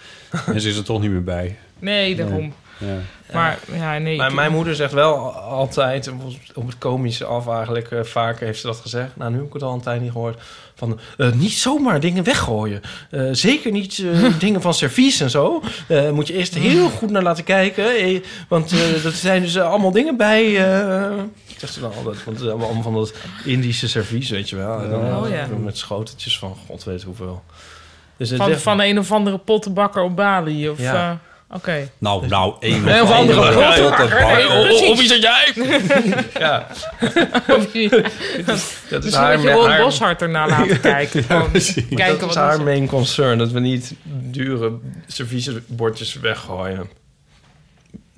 En ze is er toch niet meer bij. Nee, daarom. Ja. Maar ja, nee. Maar ik- mijn moeder zegt wel al- altijd, op het komische af eigenlijk, eh, vaak heeft ze dat gezegd. Nou, nu heb ik het al een tijd niet gehoord. Van, eh, niet zomaar dingen weggooien. Eh, zeker niet <laughs> eh, dingen van servies en zo. Eh, moet je eerst heel goed naar laten kijken. eh, want eh er zijn dus eh, allemaal dingen bij. eh, zegt ze dan altijd. Want het is allemaal allemaal van dat Indische servies, weet je wel. En dan, Oh, ja. Met schoteltjes van god weet hoeveel. Dus het van, zegt- van een of andere pottenbakker op Bali. Of, Ja. eh, Oké. Nou, nou, één Nee, of andere Ja, grote dat bakker. bar- Nee, Oh, precies. oh, wie zat jij? ja. <laughs> Of je- Dat Misschien moet je me- Ron Boshart erna <laughs> laten kijken. Gewoon kijken dat wat is er haar zit. main concern. Dat we niet dure serviesbordjes weggooien.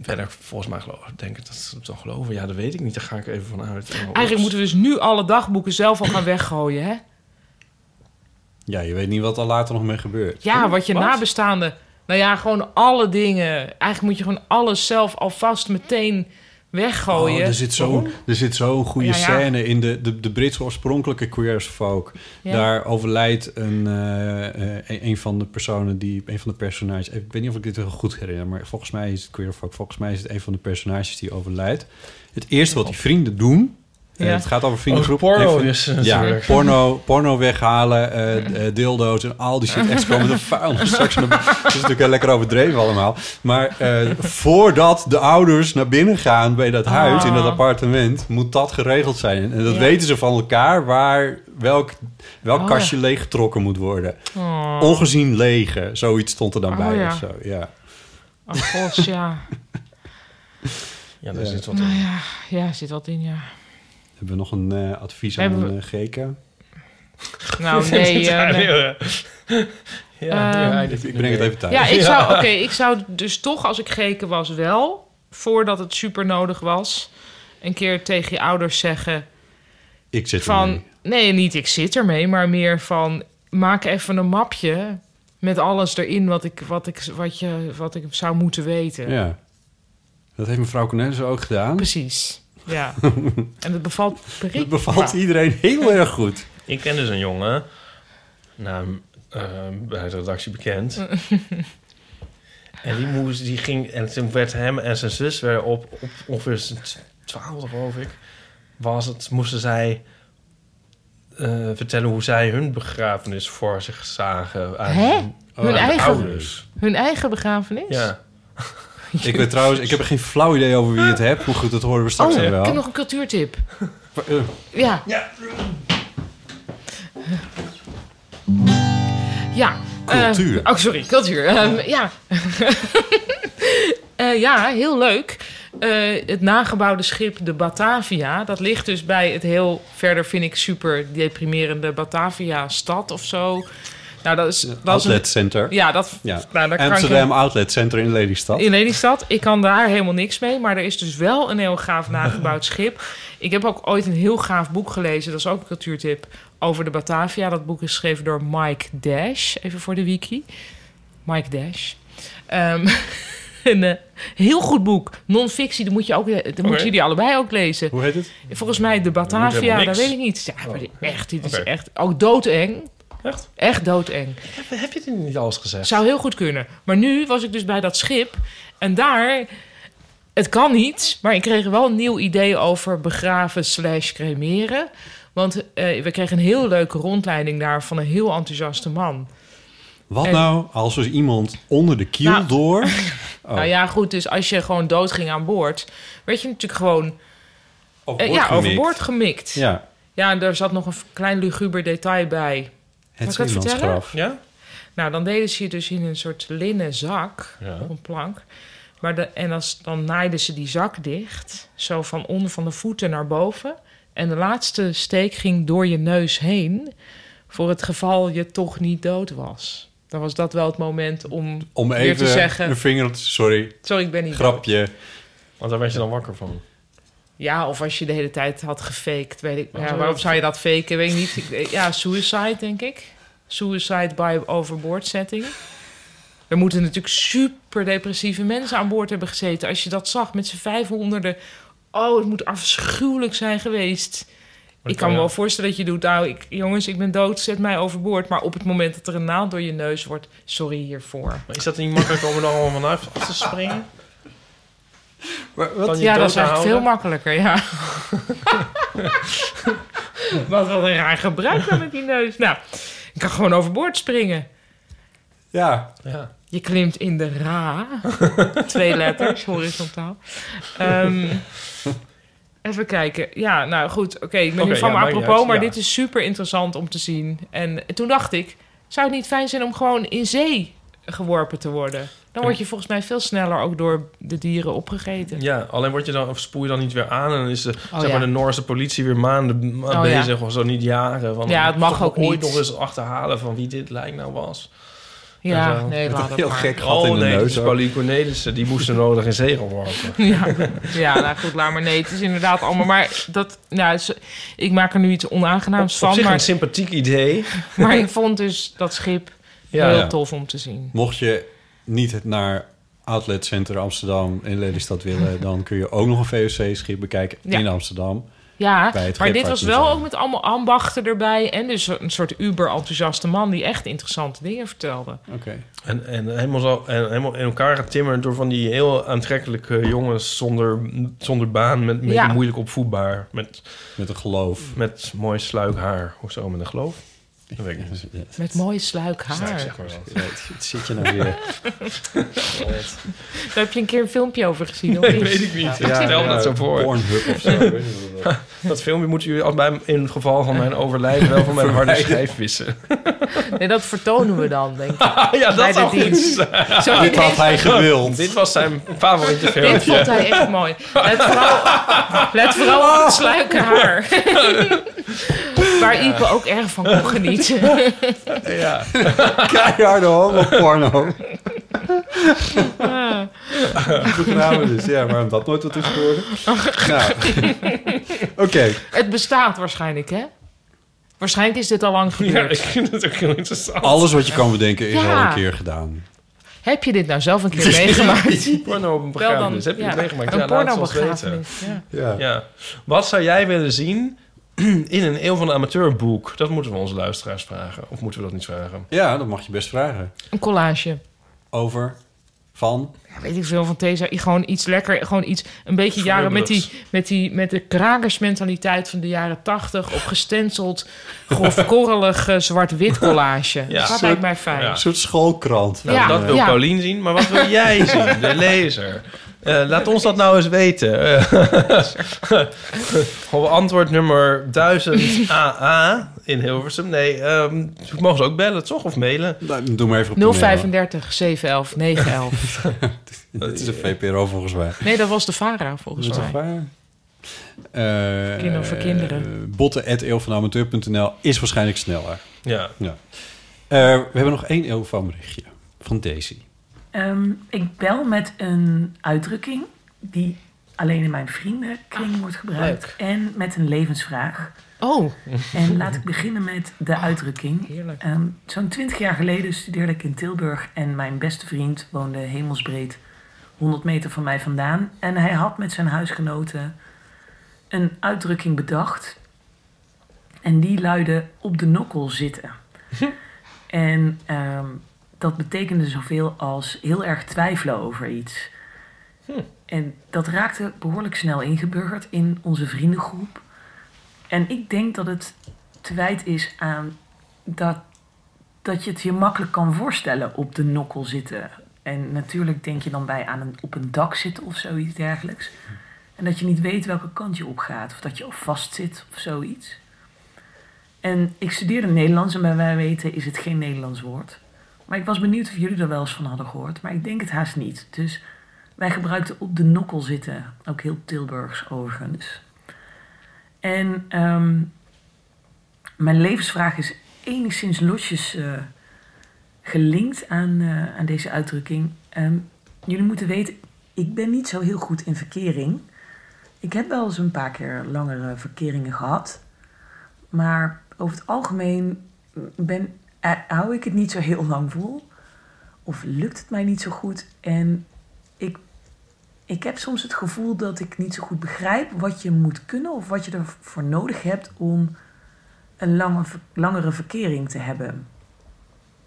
Verder, volgens mij geloof, denk ik dat ze het dan geloven. Ja, dat weet ik niet. Daar ga ik even van uit. Eigenlijk moeten we dus nu alle dagboeken zelf al gaan weggooien, hè? Ja, je weet niet wat er later nog mee gebeurt. Ja, wat je nabestaanden... Nou ja, gewoon alle dingen. Eigenlijk moet je gewoon alles zelf alvast meteen weggooien. Oh, er zit zo'n Waarom? er zit zo'n goede Ja, ja. scène in de, de, de Britse oorspronkelijke Queer as Folk. Ja. Daar overlijdt een, eh, eh, een, een van de personen die, een van de personages, ik weet niet of ik dit heel goed herinner, maar volgens mij is het Queer as Folk, volgens mij is het een van de personages die overlijdt. Het eerste wat die vrienden doen, eh, Ja. het gaat over vriendengroep. Over Oh, porno eh, van- dus ja, natuurlijk. porno, porno weghalen, eh, eh, dildo's en al <laughs> die shit. Echt zo met een vuil Ah, straks. naar- <laughs> Dat is natuurlijk heel lekker overdreven allemaal. Maar eh, voordat de ouders naar binnen gaan bij dat huis, in dat Ah. appartement, moet dat geregeld zijn. En dat Ja. weten ze van elkaar waar welk, welk Oh, kastje ja. leeggetrokken moet worden. Oh. Ongezien legen, zoiets stond er dan Oh, bij ja. of zo. Ja. Oh, gosh, ja. Ja, daar Ja. zit wat nou in. ja, ja, zit wat in, ja. Hebben we nog een eh, advies aan Hebben eh, GK? Nou, nee. Ja, eh, nee. nee, eh. Ja, die Ehm, eindigt Ik in breng het een B. even thuis. Ja, ik zou, oké, ik zou dus toch als ik geken was wel, voordat het super nodig was, een keer tegen je ouders zeggen Ik zit van, ermee. nee, niet ik zit ermee, maar meer van, maak even een mapje met alles erin wat ik, wat ik, wat je, wat ik zou moeten weten. Ja. Dat heeft mevrouw Cornelissen ook gedaan. Precies. <laughs> Ja. en het bevalt prima. Het bevalt iedereen heel erg goed. Ik ken dus een jongen, nou, eh, bij de redactie <laughs> bekend. en die, moest, die ging, en toen werd hem en zijn zus weer op, op ongeveer zijn tw- twaalfde, geloof ik, was het, moesten zij eh, vertellen hoe zij hun begrafenis voor zich zagen aan Hè? hun, hun, aan hun eigen, ouders. hun eigen begrafenis? Ja. Ik weet trouwens, ik heb er geen flauw idee over wie het hebt. Hoe goed, dat horen we straks Oh, dan wel. ik heb nog een cultuurtip. Maar, eh, Ja. Ja. Ja. eh, Cultuur. oh, sorry, cultuur. Ehm, ja. <laughs> Eh, ja, heel leuk. Eh, het nagebouwde schip de Batavia, dat ligt dus bij het heel verder vind ik super deprimerende Batavia stad of zo. Nou, dat is, dat is Outlet een- Center. Ja, dat. Ja. Nou, daar kan ik- Amsterdam Outlet Center in Lelystad. in Lelystad. Ik kan daar helemaal niks mee. Maar er is dus wel een heel gaaf nagebouwd schip. Ik heb ook ooit een heel gaaf boek gelezen. Dat is ook een cultuurtip over de Batavia. Dat boek is geschreven door Mike Dash. Even voor de wiki. Mike Dash. Ehm, <laughs> een eh, heel goed boek. Non-fictie, dat, moet je ook, dat Oké. moeten jullie allebei ook lezen. Hoe heet het? Volgens mij de Dat moet helemaal Batavia, dat niks. weet ik niet. Ja, maar dit- echt, dit Oh. Oké. is echt... Ook doodeng. Echt? Echt doodeng. Heb, heb je het niet alles gezegd? Zou heel goed kunnen. Maar nu was ik dus bij dat schip. En daar, het kan niet. Maar ik kreeg wel een nieuw idee over begraven slash cremeren. Want eh, we kregen een heel leuke rondleiding daar van een heel enthousiaste man. Wat En- nou als er iemand onder de kiel Nou. <laughs> door... Oh. Nou ja, goed, dus als je gewoon doodging aan boord... werd je natuurlijk gewoon eh, ja, gemikt. overboord gemikt. Ja. Ja, en daar zat nog een v- klein luguber detail bij. Kan ik dat vertellen? zeemansgraf. Ja? Nou, dan deden ze je dus in een soort linnen zak Ja. op een plank. Maar de, en als, dan naaiden ze die zak dicht, zo van onder van de voeten naar boven. En de laatste steek ging door je neus heen, voor het geval je toch niet dood was. Dan was dat wel het moment om, Om weer even te zeggen... een vinger op te- Sorry. Sorry, ik ben niet Grapje. Want daar werd je dan wakker van. Ja, of als je de hele tijd had gefaked, weet ik. zou Ja, je waarom dat- zou je dat faken? Weet ik niet. Ik- eh, Ja, suicide, denk ik. Suicide by overboard setting. Er moeten natuurlijk super depressieve mensen aan boord hebben gezeten. Als je dat zag met z'n vijfhonderden. Oh, het moet afschuwelijk zijn geweest. Ik kan me ja. wel voorstellen dat je doet, nou, ik, jongens, ik ben dood, zet mij overboord. Maar op het moment dat er een naald door je neus wordt, sorry hiervoor. Maar is dat niet makkelijk om er dan allemaal vanaf te springen? Kan je Ja, dat is dood eigenlijk veel houden? makkelijker, ja. <laughs> wat, wat een raar gebruik dan met die neus. Nou, ik kan gewoon overboord springen. Ja. Ja. Je klimt in de ra. <laughs> Twee letters, horizontaal. Ehm, even kijken. Ja, nou goed. Oké, ik ben Oké, nu van ja, me maakt niet apropos, uit, maar ja. dit is super interessant om te zien. En toen dacht ik, zou het niet fijn zijn om gewoon in zee geworpen te worden? Dan word je volgens mij veel sneller ook door de dieren opgegeten. Ja, alleen word je dan, of spoel je dan niet weer aan en dan is de, zeg Oh, ja. maar de Noorse politie weer maanden ma- Oh, ja. bezig of zo, niet jaren. Eh, Want Ja, het mag toch wel ook ooit niet. nog eens achterhalen van wie dit lijk nou was. Ja, En zo. nee, laat het maar. oh, nee, dit is ook. Pauline Cornelissen, die moesten nodig in zegel worden. Ja, ja nou goed, laat maar. Nee, het is inderdaad allemaal... Maar dat, nou, het is- ik maak er nu iets onaangenaams Op van. zich een Maar, sympathiek idee. <laughs> maar ik vond dus dat schip Ja, heel ja. tof om te zien. Mocht je niet naar Outlet Center Amsterdam in Lelystad <laughs> willen... dan kun je ook nog een VOC-schip bekijken Ja. in Amsterdam. Ja, bij het maar dit was wel Scheepvaartmuseum. ook met allemaal ambachten erbij. En dus een soort uber-enthousiaste man die echt interessante dingen vertelde. Oké. En, en, helemaal zo, en helemaal in elkaar getimmerd door van die heel aantrekkelijke jongens zonder, zonder baan, met, met Ja. moeilijk opvoedbaar. Met, met een geloof. Met mooi sluik haar of zo, met een geloof. Dat weet ik niet. Met mooie sluik haar. Sluik, zeg maar wat. zit je <laughs> nou weer? Daar heb je een keer een filmpje over gezien. of Nee, niet? weet ik niet. Ja. ik stel me ja, dat zo voor. Pornhub of <laughs> zo, ik weet niet wat dat <laughs> dat filmpje moeten jullie al bij, in het geval van mijn overlijden wel van mijn harde Verwijderen. schijf wissen. Nee, dat vertonen we dan, <laughs> denk ik. ja, dat zou goed zijn. Dit <laughs> had hij gewild. Dit was zijn favoriete filmpje. Dit vond hij echt mooi. Let vooral, <laughs> Oh. let vooral op het sluike haar. Waar Ja. Ipe ook erg van kon genieten. <laughs> Ja. <laughs> Keiharde <laughs> homo-porno. Ah. <laughs> Begraven dus, ja, waarom dat nooit wat is geworden? Nou, oké. Het bestaat waarschijnlijk, hè? Waarschijnlijk is dit al lang Ja, gebeurd. ik vind het ook heel interessant. Alles wat je kan bedenken is Ja. al een keer gedaan. Heb je dit nou zelf een keer meegemaakt? <laughs> Porno op een Wel dan, begrafenis. Heb je ja, het meegemaakt? Een ja, laat het ons weten. pornobegrafenis. Ja. Ja. Wat zou jij willen zien in een eeuw van de amateurboek? Dat moeten we onze luisteraars vragen. Of moeten we dat niet vragen? Ja, dat mag je best vragen. Een collage. Over, van... Ja, weet ik veel van Teza. Gewoon iets lekker, gewoon iets, een beetje jaren met, die, Schrubbeligs. met, die, met de krakersmentaliteit van de jaren tachtig. Op gestenceld, <laughs> grof korrelig eh, zwart-wit collage. Dat lijkt mij fijn. Een soort schoolkrant. Nou, Ja. dat wil Ja. Paulien zien, maar wat wil <laughs> jij zien, de lezer? Eh, laat ons dat nou eens <laughs> weten. Eh, Op antwoord nummer 1000 AA in Hilversum. Nee, ehm, mogen ze ook bellen, toch? Of mailen? Nou, Doe maar even op de 035 711 911. <laughs> mail. <laughs> Dit is een VPRO volgens mij. Nee, dat was de VARA volgens Dat is mij. toch waar? Eh, Kinder voor kinderen. eh, Botten.eeuwvanamateur.nl is waarschijnlijk sneller. Ja. ja. Eh, we hebben nog één eeuw van berichtje. Van Daisy. Ehm, ik bel met een uitdrukking die alleen in mijn vriendenkring wordt gebruikt. En met een levensvraag. Ah, Oh. <laughs> En laat ik beginnen met de uitdrukking. Ehm, Zo'n twintig jaar geleden studeerde ik in Tilburg. En mijn beste vriend woonde hemelsbreed 100 meter van mij vandaan. En hij had met zijn huisgenoten een uitdrukking bedacht. En die luidde op de nokkel zitten. en ehm, dat betekende zoveel als heel erg twijfelen over iets. En dat raakte behoorlijk snel ingeburgerd in onze vriendengroep. En ik denk dat het te wijd is aan dat, dat je het je makkelijk kan voorstellen op de nokkel zitten. En natuurlijk denk je dan bij aan een, op een dak zitten of zoiets dergelijks. En dat je niet weet welke kant je op gaat. Of dat je al vast zit of zoiets. En ik studeerde Nederlands en bij wij weten is het geen Nederlands woord. Maar ik was benieuwd of jullie er wel eens van hadden gehoord. Maar ik denk het haast niet. Dus wij gebruikten op de nokkel zitten. Ook heel Tilburgs overigens. En ehm, mijn levensvraag is enigszins losjes eh, gelinkt aan, eh, aan deze uitdrukking. Ehm, jullie moeten weten, ik ben niet zo heel goed in verkering. Ik heb wel eens een paar keer langere verkeringen gehad. Maar over het algemeen ben, eh, hou ik het niet zo heel lang vol. Of lukt het mij niet zo goed. En ik, ik heb soms het gevoel dat ik niet zo goed begrijp wat je moet kunnen of wat je ervoor nodig hebt om een lange, ver- langere verkering te hebben.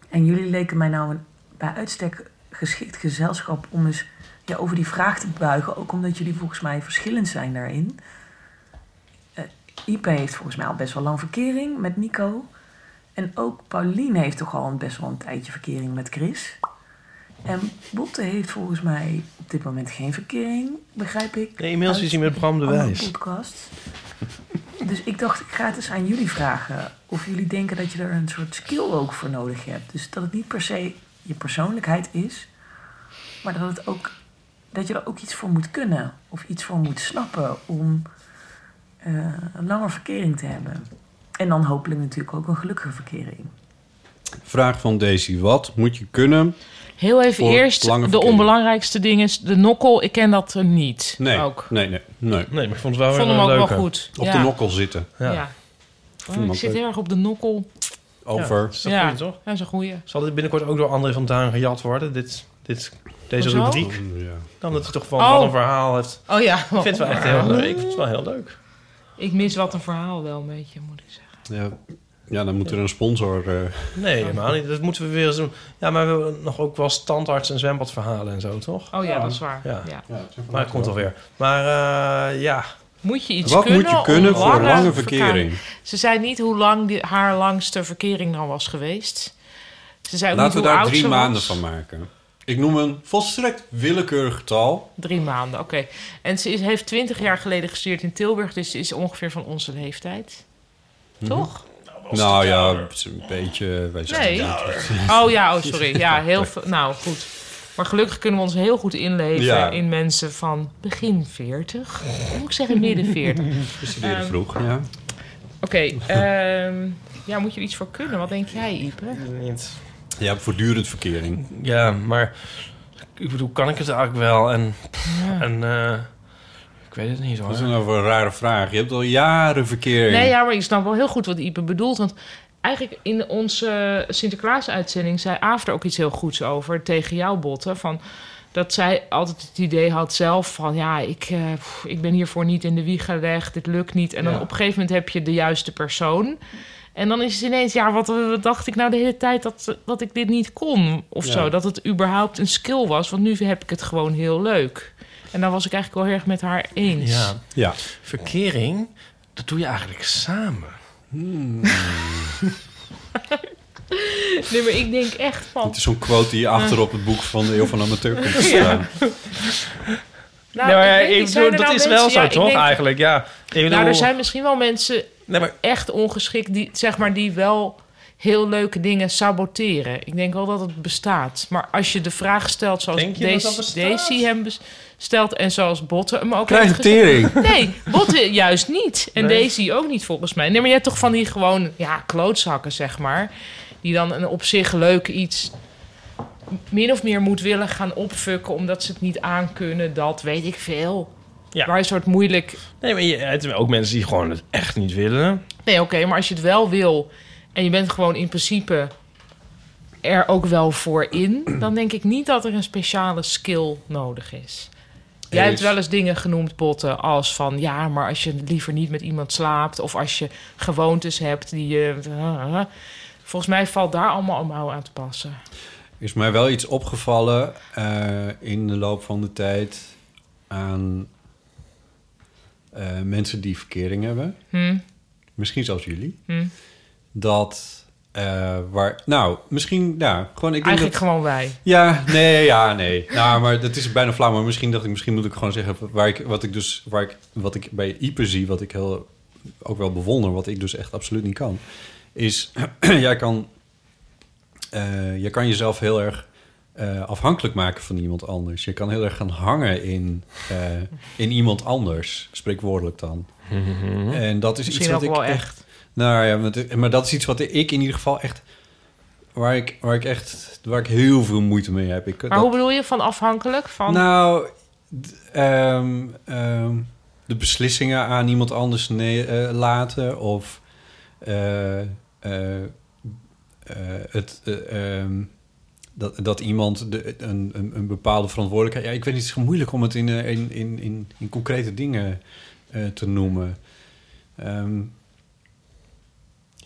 En jullie leken mij nou een bij uitstek geschikt gezelschap om eens ja, over die vraag te buigen. Ook omdat jullie volgens mij verschillend zijn daarin. Eh, Ipe heeft volgens mij al best wel lang verkering met Nico. En ook Pauline heeft toch al een- best wel een tijdje verkering met Chris. En Botte heeft volgens mij op dit moment geen verkering, begrijp ik. Nee, inmiddels Uit is hij met Bram de andere Wijs. podcast. <laughs> Dus ik dacht, ik ga het eens aan jullie vragen. Of jullie denken dat je er een soort skill ook voor nodig hebt. Dus dat het niet per se je persoonlijkheid is. Maar dat, het ook, dat je er ook iets voor moet kunnen. Of iets voor moet snappen om eh, een langer verkering te hebben. En dan hopelijk natuurlijk ook een gelukkige verkering. Vraag van Daisy. Wat moet je kunnen? Heel even Voor eerst lange de verkering. onbelangrijkste ding is de nokkel. Ik ken dat eh, niet. Nee, Ook. nee, nee, nee. Nee, maar ik vond het wel Ik vond weer hem een ook wel leuke. goed. Op Ja. de nokkel zitten. Ja. vond Oh, hem ik ook zit leuk. heel erg op de nokkel. Over. Is dat Ja, goed, toch? dat is een goeie. Zal dit binnenkort ook door André van Duin gejat worden? Dit, dit, deze Hoezo? rubriek. Dan dat hij toch wel, Oh. wel een verhaal heeft. Oh ja. Ik vind het wel echt heel leuk. Ik vind het wel heel leuk. Ik mis wat een verhaal wel een beetje, moet ik zeggen. Ja. ja, dan moet er een sponsor... eh, Nee, Oh. helemaal niet. Dat moeten we weer eens doen. Ja, maar we hebben nog ook wel standaards en zwembadverhalen en zo, toch? Oh ja, dat is waar. Ja. Maar het komt alweer. Maar eh, ja. Moet je iets Wat kunnen, moet je kunnen om voor lange verkering? verkaring- Ze zei niet hoe lang die, haar langste verkering dan was geweest. Ze zei ook Laten niet hoe we daar oud drie ze was. maanden van maken. Ik noem een volstrekt willekeurig getal. Drie maanden, oké. En ze is, heeft twintig jaar geleden gestudeerd in Tilburg, dus ze is ongeveer van onze leeftijd. Toch? Mhm. Nou ja, het is een beetje... Wij zijn Nee. niet- <laughs> Oh ja, oh sorry. Ja, heel veel. Nou goed. Maar gelukkig kunnen we ons heel goed inleven Ja. in mensen van begin 40. Moet ik zeggen midden <laughs> 40. We <laughs> studeren Ehm, vroeg, ja. Oké, ehm, ja, moet je er iets voor kunnen? Wat denk jij, Ipe? Niet. Ja, voortdurend verkering. Ja, maar ik bedoel, kan ik het eigenlijk wel? En, Ja. en eh, ik weet het niet hoor. Dat is nou voor een rare vraag. Je hebt al jaren verkering. Nee, ja, maar ik snap wel heel goed wat Ipe bedoelt. Want eigenlijk in onze Sinterklaas-uitzending zei Aaf er ook iets heel goeds over tegen jou, Botten. Van dat zij altijd het idee had zelf van... ja, ik, eh, pff, ik ben hiervoor niet in de wieg gelegd, dit lukt niet. En dan Ja. op een gegeven moment heb je de juiste persoon... En dan is het ineens, ja, wat, wat dacht ik nou de hele tijd dat, dat ik dit niet kon of Ja. zo. Dat het überhaupt een skill was, want nu heb ik het gewoon heel leuk. En dan was ik eigenlijk wel heel erg met haar eens. Ja. ja. Verkering, dat doe je eigenlijk samen. Hmm. Nee, maar ik denk echt van... Het is zo'n quote die je achter op het boek van de Eeuw van Amateur kunt Ja. staan. Nou, Nee, maar ik weet ik niet, zijn bedoel, er dat nou is mensen- wel zo ja, ik toch denk- eigenlijk? Ja. Ik Nou, bedoel- er zijn misschien wel mensen echt ongeschikt die, zeg maar, die wel heel leuke dingen saboteren. Ik denk wel dat het bestaat. Maar als je de vraag stelt zoals Denk je dat dat Daisy, bestaat? Daisy hem bes- stelt en zoals Botten hem ook Krijg heeft een gezegd. tering. Nee, Botten juist niet. En Nee. Daisy ook niet volgens mij. Nee, maar je hebt toch van die gewoon ja, klootzakken, zeg maar. Die dan een op zich leuk iets min of meer moet willen gaan opfukken... omdat ze het niet aankunnen, dat weet ik veel. Waar een soort moeilijk Nee, maar je het zijn ook mensen die gewoon het echt niet willen. Nee, oké, maar als je het wel wil en je bent gewoon in principe er ook wel voor in, dan denk ik niet dat er een speciale skill nodig is. Jij Eens. hebt wel eens dingen genoemd, Botten, als van ja, maar als je liever niet met iemand slaapt of als je gewoontes hebt die je. Volgens mij valt daar allemaal omhoog aan te passen. is mij wel iets opgevallen eh, in de loop van de tijd aan eh, mensen die verkering hebben. Hm. Misschien zelfs jullie. Hm. Dat eh, waar. Nou, misschien. Ja, gewoon. Ik denk Eigenlijk dat- gewoon wij. Ja, nee, ja, nee. Nou, maar dat is bijna flauw. Maar misschien dacht ik, misschien moet ik gewoon zeggen waar ik, wat ik dus, waar ik, wat ik bij Ipe zie, wat ik heel, ook wel bewonder, wat ik dus echt absoluut niet kan, is <clears throat> jij kan, eh, jij kan jezelf heel erg eh, afhankelijk maken van iemand anders. Je kan heel erg gaan hangen in, eh, in iemand anders, spreekwoordelijk dan. Mhm. En dat is Misschien iets ook wat wel ik echt. echt. Nou ja, want- maar dat is iets wat ik in ieder geval echt. Waar ik, waar ik echt. Waar ik heel veel moeite mee heb. Ik, Maar dat- hoe bedoel je van afhankelijk van? Nou, d- ehm, ehm, de beslissingen aan iemand anders ne- eh, laten. Of eh, eh, eh, het. eh, ehm, dat, dat iemand de, een, een, een bepaalde verantwoordelijkheid... Ja, ik weet niet, het is moeilijk om het in, eh, in, in, in, in concrete dingen eh, te noemen. Ehm,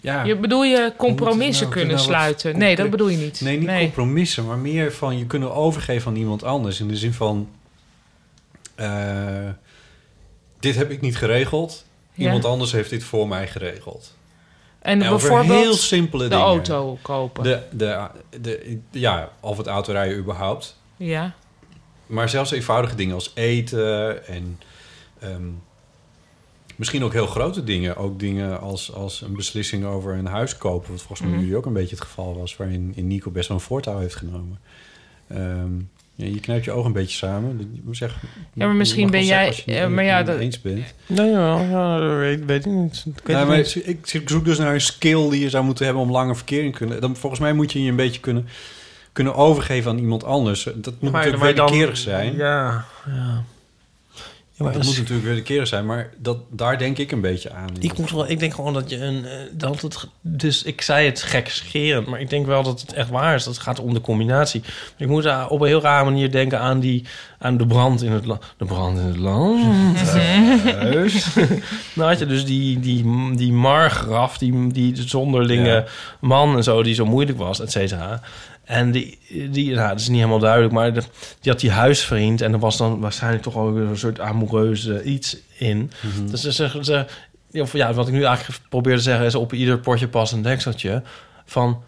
ja. Je bedoel je Hoe moet eh, compromissen het nou? kunnen Nou, wat sluiten? Nee, dat concreet- bedoel je niet. Nee, niet compromissen, maar meer van je kunnen overgeven aan iemand anders. In de zin van: eh, dit heb ik niet geregeld, Ja. iemand anders heeft dit voor mij geregeld. En over bijvoorbeeld heel simpele de dingen. auto kopen. De, de, de, ja, of het autorijden überhaupt. Ja. Maar zelfs eenvoudige dingen als eten en ehm, misschien ook heel grote dingen. Ook dingen als, als een beslissing over een huis kopen. Wat volgens mij Mhm. jullie ook een beetje het geval was. Waarin in Nico best wel een voortouw heeft genomen. Ehm, ja, je knijpt je ogen een beetje samen. Dat- je moet zeggen- maar je mag misschien wel ben zeggen jij- als je het eh, niet- maar ja, niet dat- eens bent. Nee, ja, ja, dat weet, weet ik niet. Ik weet Nou, het maar niet. ik, ik zoek dus naar een skill die je zou moeten hebben om lange verkering te kunnen. Dan, volgens mij moet je je een beetje kunnen, kunnen overgeven aan iemand anders. Dat moet Maar- natuurlijk maar dan- wederkerig zijn. Ja, ja. Ja, maar dat is- moet natuurlijk weer de keren zijn, maar dat, daar denk ik een beetje aan. Ik, moet wel, ik denk gewoon dat je een. eh, Dat het, dus ik zei het gekscherend, maar ik denk wel dat het echt waar is. Dat het gaat om de combinatie. Ik moet daar op een heel rare manier denken aan, die, aan de brand in het land. De brand in het land. <laughs> <laughs> Thuis. nou had je dus die, die, die margraf, die, die zonderlinge Ja. man en zo, die zo moeilijk was, et cetera. En die, die nou, dat is niet helemaal duidelijk, maar de- die had die huisvriend. En er was dan waarschijnlijk toch ook weer een soort amoureuze iets in. Mhm. Dus ze zeggen ze, of ja, wat ik nu eigenlijk probeer te zeggen is op ieder potje past een dekseltje. Van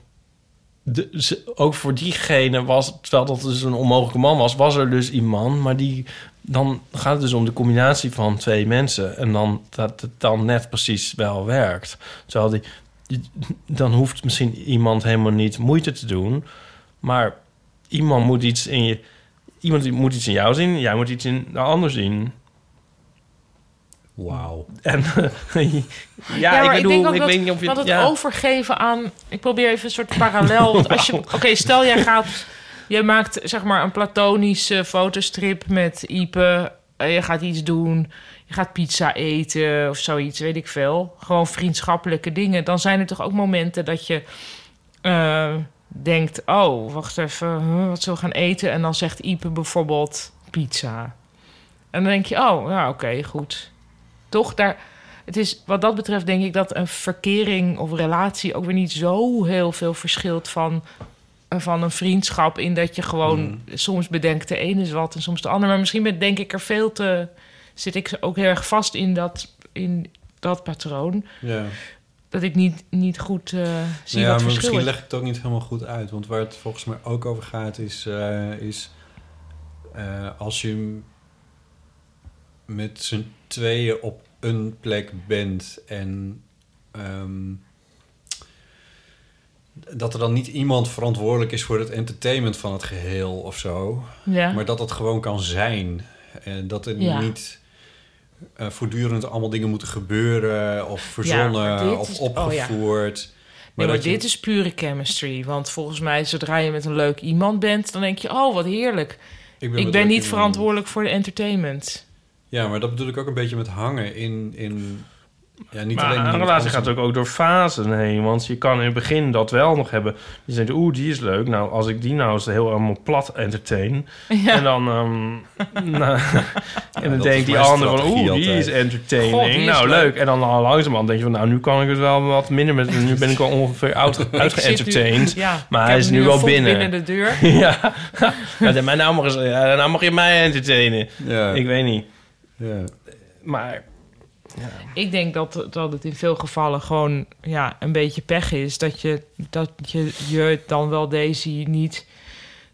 de, ze- ook voor diegene was, terwijl dat dus een onmogelijke man was, was er dus iemand, maar die dan gaat het dus om de combinatie van twee mensen en dan dat het dan net precies wel werkt. Terwijl die, die- dan hoeft misschien iemand helemaal niet moeite te doen, maar iemand moet iets in je, iemand die moet iets in jou zien, jij moet iets in de ander zien. Wauw. En <laughs> ja, maar ik bedoel, ik, denk ook dat, weet niet of je want het ja. overgeven aan... Ik probeer even een soort parallel. want <laughs> als je, Oké, stel jij gaat... Je maakt zeg maar een platonische fotostrip met Ipe. eh, je gaat iets doen. Je gaat pizza eten of zoiets, weet ik veel. Gewoon vriendschappelijke dingen. Dan zijn er toch ook momenten dat je... eh, denkt, oh, wacht even, huh, wat zullen we gaan eten? En dan zegt Ipe bijvoorbeeld pizza. En dan denk je, oh, ja, oké, goed. Toch, daar, het is, wat dat betreft denk ik dat een verkering of relatie... ook weer niet zo heel veel verschilt van, eh, van een vriendschap... in dat je gewoon soms bedenkt de ene is wat en soms de ander. Maar misschien ben- denk ik er veel te... zit ik ook heel erg vast in dat, in dat patroon... Ja. dat ik niet, niet goed eh, zie ja, wat het verschil maar misschien is. leg ik het ook niet helemaal goed uit. Want waar het volgens mij ook over gaat, is, eh, is eh, als je m- met z'n tweeën op een plek bent en ehm, dat er dan niet iemand verantwoordelijk is voor het entertainment van het geheel of zo. Ja. Maar dat het gewoon kan zijn. En dat er Ja. niet eh, voortdurend allemaal dingen moeten gebeuren of verzonnen maar dit of is- oh ja. opgevoerd. Nee, maar dat je- dit is pure chemistry. Want volgens mij, zodra je met een leuk iemand bent, dan denk je: oh, wat heerlijk. Ik Ik ben ben, met leuk niet iemand. verantwoordelijk voor de entertainment. Ja, maar dat bedoel ik ook een beetje met hangen in... in ja, niet maar alleen een iemand relatie anders- gaat ook, ook door fasen heen. Want je kan in het begin dat wel nog hebben. Je zegt, oeh, die is leuk. Nou, als ik die nou eens heel helemaal plat entertain. <laughs> Ja. En dan... ehm, <laughs> nou, en dan dat is denkt die mijn ander van, strategie oeh, die altijd. is entertaining. God, die is nou, leuk. leuk. En dan al langzamerhand denk je van, nou, nu kan ik het wel wat minder. Met, nu ben ik al <laughs> ongeveer oud- Ik uitgeëntertained. zit nu- ja, maar ik hij heb is nu een wel vod binnen. binnen de deur. <laughs> ja. ja, maar nou mag, eens- ja, nou mag je mij entertainen. Ik weet niet. Maar... Ik denk dat, dat het in veel gevallen gewoon ja, een beetje pech is. Dat je, dat je, je dan wel deze niet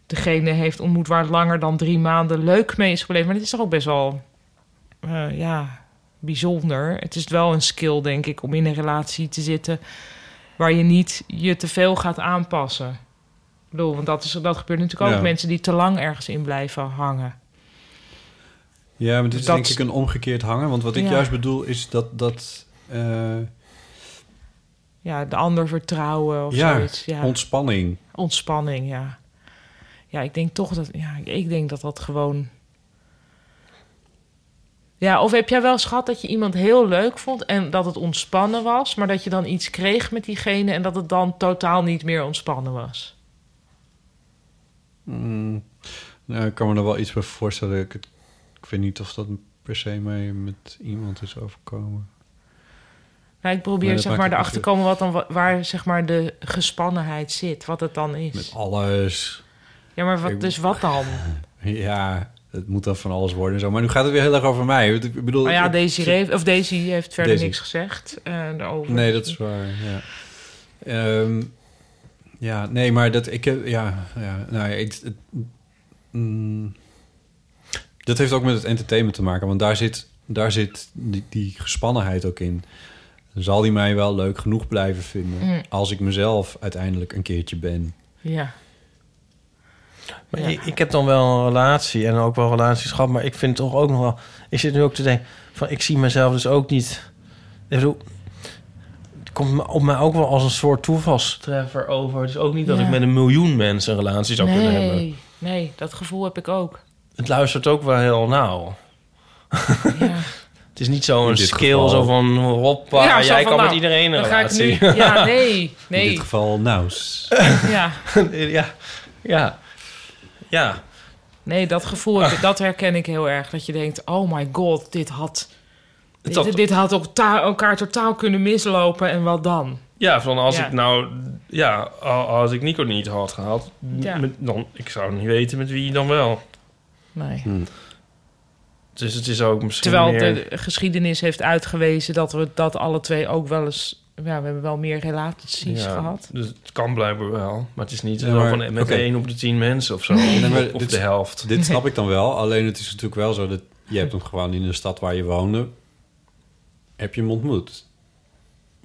degene heeft ontmoet waar het langer dan drie maanden leuk mee is gebleven. Maar het is toch ook best wel eh, ja, bijzonder. Het is wel een skill, denk ik, om in een relatie te zitten waar je niet je te veel gaat aanpassen. Ik bedoel, want dat, is, dat gebeurt natuurlijk ook Ja. mensen die te lang ergens in blijven hangen. Ja, maar dit is Dat- denk ik een omgekeerd hangen. Want wat ik Ja. juist bedoel is dat... dat eh, Ja, de ander vertrouwen of ja, zoiets. Ja, ontspanning. Ontspanning, ja. Ja, ik denk toch dat... Ja, ik denk dat dat gewoon... Ja, of heb jij wel schat dat je iemand heel leuk vond... en dat het ontspannen was... maar dat je dan iets kreeg met diegene... en dat het dan totaal niet meer ontspannen was? Mm, nou, ik kan me er wel iets bij voorstellen. Ik, het- ik weet niet of dat per se mij met iemand is overkomen. Nou, ik Nee, probeer dat zeg maakt maar het erachter te niet komen... Wat dan, wa- waar zeg maar de gespannenheid zit. Wat het dan is. Met alles. Ja, maar wat, Ik- dus wat dan? Ja, het moet dan van alles worden en zo. Maar nu gaat het weer heel erg over mij. Want Ik bedoel, Maar ja, ik- Daisy, heeft, of Daisy heeft verder Daisy. niks gezegd eh, daarover. Nee, dat is waar. Ja, Ehm, ja nee, maar dat ik heb. Ja, ja nou, ja, het, het- mm, dat heeft ook met het entertainment te maken, want daar zit, daar zit die, die gespannenheid ook in. Zal die mij wel leuk genoeg blijven vinden Mm. als ik mezelf uiteindelijk een keertje ben? Ja. Maar Ja. ik, ik heb dan wel een relatie en ook wel relaties gehad, maar ik vind toch ook nog wel. Ik zit nu ook te denken: van ik zie mezelf dus ook niet. Ik bedoel, het komt me- op mij ook wel als een soort toevalstreffer over. Het is ook niet dat Ja. ik met een miljoen mensen een relatie zou kunnen hebben. <laughs> nee, dat gevoel heb ik ook. Het luistert ook wel heel nauw. <laughs> Het is niet zo'n In dit skill geval. zo van hoppa, Ja, zo jij van, kan nou, met iedereen een dan ga ik relatie. nu- ja, nee, nee. In dit geval Naus. Ja. ja, ja, ja. Nee, dat gevoel, heb ik- dat herken ik heel erg. Dat je denkt, oh my god, dit had... Dit, had- dit had ook ta- elkaar totaal kunnen mislopen en wat dan? Ja, van als Ja. ik nou... Ja, a- als ik Nico niet had gehad... Ja. met- dan, ik zou niet weten met wie dan wel. Nee. Hm. Dus het is ook misschien Terwijl meer... de geschiedenis heeft uitgewezen dat we dat alle twee ook wel eens... Ja, we hebben wel meer relaties ja, gehad. Dus het kan blijkbaar wel. Maar het is niet Ja, zo maar- van eh, met oké. één op de tien mensen of zo. Nee, maar of dit- de helft. Dit snap ik dan wel. Alleen het is natuurlijk wel zo dat je hebt hem gewoon in de stad waar je woonde, heb je hem ontmoet.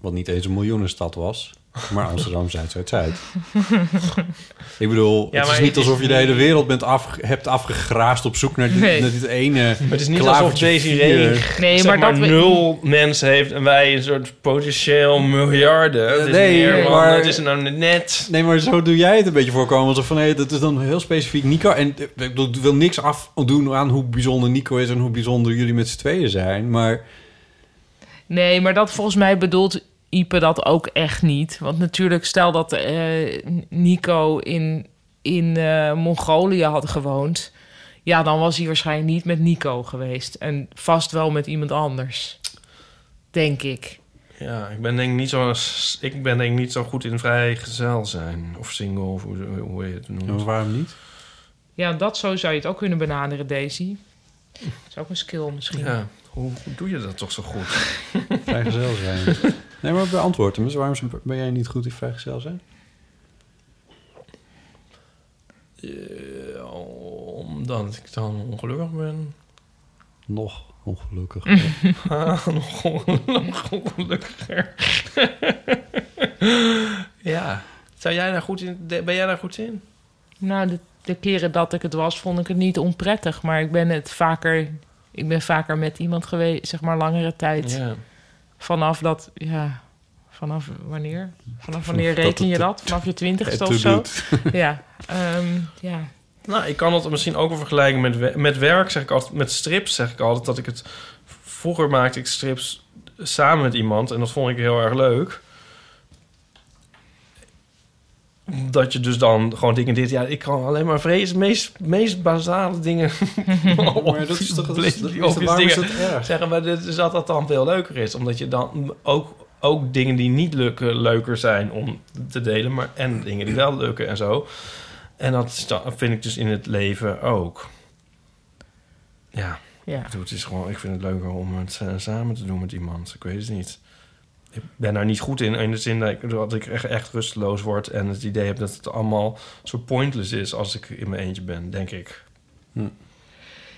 Wat niet eens een miljoenenstad was, maar Amsterdam zuid <laughs> zuid zuid. Ik bedoel, Ja, het is maar niet het is alsof je de niet- hele wereld bent afge- hebt afgegraasd op zoek naar dit, Nee. naar dit ene. Maar het is niet alsof Desiree Nee, nee, maar maar, dat we- nul mensen heeft... en wij een soort potentieel miljarden. Het is nee, meer van, maar- Het is nou net... Nee, maar zo doe jij het een beetje voorkomen. Alsof van, hé, dat is dan heel specifiek Nico. En eh, ik bedoel, ik wil niks afdoen aan hoe bijzonder Nico is... en hoe bijzonder jullie met z'n tweeën zijn. Maar Nee, maar dat volgens mij bedoelt Ipe dat ook echt niet. Want natuurlijk, stel dat eh, Nico in, in eh, Mongolië had gewoond... ja, dan was hij waarschijnlijk niet met Nico geweest. En vast wel met iemand anders. Denk ik. Ja, ik ben denk ik niet zo, ik ben denk ik niet zo goed in vrijgezel zijn. Of single, of hoe, hoe je het noemt. waarom niet? Ja, dat zo zou je het ook kunnen benaderen, Daisy. Dat is ook een skill misschien. Ja, hoe doe je dat toch zo <laughs> goed? vrijgezel zijn. <laughs> nee, maar beantwoord hem eens. Waarom ben jij niet goed in vrijgezel zijn? Eh, omdat ik dan ongelukkig ben. Nog ongelukkig. Ah, <laughs> nog on- nog ongelukkiger. <laughs> ja. Zou jij daar goed in, ben jij daar goed in? Nou, de, de keren dat ik het was, vond ik het niet onprettig. Maar ik ben het vaker, ik ben vaker met iemand geweest, zeg maar langere tijd. Ja. Vanaf dat, ja, vanaf wanneer? Vanaf wanneer dat reken je het- dat? Vanaf je twintigste het of zo? doet. <laughs> Ja, ehm, ja. Nou, ik kan dat misschien ook wel vergelijken met, we- met werk, zeg ik altijd. Met strips zeg ik altijd dat ik het... Vroeger maakte ik strips samen met iemand en dat vond ik heel erg leuk. Dat je dus dan gewoon dingen dit... Ja, ik kan alleen maar vrees, meest, meest basale dingen... <laughs> Maar dat is toch- dat is- dat is- obvious waarom is dingen dat erg? Zeggen, maar dit is dat dat dan veel leuker is. Omdat je dan ook, ook dingen die niet lukken, leuker zijn om te delen. Maar, en dingen die wel lukken en zo. En dat is dan- vind ik dus in het leven ook. Ja. Ja. Ik, bedoel, het is gewoon, ik vind het leuker om het eh, samen te doen met iemand. Ik weet het niet. Ik ben daar niet goed in. In de zin dat ik, dat ik echt, echt rusteloos word. En het idee heb dat het allemaal zo pointless is als ik in mijn eentje ben, denk ik.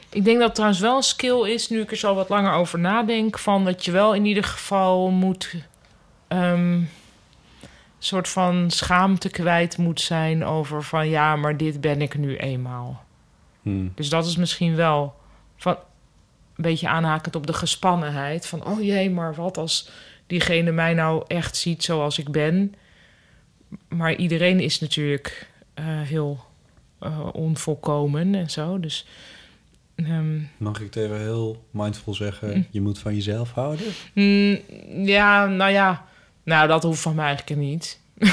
Ik denk dat het trouwens wel een skill is, nu ik er zo wat langer over nadenk, van dat je wel in ieder geval moet. ehm, een soort van schaamte kwijt moet zijn over van ja, maar dit ben ik nu eenmaal. Hm. Hmm. Dus dat is misschien wel van een beetje aanhakend op de gespannenheid van oh jee, maar wat als diegene mij nou echt ziet zoals ik ben. Maar iedereen is natuurlijk eh, heel eh, onvolkomen en zo. Dus ehm, Mag ik het even heel mindful zeggen? Mm. Je moet van jezelf houden. Mm, ja, nou ja. Nou, dat hoeft van mij eigenlijk niet. <laughs>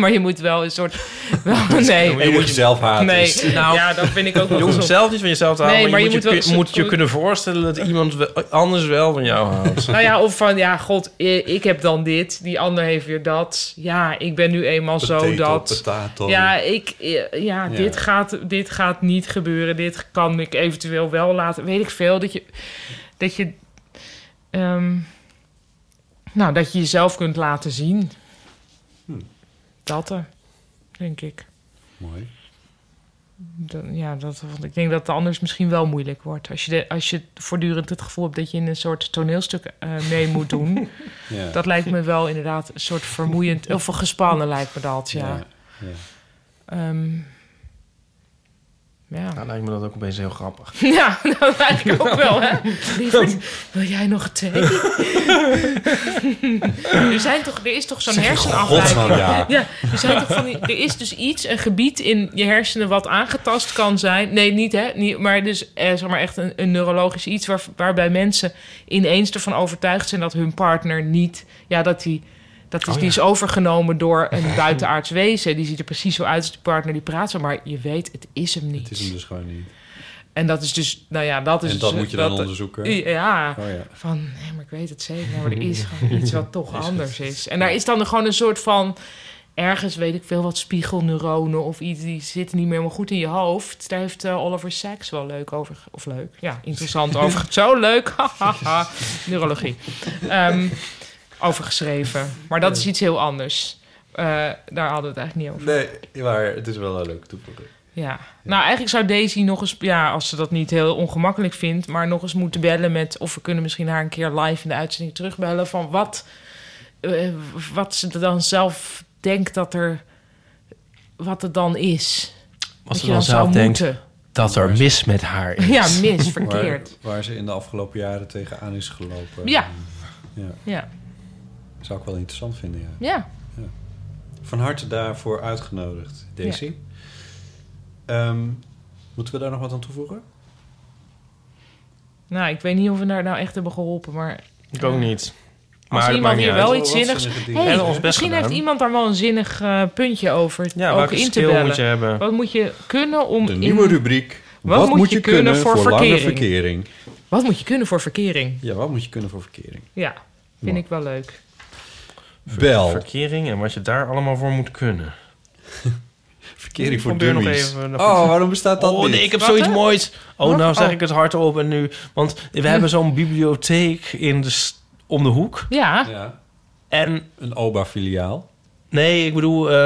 maar je moet wel een soort... <laughs> Wel, nee. Je moet jezelf haten. Nee, <laughs> Nou, ja, dat vind ik ook wel Je hoeft gezond. zelf niet van jezelf te Nee, houden, maar je, maar moet, je je, moet wel- kun- moet je kunnen voorstellen dat iemand we- anders wel van jou houdt. Nou ja, of van, ja, god, i- ik heb dan dit. Die ander heeft weer dat. Ja, ik ben nu eenmaal zo Potato, dat. potato. Ja, ik, i- ja, Dit, gaat, dit gaat niet gebeuren. Dit kan ik eventueel wel laten. Weet ik veel, dat je... Dat je ehm, nou, dat je jezelf kunt laten zien. Hm. Dat er, denk ik. Mooi. Dan- ja, dat, want ik denk dat het anders misschien wel moeilijk wordt. Als je, de, als je voortdurend het gevoel hebt dat je in een soort toneelstuk eh, mee moet doen. Ja. Dat lijkt me wel inderdaad een soort vermoeiend... Of Ehm, een gespannen lijkt me dat, ja. ja. Ehm, Ja. Nou, lijkt me dat ook opeens heel grappig. <laughs> Ja, dat eigenlijk ook wel, hè? Lieverd, wil jij nog <laughs> thee? er, zijn toch, er is toch zo'n Zeg in hersenafwijking? godsnaam ja. er, zijn toch van die- er is dus iets, een gebied in je hersenen wat aangetast kan zijn. Nee, niet hè, niet, maar dus eh, zeg maar echt een, een neurologisch iets... Waar, waarbij mensen ineens ervan overtuigd zijn dat hun partner niet... Ja, dat die... Dat is, Oh, Die ja. is overgenomen door <laughs> <laughs> een buitenaards wezen. Die ziet er precies zo uit als die partner die praat. zo, Maar je weet, het is hem niet. Het is hem dus gewoon niet. En dat is dus, nou ja, dat is En dat dus- moet je dan onderzoeken? Ja, Oh ja. van nee, maar ik weet het zeker, maar er <laughs> is gewoon iets wat toch Is het- anders is. En daar is dan gewoon een soort van, ergens weet ik veel wat, spiegelneuronen of iets, die zitten niet meer helemaal goed in je hoofd. Daar heeft eh, Oliver Sacks wel leuk over, ge- of leuk, ja, interessant over, zo leuk, <laughs> hahaha, neurologie, Ehm over geschreven. Maar dat is iets heel anders. Eh, daar hadden we het eigenlijk niet over. Nee, maar het is wel een leuke toevoeging. Ja. nou eigenlijk zou Daisy nog eens, ja, als ze dat niet heel ongemakkelijk vindt, maar nog eens moeten bellen met, of we kunnen misschien haar een keer live in de uitzending terugbellen van wat, eh, wat ze er dan zelf denkt dat er, wat het dan is. Als je ze dan zou zelf denkt moeten. dat er mis met haar is. <laughs> Ja, mis, verkeerd. Waar, waar ze in de afgelopen jaren tegenaan is gelopen. Ja. ja. Ja. Zou ik wel interessant vinden, ja. Ja. Ja. Van harte daarvoor uitgenodigd, Daisy. Ja. Ehm, moeten we daar nog wat aan toevoegen? Nou, ik weet niet of we daar nou echt hebben geholpen, maar... Ik ook niet. Maar Als het iemand maakt niet hier uit. wel iets Wat zinnigs... zinnige dingen. We Hey, hebben ons best misschien gedaan. heeft iemand daar wel een zinnig eh, puntje over. Ja, ook welke in te skill bellen. moet je hebben? Wat moet je kunnen om... De in- nieuwe rubriek. Wat, moet je kunnen, voor, lange verkering? verkering? Wat moet je kunnen voor verkering? Ja, wat moet je kunnen voor verkering? Ja, vind ik wel leuk. Bel. Verkering en wat je daar allemaal voor moet kunnen. <laughs> Verkering voor Probeer nog dummies. even- Oh, waarom bestaat dat Oh, niet? nee, ik heb Wat, zoiets hè? moois. Oh, Wat? nou zeg Oh. ik het hardop en nu. Want we hebben zo'n bibliotheek in de s- om de hoek. Ja. En... Een OBA-filiaal. Nee, ik bedoel, eh,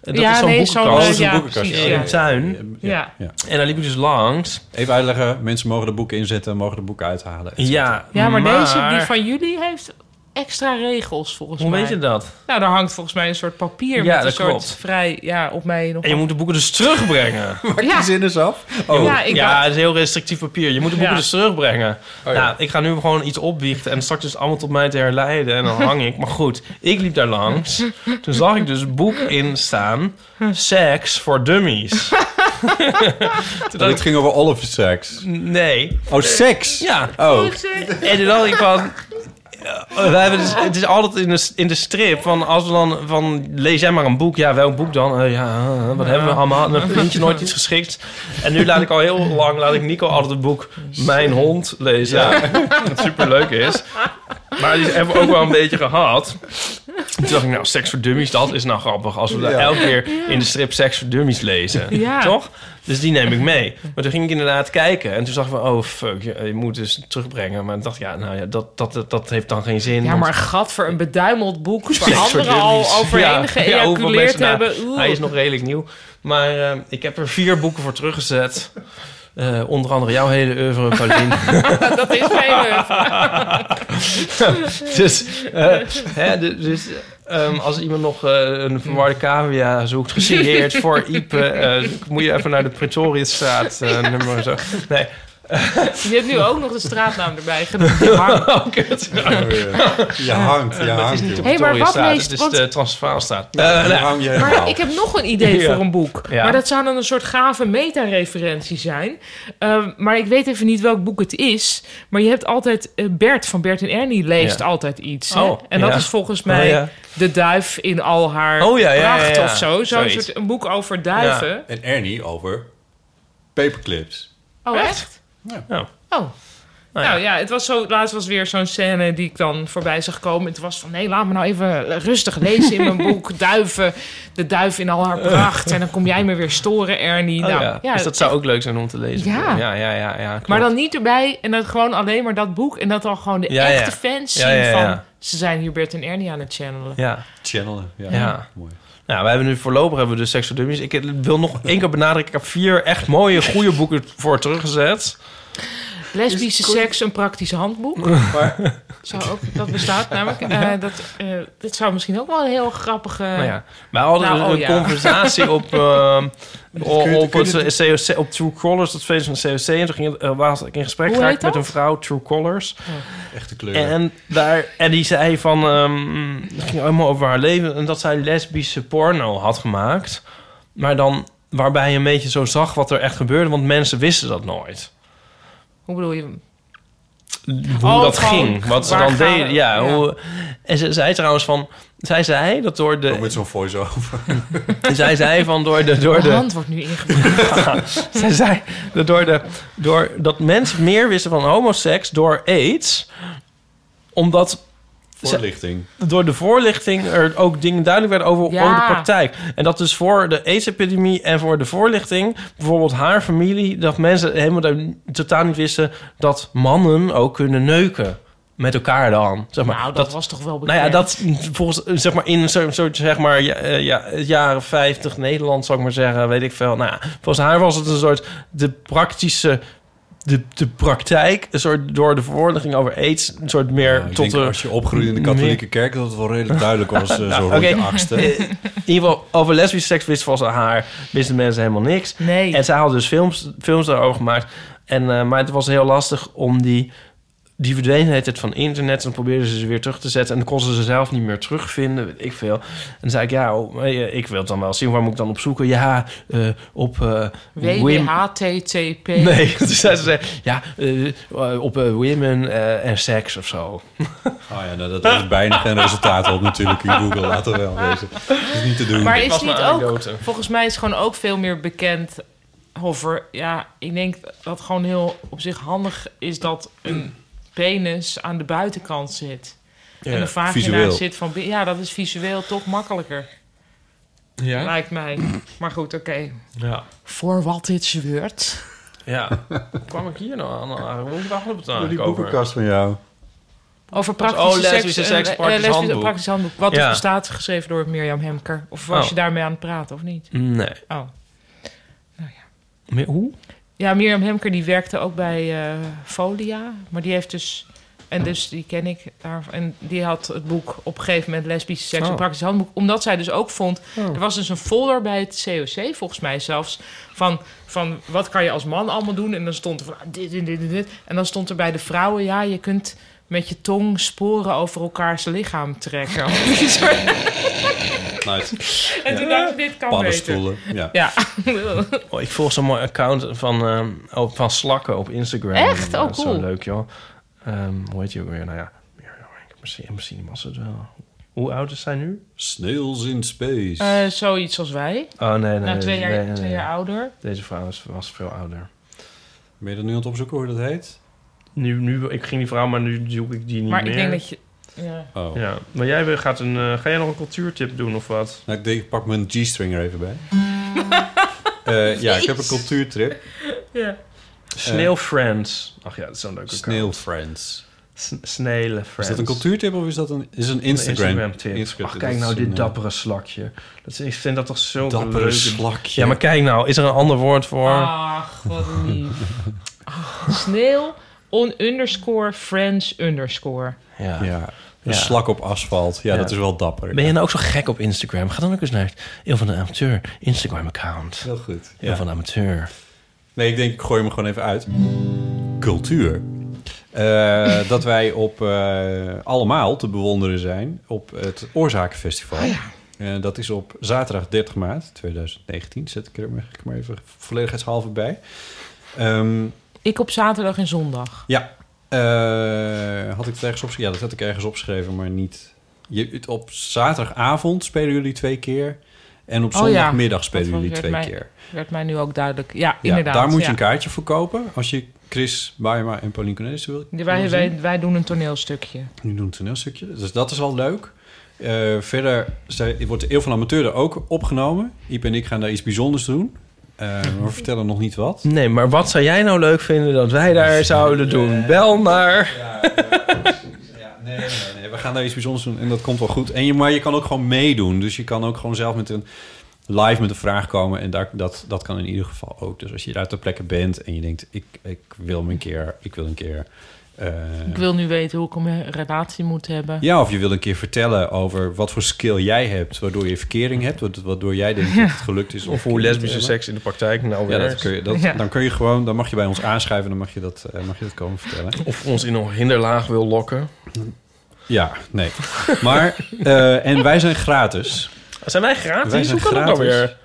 dat Ja, is zo'n nee, zo'n, boekenkast. eh, ja, precies, in ja. de tuin. Ja. En daar liep ik dus langs. Even uitleggen, mensen mogen de boeken inzetten en mogen de boeken uithalen. et Ja, cetera. Ja, maar, deze die van jullie heeft extra regels volgens Hoe mij. weet je dat? Nou, daar hangt volgens mij een soort papier Ja, met een dat soort klopt. vrij ja op mij nog. En je moet de boeken dus <laughs> terugbrengen. Maak Ja. die zin eens af. Oh. Ja, Ja, ik dacht- het is heel restrictief papier. Je moet de boeken Ja. dus terugbrengen. ja. Nou, ik ga nu gewoon iets opbiechten en straks is het allemaal tot mij te herleiden en dan hang ik. Maar goed, ik liep daar langs. Toen zag ik dus boek in staan: Seks voor Dummies. Toen Dat het dacht ik, ging over Oliver Sacks. Nee. Oh, seks? Ja. Oh. En toen dacht ik van... eh, wij hebben dus- het is altijd in de, in de strip van als we dan van lees jij maar een boek, ja welk boek dan? Eh, ja, eh, wat hebben we allemaal? Mijn vriendje nooit iets geschikt. En nu laat ik al heel lang laat ik Nico altijd het boek Mijn hond lezen, <laughs> wat superleuk is. Maar die hebben we ook wel een beetje gehad. Toen dacht ik nou seks voor dummies, dat is nou grappig als we daar Ja. elke keer in de strip seks voor dummies <laughs> lezen, Ja. toch? Dus die neem ik mee. Maar toen ging ik inderdaad kijken. En toen zag ik van, oh fuck, je, je moet dus terugbrengen. Maar ik dacht, ja, nou ja, dat, dat, dat, dat heeft dan geen zin. Ja, maar gat voor een beduimeld <laughs> boek <laughs> waar anderen al overheen geëjaculeerd hebben. Oeh. nou, hij is nog redelijk nieuw. Maar eh, ik heb er vier boeken voor teruggezet. Eh, onder andere jouw hele oeuvre, Paulien. <laughs> dat is mijn <laughs> dus eh, hè, du- dus ehm, als iemand nog eh, een verwarde cavia zoekt, gesigneerd voor Ipe, eh, moet je even naar de Pretoriusstraat eh, nummer zo. Nee. <laughs> Je hebt nu ook nog de straatnaam erbij <laughs> genoemd. Je hangt. Oh, kut. <laughs> Je hangt, je Het hangt, is niet joh. de Hey, maar wat Pretoriusstraat, leest- het is want- de Transvaalstraat. Ja, Eh, je nee. hang je Maar ik heb nog een idee Ja. voor een boek. Ja. Maar dat zou dan een soort gave meta-referentie zijn. Ehm, maar ik weet even niet welk boek het is. Maar je hebt altijd... eh, Bert van Bert en Ernie leest Ja. altijd iets. hè? Oh, en dat ja. is volgens Oh, mij ja. de duif in al haar Oh, ja, ja, ja, pracht ja. of zo. Zo'n Zoiets. soort een boek over duiven. Ja. En Ernie over paperclips. Oh, echt? Ja. Oh. Nou, ja. het was zo, laatst was weer zo'n scène die ik dan voorbij zag komen. Het was van, nee, laat me nou even rustig lezen in <laughs> mijn boek. Duiven, de duif in al haar pracht. En dan kom jij me weer storen, Ernie. Eh. Oh, nou, ja. dus dat zou ook leuk zijn om te lezen. Ja. ja, ja, ja, ja, klopt. Maar dan niet erbij en dan gewoon alleen maar dat boek. En dat dan gewoon de Ja, ja. echte fans zien Ja, ja, ja. van... Ze zijn hier Bert en Ernie aan het channelen. Ja. Channelen, ja. Mooi. Nou, we hebben nu voorlopig hebben we dus Sex for Dummies. Ik wil nog één keer benadrukken. Ik heb vier echt mooie, goede boeken voor teruggezet. Lesbische Dus kon- seks, een praktisch <laughs> handboek. Maar- Zou ook, dat bestaat namelijk. Eh, dat, eh, dit zou misschien ook wel een heel grappige... Nou ja, wij hadden Nou, een, oh een ja. <laughs> conversatie op, ehm, o- kun je- op, kun het je eh, COC, op True Colors, dat feest van de COC. En toen ging, eh, was ik in gesprek Hoe geraakt heet met dat? een vrouw, True Colors. Oh. Echte En, daar, en die zei van, ehm, het ging helemaal over haar leven. En dat zij lesbische porno had gemaakt. Maar dan waarbij je een beetje zo zag wat er echt gebeurde. Want mensen wisten dat nooit. Hoe bedoel je? hoe Oh, dat gewoon, ging. Wat ze waar dan gaan we? deden. Ja, Ja. Hoe, en ze zei trouwens van... Zij zei dat door de... Ook met zo'n voice-over. <laughs> zij zei van door de... Door Mijn de hand wordt nu ingebracht. <laughs> zij zei dat, door de, door, dat mensen meer wisten van homoseks door AIDS. Omdat... ze- Voorlichting. door de voorlichting er ook dingen duidelijk werden over, Ja. over de praktijk. En dat dus voor de AIDS-epidemie en voor de voorlichting, bijvoorbeeld haar familie, dat mensen helemaal daar totaal niet wisten dat mannen ook kunnen neuken. Met elkaar dan. Zeg maar. Nou, dat was toch wel Nou ja, bekend? dat volgens eh, zeg maar in een soort, soort, zeg maar ja, eh, ja, jaren 50 Nederland, zou ik maar zeggen, weet ik veel. Nou ja, volgens haar was het een soort de praktische. De, de praktijk, een soort door de verordening over aids, een soort meer ik tot denk de- als je opgroeit in de katholieke kerk, dat het wel redelijk duidelijk was, <laughs> eh, zo rond oké. je achtste. Eh, In ieder geval, over lesbische seks wist volgens haar, wisten mensen helemaal niks. Nee. En zij had dus films, films daarover gemaakt. En, eh, maar het was heel lastig om die, die verdwenen het van internet. En dan probeerden ze ze weer terug te zetten. En dan konden ze ze zelf niet meer terugvinden, weet ik veel. En dan zei ik, ja, oh, eh, ik wil het dan wel zien. Waar moet ik dan op zoeken? Ja, eh, op eh Wim- WWHTTP. Nee, <laughs> dus zij zei, ja, eh, eh, op eh, women eh, en seks of <laughs> zo. Oh ja, nou, dat is bijna geen resultaat op natuurlijk in Google. Laten we wel wezen. Dat is niet <laughs> te doen. Maar is niet ook... eh, Volgens mij is gewoon ook veel meer bekend... Hoffer, ja, ik denk dat gewoon heel op zich handig is dat een <clears throat> penis aan de buitenkant zit. Ja, en een vagina visueel. zit van... bi- Ja, dat is visueel toch makkelijker. Ja. Lijkt mij. Maar goed, oké. Ja. Voor wat dit zweurt. Ja. Hoe kwam ik hier nou aan? Hoe hadden we het Door die eigenlijk over? boekenkast van jou. Over Dat is- praktische oh, lesbische seks, seks, eh, eh, praktisch lesbische- handboek. praktisch handboek. Wat Ja. dus bestaat, geschreven door Mirjam Hemker. Of was Oh. je daarmee aan het praten, of niet? Nee. Oh. Maar Hoe? Ja, Mirjam Hemker die werkte ook bij eh Folia. Maar die heeft dus... En dus die ken ik daar. En die had het boek op een gegeven moment lesbische seks Oh. en praktisch handboek. Omdat zij dus ook vond... Oh. Er was dus een folder bij het COC, volgens mij zelfs. Van, van wat kan je als man allemaal doen? En dan stond er van ah, dit en dit en dit. En dan stond er bij de vrouwen... Ja, je kunt met je tong sporen over elkaars lichaam trekken. Of iets soort- <laughs> Nice. En toen dacht ik, dit kan Paddenstoelen, beter. ja. ja. <laughs> Oh, ik volg zo'n mooi account van, ehm, oh, van slakken op Instagram. Echt? Oh, Dat is Zo cool. leuk, joh. Ehm, hoe heet je ook weer? Nou ja, misschien, misschien was het wel. Hoe oud is zij nu? Snails in space. Eh, zoiets als wij. Oh, nee, nee. Nou, twee nee, jaar, nee, nee. twee jaar ouder. Deze vrouw is- was veel ouder. Ben je dat nu aan het opzoeken hoe dat heet? Nu, nu, ik ging die vrouw, maar nu zoek ik die niet Maar meer. ik denk dat je... Ja. Oh. Ja, maar jij wil- gaat een, eh, ga jij nog een cultuurtip doen of wat? Nou, ik denk, ik pak mijn G-string er even bij. Eh, ja, ik heb een cultuurtrip. Eh, Ja. Snail Friends. Ach ja, dat is zo'n leuke account. Snail Friends. Snelen Friends. Is dat een cultuurtip of is dat een, is een Instagram? tip. Instagram- Ach, dat kijk is nou een, dit eh, dappere slakje. Dat is, ik vind dat toch zo Dappere slakje. Ja, maar kijk nou. Is er een ander woord voor? Ach, wat lief. Sneeuw on underscore friends underscore. Ja. Ja. Een Ja. slak op asfalt. Ja, Ja. dat is wel dapper. Ben je nou ook zo gek op Instagram? Ga dan ook eens naar het Eel van de Amateur Instagram-account. Heel goed. Eel Ja. van de Amateur. Nee, ik denk ik gooi hem gewoon even uit. Cultuur. Eh, <laughs> dat wij op eh, allemaal te bewonderen zijn op het Oorzakenfestival. Ah, Eh, dat is op zaterdag 30 maart 2019. Zet ik er maar, ik maar even volledigheidshalve bij. Ehm, Ik op zaterdag en zondag. ja. Eh, had ik het ergens opgeschreven? Ja, dat had ik ergens opgeschreven, maar niet. Je, het- op zaterdagavond spelen jullie twee keer. En Oh op ja, zondagmiddag spelen dat jullie werd twee mij- keer. Werd mij nu ook duidelijk. Ja, Ja, inderdaad. daar moet je ja. een kaartje voor kopen. Als je Chris, Baima en Pauline Cornelissen wil, wil Wij, zien. wij, wij doen een toneelstukje. Nu doen we een toneelstukje. Dus dat is al leuk. Eh, verder zij- wordt de Eeuw van de Amateur er ook opgenomen. Iep en ik gaan daar iets bijzonders doen. <laughs> Eh, we vertellen nog niet wat. Nee, maar wat zou jij nou leuk vinden dat wij daar zouden doen? Bel naar... Nee, we gaan daar iets bijzonders doen en dat komt wel goed. En je, maar je kan ook gewoon meedoen. Dus je kan ook gewoon zelf met een live met een vraag komen. En daar, dat, dat kan in ieder geval ook. Dus als je daar ter plekke bent en je denkt, ik, ik wil me een keer, ik wil een keer. eh, Ik wil nu weten hoe ik een relatie moet hebben. Ja, of je wil een keer vertellen over wat voor skill jij hebt, waardoor je verkering hebt, wa- waardoor jij denkt dat het gelukt is. Of een hoe kind te lesbische hebben. seks in de praktijk nou ja, dat werkt. kun je, dat, Ja. Dan kun je gewoon, dan mag je bij ons aanschuiven, dan mag je dat, eh, mag je dat komen vertellen. Of ons in een hinderlaag wil lokken. Ja, nee. Maar, eh, en wij zijn gratis. Zijn wij gratis? Wij zijn Hoe kan dat nou gratis. weer?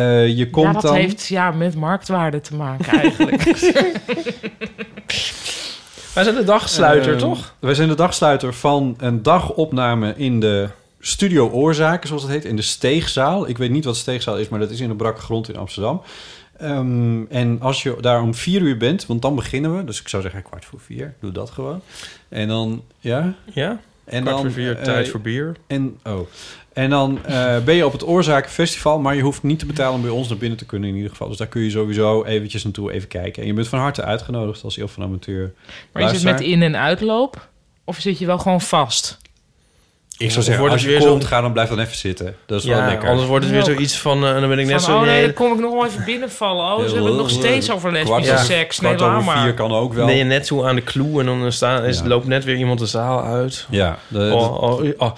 Eh, je komt ja, dat dan... heeft ja, met marktwaarde te maken <laughs> eigenlijk. Wij zijn de dagsluiter, Eh, toch? Wij zijn de dagsluiter van een dagopname in de Studio Oorzaken, zoals het heet, in de Steegzaal. Ik weet niet wat Steegzaal is, maar dat is in de brakke grond in Amsterdam. Ehm, en als je daar om vier uur bent, want dan beginnen we. Dus ik zou zeggen kwart voor vier, doe dat gewoon. En dan, ja? Ja, En kwart voor vier, tijd eh, voor bier. En, oh. En dan eh, ben je op het Oorzakenfestival, maar je hoeft niet te betalen om bij ons naar binnen te kunnen in ieder geval. Dus daar kun je sowieso eventjes naartoe even kijken. En je bent van harte uitgenodigd als heel van amateur. Maar is het luisteraar. met in- en uitloop? Of zit je wel gewoon vast? Ik Of zou zeggen, wordt als het je weer komt, zo'n- ga dan blijf dan even zitten. Dat is wel Ja, lekker. anders wordt het weer zoiets van... eh, dan ben ik net Van, zo... oh nee, nee, dan kom ik nog wel even binnenvallen. Oh, ze hebben het nog steeds over lesbische Ja, seks. Nee, laat maar. Ben je net zo aan de clue en dan eh, staan, is, loopt net weer iemand de zaal uit. Ja, de- oh, oh, oh,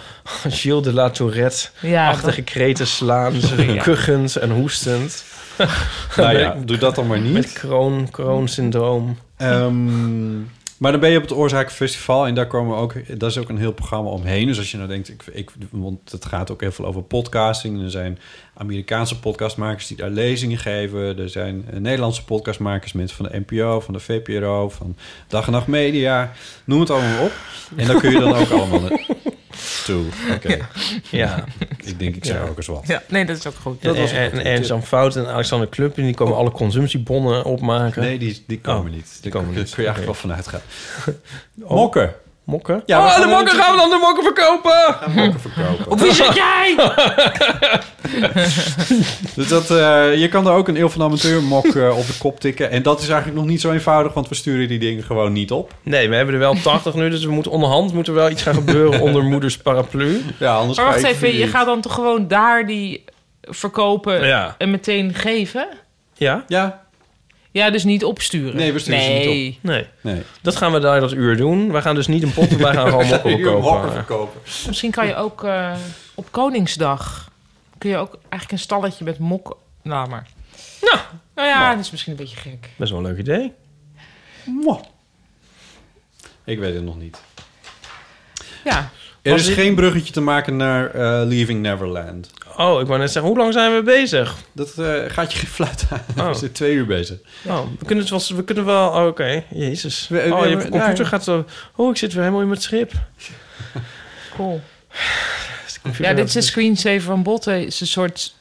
<laughs> Gilles de la Tourette. Ja, achtige kreten slaand, <laughs> Ja. kuchend en hoestend. <laughs> <laughs> Nou ja, doe dat dan maar niet. Met kroon, kroonsyndroom. Ehm, maar dan ben je op het Oorzakenfestival en daar komen ook, daar is ook een heel programma omheen. Dus als je nou denkt, ik, ik, want het gaat ook heel veel over podcasting. En Er zijn Amerikaanse podcastmakers die daar lezingen geven. Er zijn eh, Nederlandse podcastmakers, mensen van de NPO, van de VPRO, van Dag en Nacht Media. Noem het allemaal op. En daar kun je dan ook allemaal toe. Oké. Ja. Ik denk, ik zeg Ja. ook eens wat. Ja, nee, dat is ook goed. Dat Dat en, was was een en, goede en tip. Jan Fout en Alexander Club, en die komen alle consumptiebonnen opmaken. Nee, die, die komen Oh, niet. Die komen Daar niet. Oh. kun je eigenlijk wel vanuit <laughs> gaan. Mokken. Mokken? Ja, we oh, gaan de er mokken gaan we dan de mokken verkopen! mokken verkopen. Op wie zit jij? <laughs> Dus dat, eh, je kan er ook een Eeuw van de Amateur mok eh, op de kop tikken. En dat is eigenlijk nog niet zo eenvoudig, want we sturen die dingen gewoon niet op. Nee, we hebben er wel 80 nu, dus we moeten onderhand moet er wel iets gaan gebeuren onder <laughs> moeders Dus paraplu. Ja, anders Maar wacht even, je gaat dan toch gewoon daar die verkopen Ja. en meteen geven? Ja? Ja. Ja, dus niet opsturen. Nee, we sturen ze niet op. Nee. Nee. Dat gaan we daar dat uur doen. Wij gaan dus niet een pot, wij gaan <laughs> gewoon mokken Uur verkopen. mokken verkopen. Misschien kan je ook eh, op Koningsdag... kun je ook eigenlijk een stalletje met mok... Nou, maar... Nou, nou ja, Nou. dat is misschien een beetje gek. Best wel een leuk idee. Oh, Ik weet het nog niet. Ja. Er Was is dit- geen bruggetje te maken naar eh, Leaving Neverland. Oh, ik wou net zeggen, hoe lang zijn we bezig? Dat eh, gaat je geen fluit aan. Dus- <laughs> Oh. We zitten twee uur bezig. Oh, we kunnen het wel... We kunnen wel oh, Oké, jezus. we oh, je hebben- nou computer daar- gaat zo... Oh, ik zit weer helemaal in mijn schip. Cool. computer Ja, dit is had- een screensaver van Botten. Het is een soort...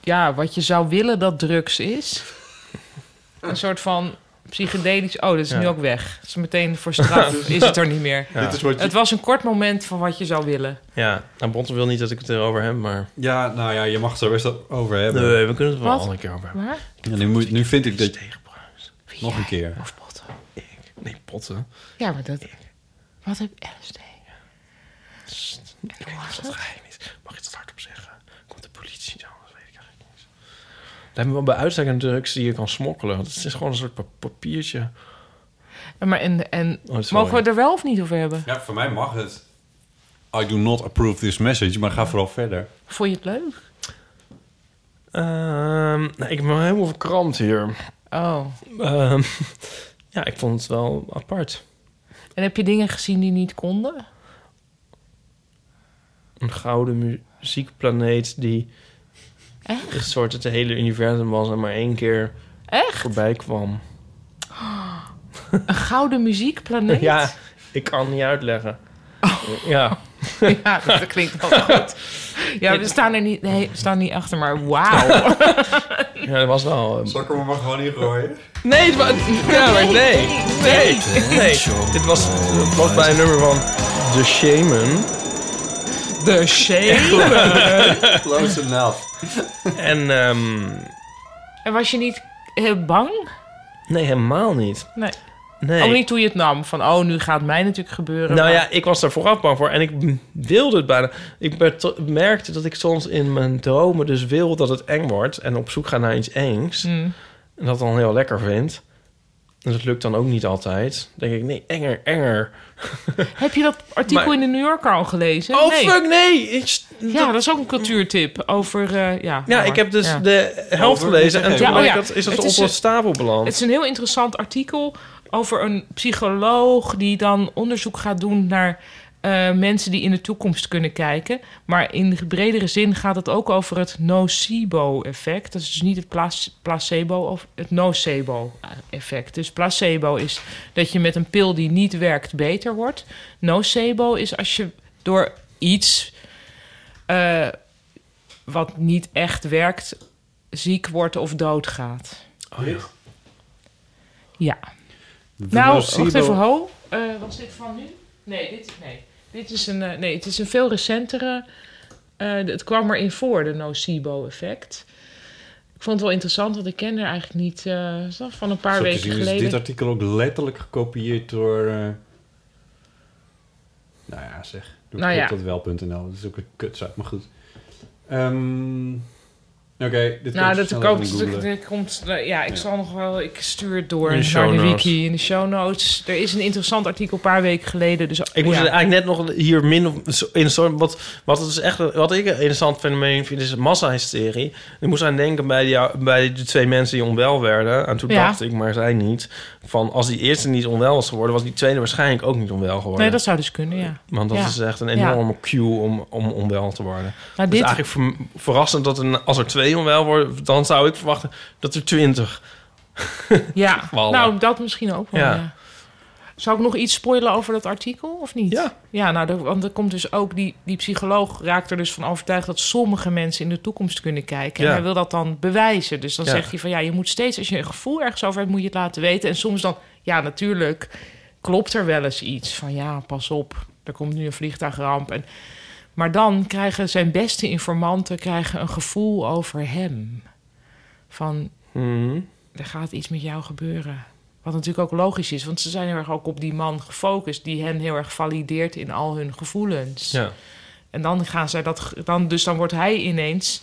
Ja, wat je zou willen dat drugs <laughs> is. Een soort van psychedelisch... Oh, dat is Ja. nu ook weg. Dat is meteen voor <laughs> straf. is het er niet meer. Ja. Dit is wat je- Het was een kort moment van wat je zou willen. Ja, nou, Bonte wil niet dat ik het erover heb, maar... Ja, nou ja, je mag het er best over hebben. Nee, we kunnen het wel Wat? een andere keer over hebben. Waar? Ja, nu, moet, nu vind ik dat... Nog een keer. Of potten. Nee, potten. Ja, maar dat... Wat heb LSD? Ik weet niet of dat geheim is. Mag ik dat hardop zeggen? Komt de politie en zo, dat weet ik eigenlijk niet. Dat hebben we wel bij uitstek een drugs die je kan smokkelen. Het is gewoon een soort pa- papiertje. En Maar en, en dat is wel mogen we het er wel of niet over hebben? Ja, voor mij mag het. I do not approve this message, maar ga vooral verder. Vond je het leuk? Ehm, nou, ik ben wel helemaal verkrampt hier. Oh. Ehm, <laughs> ja, ik vond het wel apart. En heb je dingen gezien die niet konden? Een gouden muziekplaneet die... Echt? Een soort het hele universum was en maar één keer voorbij kwam. <gasps> Een gouden muziekplaneet? <laughs> Ja, ik kan niet uitleggen. Oh. Ja. <laughs> Ja, dat klinkt wel goed. Ja, we staan er niet, nee, we staan niet achter, maar wauw. Ja, dat was wel... eh, Zal ik hem maar gewoon ingooien? <laughs> Nee, <laughs> het was, ja, maar nee. Nee, nee. Dit was, dit was bij een nummer van The Shaman. <laughs> The Shaman. <laughs> Close enough. En, ehm En was je niet heel bang? nee, helemaal niet. Nee. Nee. Ook niet toen je het nam. Van, oh, nu gaat mij natuurlijk gebeuren. Nou maar- ja, ik was daar vooraf bang voor en ik wilde het bijna. Ik werd to- merkte dat ik soms in mijn dromen dus wil dat het eng wordt en op zoek ga naar iets engs. Mm. En dat dan heel lekker vind. En dat lukt dan ook niet altijd. Dan denk ik, nee, enger, enger. <laughs> Heb je dat artikel Maar- in de New Yorker al gelezen? Oh, fuck, nee! ja, dat... is ook een cultuurtip over... eh, ja, Ja, maar- ik heb dus ja. de helft gelezen en toen Ja, oh ben ik ja, dat, is dat het op een- een stapel beland. Het is een heel interessant artikel over een psycholoog die dan onderzoek gaat doen naar eh, mensen die in de toekomst kunnen kijken. Maar in de bredere zin gaat het ook over het nocebo-effect. Dat is dus niet het pla- placebo of het nocebo-effect. Dus placebo is dat je met een pil die niet werkt beter wordt. Nocebo is als je door iets eh, wat niet echt werkt ziek wordt of doodgaat. Oh, ja. Ja. De nou, nocebo- wacht even, ho. Eh, was dit van nu? Nee, dit, nee. dit is een, eh, nee, het is een veel recentere... eh, het kwam erin voor, de nocebo-effect. Ik vond het wel interessant, want ik ken er eigenlijk niet... eh, is dat van een paar Zo te weken zien geleden. Is dit artikel ook letterlijk gekopieerd door. eh, nou ja, zeg. Door Nou ja. wel.nl. Dat is ook een kutsite, maar goed. Ehm, Oké, nou, dit kan ik dat snel komt, even niet googlen. dat komt... eh, Ja, ik Ja. zal nog wel... Ik stuur het door In de naar show de notes. wiki, in de show notes. Er is een interessant artikel een paar weken geleden. Dus, Ik moest ja. het eigenlijk net nog hier min of zo- in soort wat wat het is echt wat ik een interessant fenomeen vind is massahysterie. Ik moest aan denken bij die, bij de twee mensen die onwel werden en toen Ja. dacht ik maar zij niet van als die eerste niet onwel was geworden was die tweede waarschijnlijk ook niet onwel geworden. Nee, dat zou dus kunnen, ja. Want dat Ja. is echt een Ja. enorme cue om, om onwel te worden. Maar Het is dit- eigenlijk ver- verrassend dat een, als er twee onwel worden, dan zou ik verwachten dat er twintig. <laughs> Ja, Vallen. nou dat misschien ook wel. Ja. Ja. Zou ik nog iets spoilen over dat artikel of niet? Ja, ja nou, er- want er komt dus ook die, die psycholoog raakt er dus van overtuigd dat sommige mensen in de toekomst kunnen kijken. Ja. En hij wil dat dan bewijzen. Dus dan Ja. zegt hij van ja, je moet steeds als je een gevoel ergens over hebt, moet je het laten weten. En soms dan, ja, natuurlijk klopt er wel eens iets van ja, pas op, er komt nu een vliegtuigramp. En, maar dan krijgen zijn beste informanten krijgen een gevoel over hem. Van Mhm. er gaat iets met jou gebeuren. Wat natuurlijk ook logisch is, want ze zijn heel erg ook op die man gefocust, die hen heel erg valideert in al hun gevoelens. Ja. En dan gaan zij dat, ge- dan, dus dan wordt hij ineens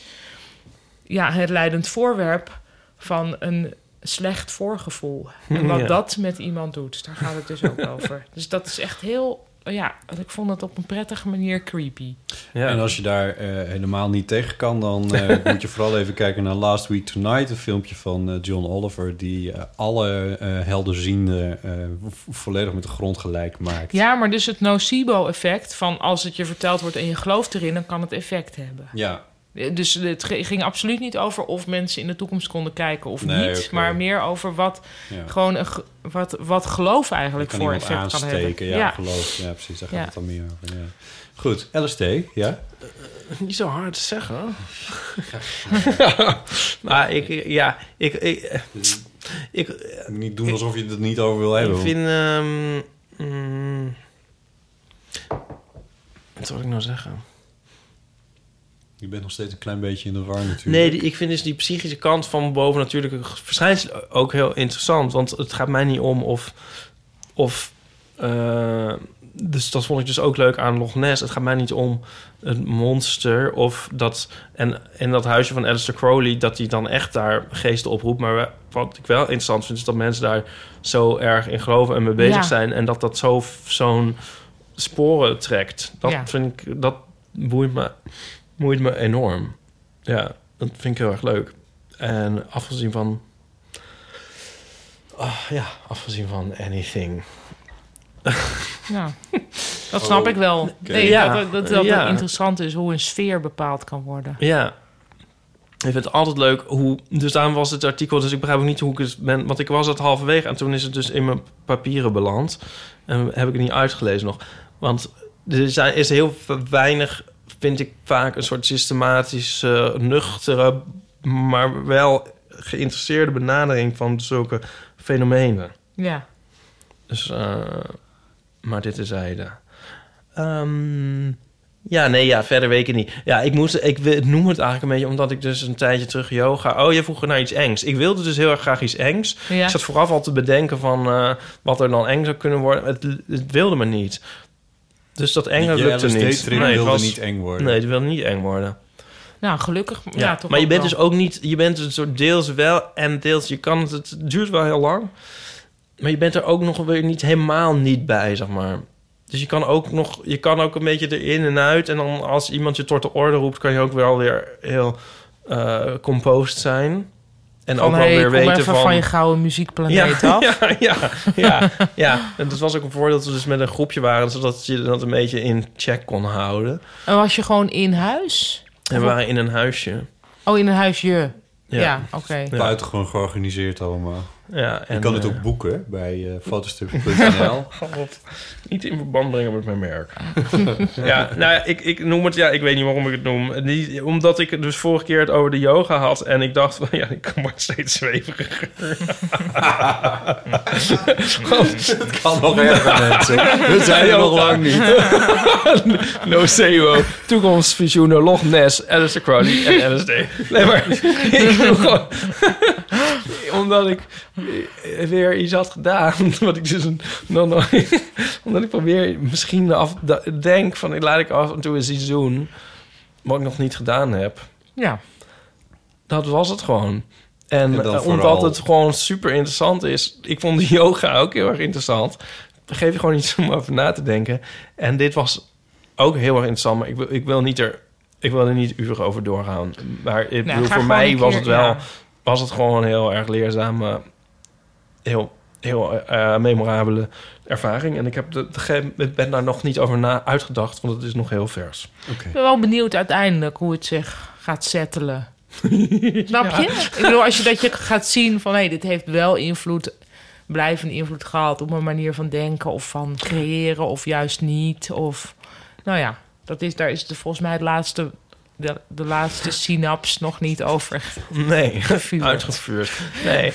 ja, het leidend voorwerp van een slecht voorgevoel. En wat Ja. dat met iemand doet, daar gaat het dus ook over. Dus dat is echt heel, ja, ik vond het op een prettige manier creepy. En als je daar eh, helemaal niet tegen kan, dan eh, moet je vooral even kijken naar Last Week Tonight, een filmpje van eh, John Oliver, die eh, alle eh helderzienden eh, vo- volledig met de grond gelijk maakt. Ja, maar dus het nocebo-effect van als het je verteld wordt en je gelooft erin, dan kan het effect hebben. Ja. Dus het ge- ging absoluut niet over of mensen in de toekomst konden kijken of Nee, niet, oké. maar meer over wat, Ja. gewoon een ge- wat, wat geloof eigenlijk kan voor iemand effect kan aansteken, hebben. ja, geloof. Ja, precies, daar gaat Ja. het dan meer over. ja. Goed, LST, ja? <laughs> Niet zo hard zeggen. <laughs> maar ik, ja, ik, ik, ik, eh, Eh, Niet doen alsof je het niet over wil hebben. ik vind. ehm, mm, wat wil ik nou zeggen? Je bent nog steeds een klein beetje in de war natuurlijk. Nee, die- ik vind dus die psychische kant van bovennatuurlijke verschijnselen ook heel interessant. Want het gaat mij niet om of. of eh, dus dat vond ik dus ook leuk aan Loch Ness. Het gaat mij niet om een monster of dat. En, en dat huisje van Alistair Crowley, dat die dan echt daar geesten oproept. Maar we- wat ik wel interessant vind, is dat mensen daar zo erg in geloven en mee bezig Ja. zijn. En dat dat zo- zo'n sporen trekt. Dat Ja. vind ik. Dat boeit me, boeit me enorm. Ja, dat vind ik heel erg leuk. En afgezien van. Ah, ja, afgezien van anything. <laughs> Ja. Dat snap Oh, ik wel. oké. Nee, Ja, Dat, dat, dat ja. het interessant is hoe een sfeer bepaald kan worden. Ja. Ik vind het altijd leuk hoe... Dus daarom was het artikel... Dus ik begrijp ook niet hoe ik het ben... Want ik was het halverwege en toen is het dus in mijn papieren beland. En heb ik het niet uitgelezen nog. Want er zijn, is heel weinig, vind ik vaak... een soort systematische, nuchtere... maar wel geïnteresseerde benadering van zulke fenomenen. Ja. Dus, eh, maar dit is zijde. Ehm, Ja, nee, ja, verder weet ik het niet. Ja, ik, moest, ik we- noem het eigenlijk een beetje omdat ik dus een tijdje terug yoga... Oh, je vroeg naar iets engs. Ik wilde dus heel erg graag iets engs. Ja. Ik zat vooraf al te bedenken van eh, wat er dan eng zou kunnen worden. Het, het wilde me niet. Dus dat enge Die lukte LSD niet. trip het wilde niet eng worden. Nee, het wilde niet eng worden. Nou, gelukkig. Ja, toch maar je ook bent wel. dus ook niet... Je bent een soort deels wel en deels... Je kan het, het duurt wel heel lang. Maar je bent er ook nog weer niet helemaal niet bij, zeg maar. Dus je kan ook nog... Je kan ook een beetje erin en uit. En dan als iemand je tot de orde roept... kan je ook wel weer heel eh composed zijn. En Van, ook wel hey, weer kom weten even van... van je gouden muziekplaneet <laughs> ja, af. Ja, ja, ja, ja. En dat was ook een voordeel dat we dus met een groepje waren... zodat je dat een beetje in check kon houden. En was je gewoon in huis? En we waren in een huisje. Oh, in een huisje. Ja, oké. Ja. Buitengewoon georganiseerd allemaal. Ja, en, je kan het eh, ook boeken hè, bij eh <laughs> fotostrip.nl. God, niet in verband brengen met mijn merk. <laughs> ja, nou, ja, ik, ik noem het, ja, ik weet niet waarom ik het noem. Niet, omdat ik het dus vorige keer het over de yoga had en ik dacht van, <laughs> ja, ik word steeds <laughs> zweveriger. Het kan nog <laughs> erger, mensen. We zijn er nog lang <laughs> niet. no CEO, toekomstvisioenen, Loch Ness, Alistair Crowley en LSD. <laughs> Nee, maar ik doe <laughs> gewoon... omdat ik eh, weer iets had gedaan. <laughs> Wat ik dus een, nog <laughs> nooit- omdat ik probeer misschien af, denk van... Laat ik af en toe eens iets doen wat ik nog niet gedaan heb. Ja. Dat was het gewoon. En, En dan eh, omdat vooral- het gewoon super interessant is. Ik vond de <laughs> yoga ook heel erg interessant. Dan geef je gewoon iets om over na te denken. En dit was ook heel erg interessant. Maar ik wil, ik wil, niet er, ik wil er niet uren over doorgaan. Maar ik Nou, ga bedoel, voor gewoon mij een was keer, het wel... ja. Was het gewoon heel erg leerzaam. eh, heel heel eh, memorabele ervaring. En ik heb de, de- ik ben daar nog niet over na uitgedacht. Want het is nog heel vers. Ik ben wel benieuwd uiteindelijk hoe het zich gaat settelen. <laughs> Snap je? Ik bedoel, als je dat je gaat zien van... hé, dit heeft wel invloed, blijvende invloed gehad... op mijn manier van denken of van creëren of juist niet. Of, nou ja, dat is, daar is de, volgens mij het laatste, de, de laatste synaps nog niet over. <laughs> Nee, Gevuurd. uitgevuurd. Nee.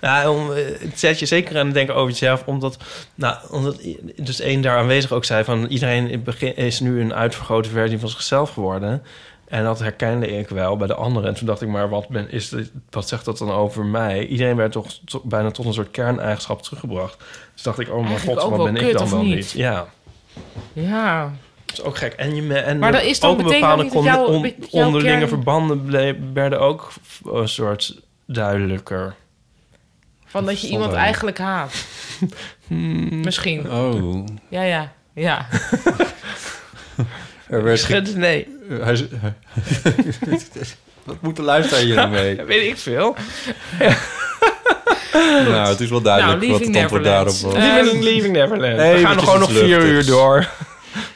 Nou, om, eh, het zet je zeker aan het denken over jezelf, omdat, nou, omdat i- dus één daar aanwezig ook zei van iedereen in het begin- is nu een uitvergrote versie van zichzelf geworden. En dat herkende ik wel bij de anderen. En toen dacht ik, maar wat, ben, is dit- wat zegt dat dan over mij? Iedereen werd toch to- bijna tot een soort kerneigenschap teruggebracht. Dus dacht ik, oh mijn Eigenlijk god, ook wat wel ben ik kut, dan of wel niet? niet? Ja, Ja. dat is ook gek. En, je, me- en Maar dat is dan- ook een betekent bepaalde dat niet dat con- jouw- on- dat jouw onderlinge kern- verbanden ble- werden ook een soort duidelijker. Van dat je Zonde. iemand eigenlijk haat. Hmm. Misschien. <laughs> Oh. Ja, ja, <laughs> ja. Er werd ge- Schud, nee. Eh, hij- <laughs> Wat moet de luisteraar <laughs> <laughs> hiermee? Dat weet ik veel. <laughs> nou, het is wel duidelijk Nou, wat het Leaving antwoord daarop Neverland. was. Eh, Leaving- Leaving Neverland. We gaan nog nog gewoon nog vier uur door.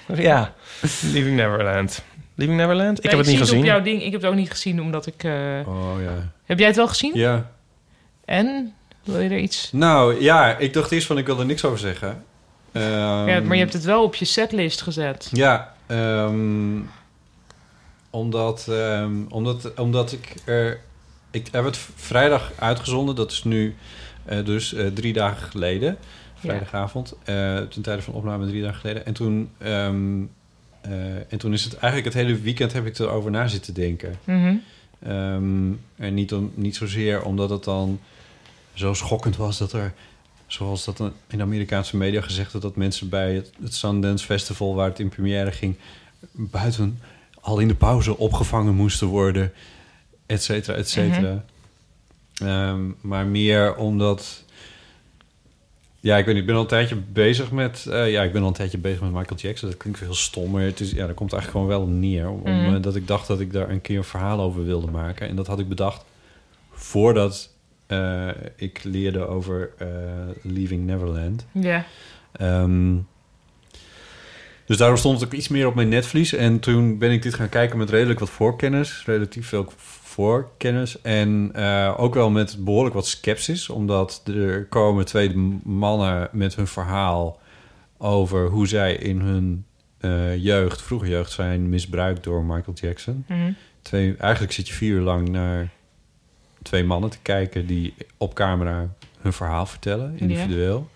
<laughs> ja, Leaving Neverland. Leaving Neverland? Ik Nee, heb het niet zie gezien. Op jouw ding. Ik heb het ook niet gezien, omdat ik... eh, Oh ja. Heb jij het wel gezien? Ja. En? Wil je er iets... Nou ja, ik dacht eerst van ik wil er niks over zeggen. Ehm, ja, maar je hebt het wel op je setlist gezet. Ja, ehm, omdat, ehm, omdat, omdat ik er... Ik heb het vrijdag uitgezonden. Dat is nu eh, dus eh, drie dagen geleden. Vrijdagavond. eh, ten tijde van opname drie dagen geleden. En toen, ehm, eh, en toen is het eigenlijk het hele weekend heb ik erover na zitten denken. Mhm. Ehm, en niet, om, niet zozeer omdat het dan zo schokkend was dat er, zoals dat in de Amerikaanse media gezegd werd, dat mensen bij het, het Sundance Festival, waar het in première ging, buiten al in de pauze opgevangen moesten worden, et cetera, et cetera. Ehm, maar meer omdat. Ja, ik weet niet, ik ben al een tijdje bezig met... eh, ja, ik ben al een tijdje bezig met Michael Jackson. Dat klinkt veel stommer. Het is, ja, dat komt eigenlijk gewoon wel op neer. Om, Mm. eh, dat ik dacht dat ik daar een keer een verhaal over wilde maken. En dat had ik bedacht voordat eh, ik leerde over eh, Leaving Neverland. Ja. Ehm, dus daarom stond het ook iets meer op mijn netvlies. En toen ben ik dit gaan kijken met redelijk wat voorkennis. Relatief veel voorkennis. En eh, ook wel met behoorlijk wat sceptisch. Omdat er komen twee mannen met hun verhaal over hoe zij in hun eh, jeugd, vroege jeugd, zijn misbruikt door Michael Jackson. Mhm. twee, eigenlijk zit je vier uur lang naar twee mannen te kijken die op camera hun verhaal vertellen, individueel.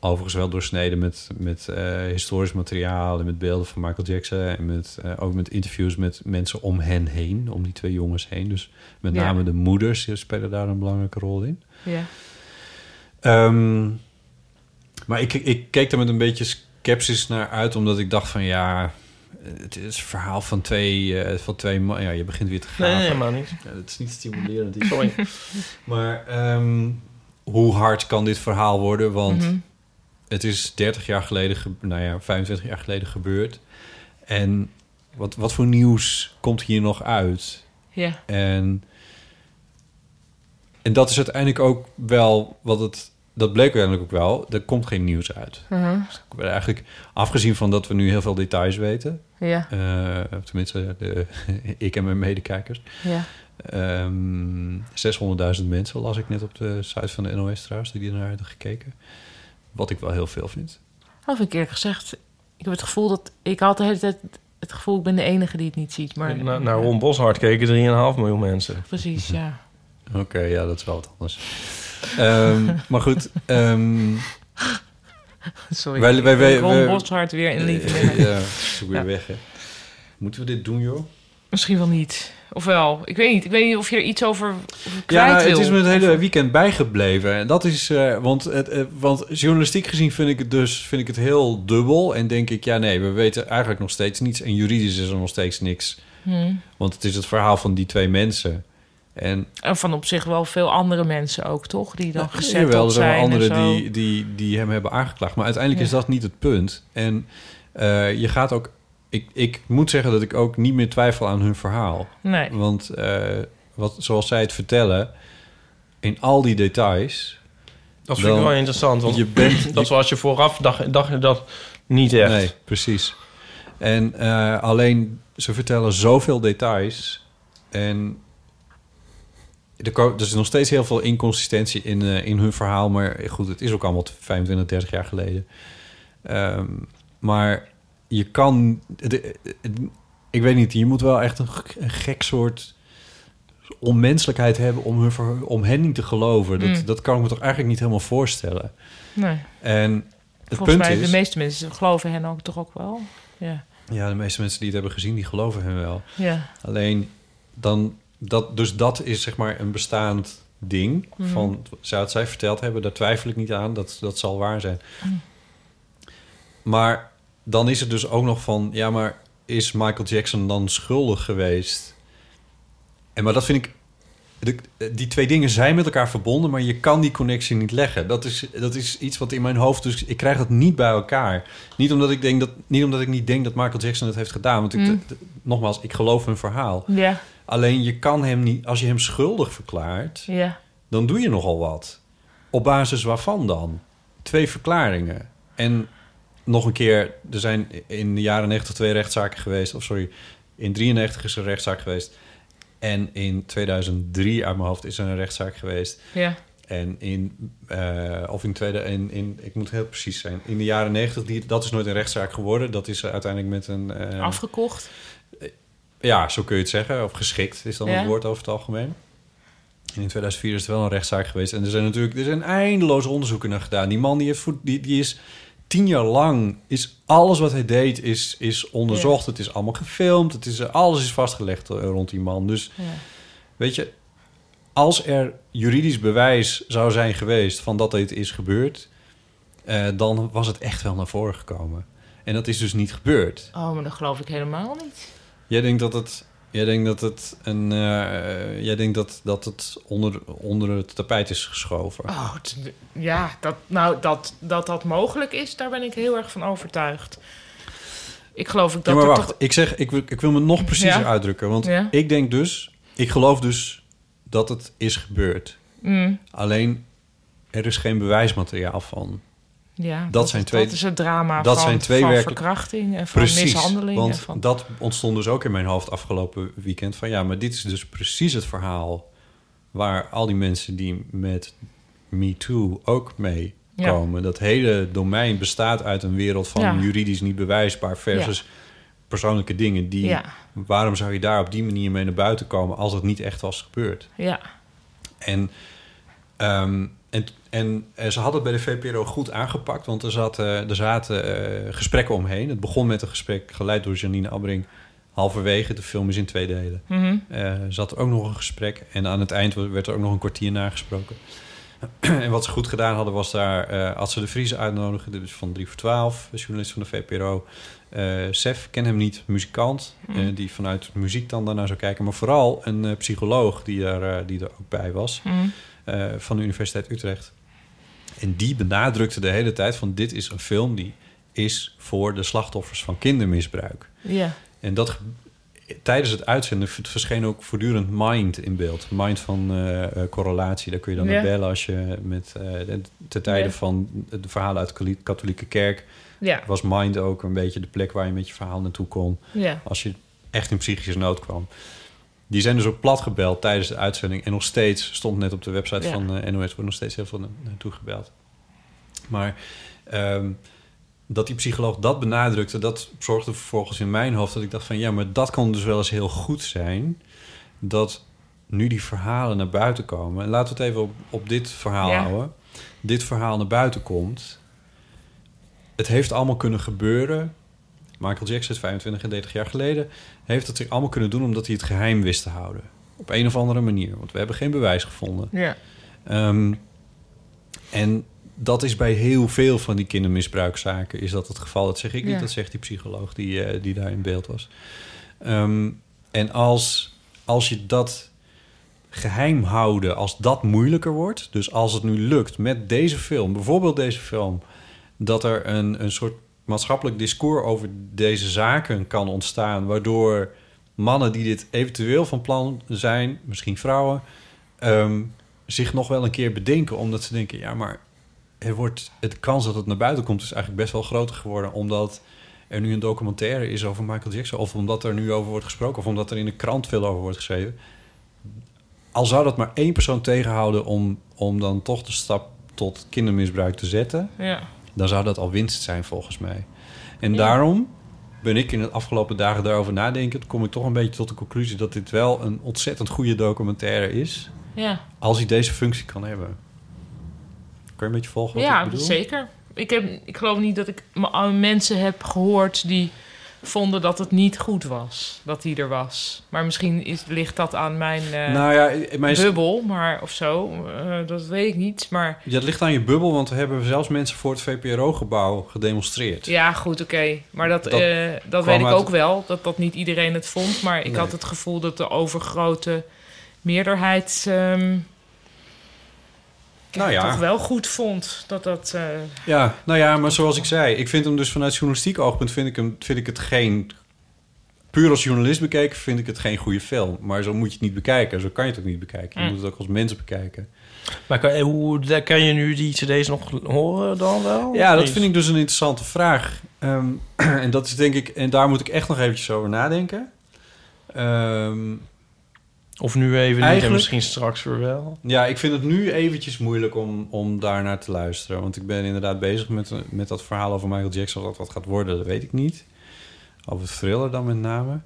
Overigens wel doorsneden met, met eh, historisch materiaal en met beelden van Michael Jackson. En met, eh, ook met interviews met mensen om hen heen, om die twee jongens heen. Dus met Ja. name de moeders eh, spelen daar een belangrijke rol in. Ja. Ehm, maar ik, ik keek daar met een beetje sceptisch naar uit, omdat ik dacht van ja, het is een verhaal van twee, eh, van twee man. Ja, je begint weer te gaan. Nee, nee, helemaal niet. het is niet stimulerend. iets. Maar ehm, hoe hard kan dit verhaal worden? Want Mhm. het is 30 jaar geleden, ge- nou ja, 25 jaar geleden gebeurd. En wat, wat voor nieuws komt hier nog uit? Ja. En, en dat is uiteindelijk ook wel wat het. Dat bleek uiteindelijk ook wel. Er komt geen nieuws uit. Mhm. Dus ik ben eigenlijk, afgezien van dat we nu heel veel details weten. Ja. eh, tenminste, de, <laughs> ik en mijn medekijkers. Ja. Ehm, 600.000 mensen las ik net op de site van de NOS trouwens, die naar hadden gekeken. Wat ik wel heel veel vind. Dat heb ik eerlijk gezegd. Ik heb het gevoel dat... Ik had de hele tijd het gevoel, ik ben de enige die het niet ziet. Maar <laughs> Na, naar Ron Boshart keken 3,5 miljoen mensen. Precies, <laughs> ja. Oké, ja, dat is wel wat anders. Ehm, maar goed, ehm, Sorry, wij- wij- wij- Ron wij- Boshart weer in liefde. Eh, <laughs> Ja, is ook weer Ja. weg, hè. Moeten we dit doen, joh? Misschien wel niet. Of wel. Ik weet niet. Ik weet niet of je er iets over kwijt Ja, nou, wil. het is me het hele weekend bijgebleven. En dat is, eh, want, het, eh, want journalistiek gezien vind ik het dus vind ik het heel dubbel. En denk ik, ja, nee, we weten eigenlijk nog steeds niets. En juridisch is er nog steeds niks. Hmm. Want het is het verhaal van die twee mensen. En En van op zich wel veel andere mensen ook, toch? Die dan gezet Ja, wel, op er zijn wel zijn en anderen zo. die, die, die hem hebben aangeklaagd. Maar uiteindelijk Ja. is dat niet het punt. En eh, je gaat ook... Ik, ik moet zeggen dat ik ook niet meer twijfel aan hun verhaal. Nee. Want eh, wat, zoals zij het vertellen, in al die details... Dat vind ik wel interessant, want je bent, <clears throat> dat was je vooraf, dacht, dacht je dat niet echt. Nee, precies. En eh, alleen ze vertellen zoveel details. En er, ko- er is nog steeds heel veel inconsistentie in, eh, in hun verhaal. Maar goed, het is ook allemaal 25, 30 jaar geleden. Ehm, maar je kan. de- het- ik weet niet, je moet wel echt een, g- een gek soort onmenselijkheid hebben om, hun, ver- om hen niet te geloven. Dat, Mm. dat kan ik me toch eigenlijk niet helemaal voorstellen. Nee. En het Volgens punt mij, is, de meeste mensen geloven hen ook toch ook wel. Ja. ja, de meeste mensen die het hebben gezien, die geloven hem wel. Ja. Alleen dan dat, dus dat is zeg maar een bestaand ding. Mhm. Van zou het zij verteld hebben, daar twijfel ik niet aan. Dat, dat zal waar zijn. Mhm. Maar dan is het dus ook nog van, ja, maar is Michael Jackson dan schuldig geweest? En maar dat vind ik. de- die twee dingen zijn met elkaar verbonden, maar je kan die connectie niet leggen. Dat is, dat is iets wat in mijn hoofd. Dus ik krijg dat niet bij elkaar. Niet omdat ik, denk dat, niet, omdat ik niet denk dat Michael Jackson het heeft gedaan. Want ik, Mm. d- d- nogmaals, ik geloof hun verhaal. <laughs> Ja. Alleen je kan hem niet. Als je hem schuldig verklaart, Ja. dan doe je nogal wat. Op basis waarvan dan? Twee verklaringen. En nog een keer, er zijn in de jaren 90 twee rechtszaken geweest. Of sorry, in 93 is er een rechtszaak geweest. En in 2003 uit mijn hoofd is er een rechtszaak geweest. Ja. En in, eh, of in tweede, in, in, ik moet heel precies zijn. In de jaren 90, die, dat is nooit een rechtszaak geworden. Dat is uiteindelijk met een. eh, Afgekocht. ja, zo kun je het zeggen. Of geschikt is dan Ja. het woord over het algemeen. En in 2004 is er wel een rechtszaak geweest. En er zijn natuurlijk er zijn eindeloze onderzoeken naar gedaan. Die man die heeft, voet- die, die is tien jaar lang... Is alles wat hij deed is, is onderzocht. Het is allemaal gefilmd. Het is, eh, alles is vastgelegd eh, rond die man. Dus Ja. weet je... Als er juridisch bewijs zou zijn geweest van dat dit is gebeurd... eh, dan was het echt wel naar voren gekomen. En dat is dus niet gebeurd. Oh, maar dat geloof ik helemaal niet. Jij denkt dat het, jij denkt dat het een, eh, jij denkt dat, dat het onder, onder het tapijt is geschoven. Oh, het- ja, dat, nou, dat, dat dat mogelijk is, daar ben ik heel erg van overtuigd. Ik geloof ook Ja, dat maar er wacht, toch... ik zeg, ik wil, ik wil me nog preciezer Ja? uitdrukken, want Ja. ik denk dus, ik geloof dus dat het is gebeurd. Mm. Alleen er is geen bewijsmateriaal van. Ja, dat, dat zijn is- twee. dat is het drama dat van- zijn twee van werkelijk- verkrachting en van precies, mishandeling en Want van- dat ontstond dus ook in mijn hoofd afgelopen weekend. Van ja, maar dit is dus precies het verhaal waar al die mensen die met Me Too ook mee Ja. komen. Dat hele domein bestaat uit een wereld van Ja. juridisch niet bewijsbaar versus persoonlijke dingen die. Ja. Waarom zou je daar op die manier mee naar buiten komen als het niet echt was gebeurd? Ja, En Ehm, en, en eh, ze hadden het bij de VPRO goed aangepakt, want er zaten, er zaten eh, gesprekken omheen. Het begon met een gesprek geleid door Janine Abbring. Halverwege, de film is in twee delen. Mhm. Eh, zat er ook nog een gesprek en aan het eind werd er ook nog een kwartier nagesproken. <clears throat> en wat ze goed gedaan hadden was daar eh Adse de Vries uitnodigen. Dit is van 3 voor 12, een journalist van de VPRO. Eh, Sef, ken hem niet, muzikant. Mm. eh, die vanuit muziek dan daarnaar zou kijken. Maar vooral een eh, psycholoog die er, eh, die er ook bij was. Mm. eh, van de Universiteit Utrecht. En die benadrukte de hele tijd van dit is een film die is voor de slachtoffers van kindermisbruik. Ja. En dat ge- tijdens het uitzenden v- verscheen ook voortdurend Mind in beeld. Mind van eh, eh, correlatie, daar kun je dan Ja. naar bellen als je met eh, de- ten tijde Ja. van de verhalen uit de katholi- katholieke kerk Ja. was Mind ook een beetje de plek waar je met je verhaal naartoe kon. Ja. Als je echt in psychische nood kwam. Die zijn dus ook plat gebeld tijdens de uitzending. En nog steeds, stond net op de website Ja. van eh, NOS, wordt nog steeds heel veel na- naartoe gebeld. Maar ehm, dat die psycholoog dat benadrukte, dat zorgde vervolgens in mijn hoofd dat ik dacht van ja, maar dat kan dus wel eens heel goed zijn. Dat nu die verhalen naar buiten komen. En laten we het even op, op dit verhaal Ja. houden. Dit verhaal naar buiten komt. Het heeft allemaal kunnen gebeuren. Michael Jackson, 25 en 30 jaar geleden, heeft het zich allemaal kunnen doen omdat hij het geheim wist te houden. Op een of andere manier, want we hebben geen bewijs gevonden. Ja. Ehm, en dat is bij heel veel van die kindermisbruikzaken is dat het geval. Dat zeg ik Ja. niet, dat zegt die psycholoog die, eh, die daar in beeld was. Ehm, en als, als je dat geheim houden, als dat moeilijker wordt... dus als het nu lukt met deze film, bijvoorbeeld deze film... dat er een, een soort maatschappelijk discours over deze zaken kan ontstaan... waardoor mannen die dit eventueel van plan zijn, misschien vrouwen... ehm, zich nog wel een keer bedenken, omdat ze denken... ja, maar er wordt, het kans dat het naar buiten komt is eigenlijk best wel groter geworden... omdat er nu een documentaire is over Michael Jackson... of omdat er nu over wordt gesproken... of omdat er in de krant veel over wordt geschreven al zou dat maar één persoon tegenhouden om, om dan toch de stap tot kindermisbruik te zetten, Ja. dan zou dat al winst zijn volgens mij. En daarom ben ik in de afgelopen dagen daarover nadenkend, kom ik toch een beetje tot de conclusie dat dit wel een ontzettend goede documentaire is. Ja. Als hij deze functie kan hebben. Kun je een beetje volgen wat ik ja, bedoel? zeker. Ik, heb, ik geloof niet dat ik m- aan mensen heb gehoord die vonden dat het niet goed was dat hij er was. Maar misschien is, ligt dat aan mijn, eh, Nou ja, i- mijn- bubbel maar, of zo. Eh, dat weet ik niet. Maar Ja, dat ligt aan je bubbel, want we hebben zelfs mensen voor het VPRO-gebouw gedemonstreerd. ja, goed, oké. Maar dat, Dat dat, kwam dat weet ik uit- ook wel, dat dat niet iedereen het vond. Maar ik Nee. had het gevoel dat de overgrote meerderheid ehm, Nou het ja. toch wel goed vond. Dat dat... eh, Ja, nou ja, maar zoals ik zei, ik vind hem dus vanuit journalistiek oogpunt vind ik, hem, vind ik het geen. Puur als journalist bekeken vind ik het geen goede film. Maar zo moet je het niet bekijken. Zo kan je het ook niet bekijken. Je Mm. moet het ook als mens bekijken. Maar kan, eh, hoe, daar kan je nu die cd's nog horen dan wel? Ja, Of dat niet? vind ik dus een interessante vraag. Ehm, <clears throat> en dat is denk ik, en daar moet ik echt nog eventjes over nadenken. Ehm, of nu even niet en Eigenlijk- misschien straks weer wel. Ja, ik vind het nu eventjes moeilijk om, om daar naar te luisteren. Want ik ben inderdaad bezig met, met dat verhaal over Michael Jackson. Of dat wat gaat worden, dat weet ik niet. Over het thriller dan met name.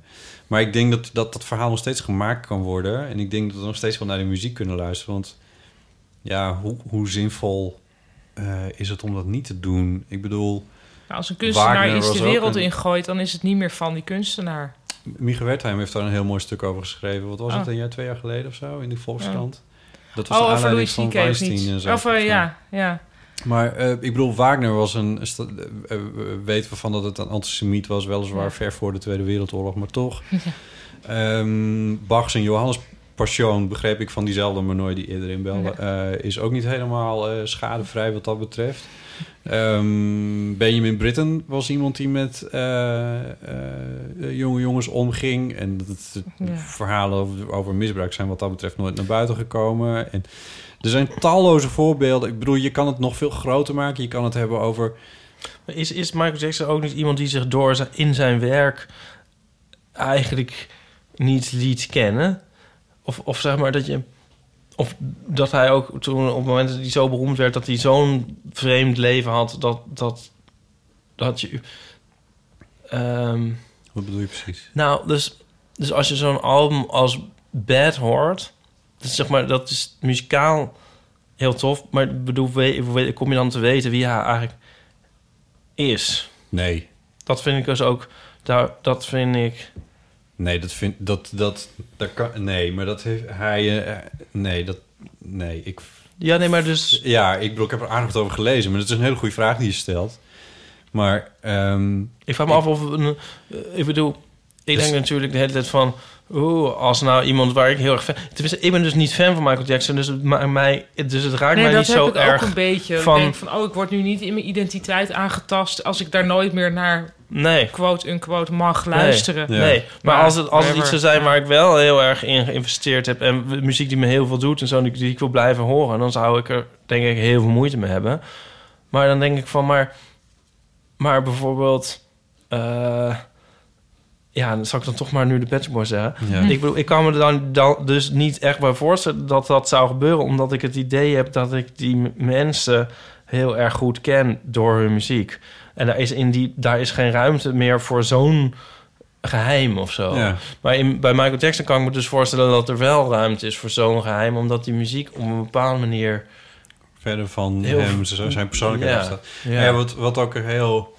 Maar ik denk dat, dat dat verhaal nog steeds gemaakt kan worden. En ik denk dat we nog steeds wel naar de muziek kunnen luisteren. Want ja, hoe, hoe zinvol eh, is het om dat niet te doen? Ik bedoel... Nou, als een kunstenaar Wagner iets was de ook wereld een- ingooit, dan is het niet meer van die kunstenaar. Mieke Wertheim heeft daar een heel mooi stuk over geschreven. Wat was Oh. het, een jaar, twee jaar geleden of zo? In de Volkskrant. Dat was Oh, de over aanleiding Louis van CK of Weinstein niet? en zo. Of, eh, ja, ja. Maar eh, ik bedoel, Wagner was een... een sta- eh, eh, weten we van dat het een antisemiet was. Weliswaar Ja. ver voor de Tweede Wereldoorlog, maar <laughs> toch. Ehm Bach's en Johannes Passion, begreep ik van diezelfde Manoy die eerder inbelde... eh, is ook niet helemaal eh, schadevrij wat dat betreft. Ehm, Benjamin Britten was iemand die met eh, eh, jonge jongens omging. En dat het, Ja. verhalen over, over misbruik zijn wat dat betreft nooit naar buiten gekomen. En er zijn talloze voorbeelden. Ik bedoel, je kan het nog veel groter maken. Je kan het hebben over... Is, is Michael Jackson ook niet iemand die zich door zijn, in zijn werk eigenlijk niet liet kennen? Of, of zeg maar dat je. Of dat hij ook toen op het moment dat hij zo beroemd werd, dat hij zo'n vreemd leven had dat. dat, dat je. ehm, Wat bedoel je precies? nou, dus, dus als je zo'n album als Bad hoort, dat is zeg maar, dat is muzikaal heel tof. Maar ik bedoel, we- we- kom je dan te weten wie hij eigenlijk is? Nee. Dat vind ik dus ook... daar- Dat vind ik... Nee, dat vind dat dat dat kan nee, maar dat heeft hij eh, nee dat nee ik ja nee maar dus ja ik bedoel ik heb er aardig wat over gelezen, maar dat is een hele goede vraag die je stelt. Maar ik vraag me af of een, eh, ik bedoel, ik denk natuurlijk de hele tijd van, oeh, als nou iemand waar ik heel erg fan, tenminste, ik ben dus niet fan van Michael Jackson, dus het, ma- mij, dus het raakt Nee, mij dat niet heb zo ik erg ook een beetje. van, Van... Denk van, oh, ik word nu niet in mijn identiteit aangetast... als ik daar nooit meer naar Nee. quote-unquote mag luisteren. Nee, nee. maar als het, als het iets whatever. zou zijn waar ik wel heel erg in geïnvesteerd heb... en w- muziek die me heel veel doet en zo, die, die ik wil blijven horen... dan zou ik er denk ik heel veel moeite mee hebben. Maar dan denk ik van, maar, maar bijvoorbeeld... eh, ja, dan zal ik dan toch maar nu de Patch Boys zeggen. Ja. Ik bedoel, ik kan me er dan, dan dus niet echt bij voorstellen dat dat zou gebeuren... omdat ik het idee heb dat ik die m- mensen heel erg goed ken door hun muziek. En daar is, in die, daar is geen ruimte meer voor zo'n geheim of zo. Ja. Maar in, bij Michael Jackson kan ik me dus voorstellen dat er wel ruimte is voor zo'n geheim, omdat die muziek op een bepaalde manier verder van Heel- hem, zo zijn persoonlijkheid Ja, afstaat. ja. Ja. wat, wat ook een heel...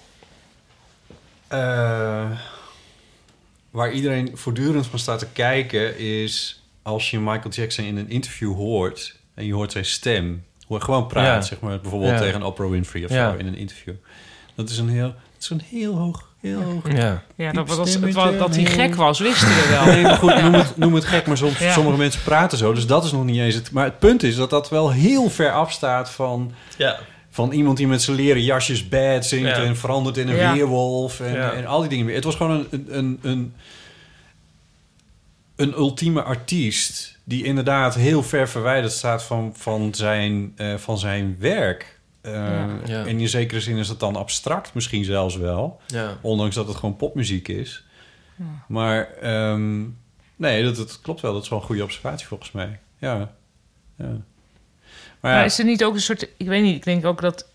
eh, waar iedereen voortdurend van staat te kijken is... als je Michael Jackson in een interview hoort en je hoort zijn stem... hoor gewoon praten, Ja. zeg maar, bijvoorbeeld Ja. tegen Oprah Winfrey of Ja. zo in een interview. Dat is een heel... Dat is een heel hoog, heel hoog... Ja. Ja, diep dat was- het stemmetje. was- dat hij gek was, wisten we wel. Nee, maar goed, <laughs> Ja. noem het, noem het gek, maar soms, Ja. sommige mensen praten zo. Dus dat is nog niet eens het... Maar het punt is dat dat wel heel ver afstaat van... Ja. Van iemand die met zijn leren jasjes bad zingt Ja. en verandert in een Ja. weerwolf en, Ja. en al die dingen meer. Het was gewoon een, een, een, een ultieme artiest die inderdaad heel ver verwijderd staat van, van, zijn, eh, van zijn werk. Eh, Ja. En in zekere zin is dat dan abstract misschien zelfs wel. Ja. Ondanks dat het gewoon popmuziek is. Ja. Maar ehm, nee, dat, dat klopt wel. Dat is wel een goede observatie volgens mij. Ja. ja. Maar Maar, ja, is er niet ook een soort... Ik weet niet, ik denk ook dat...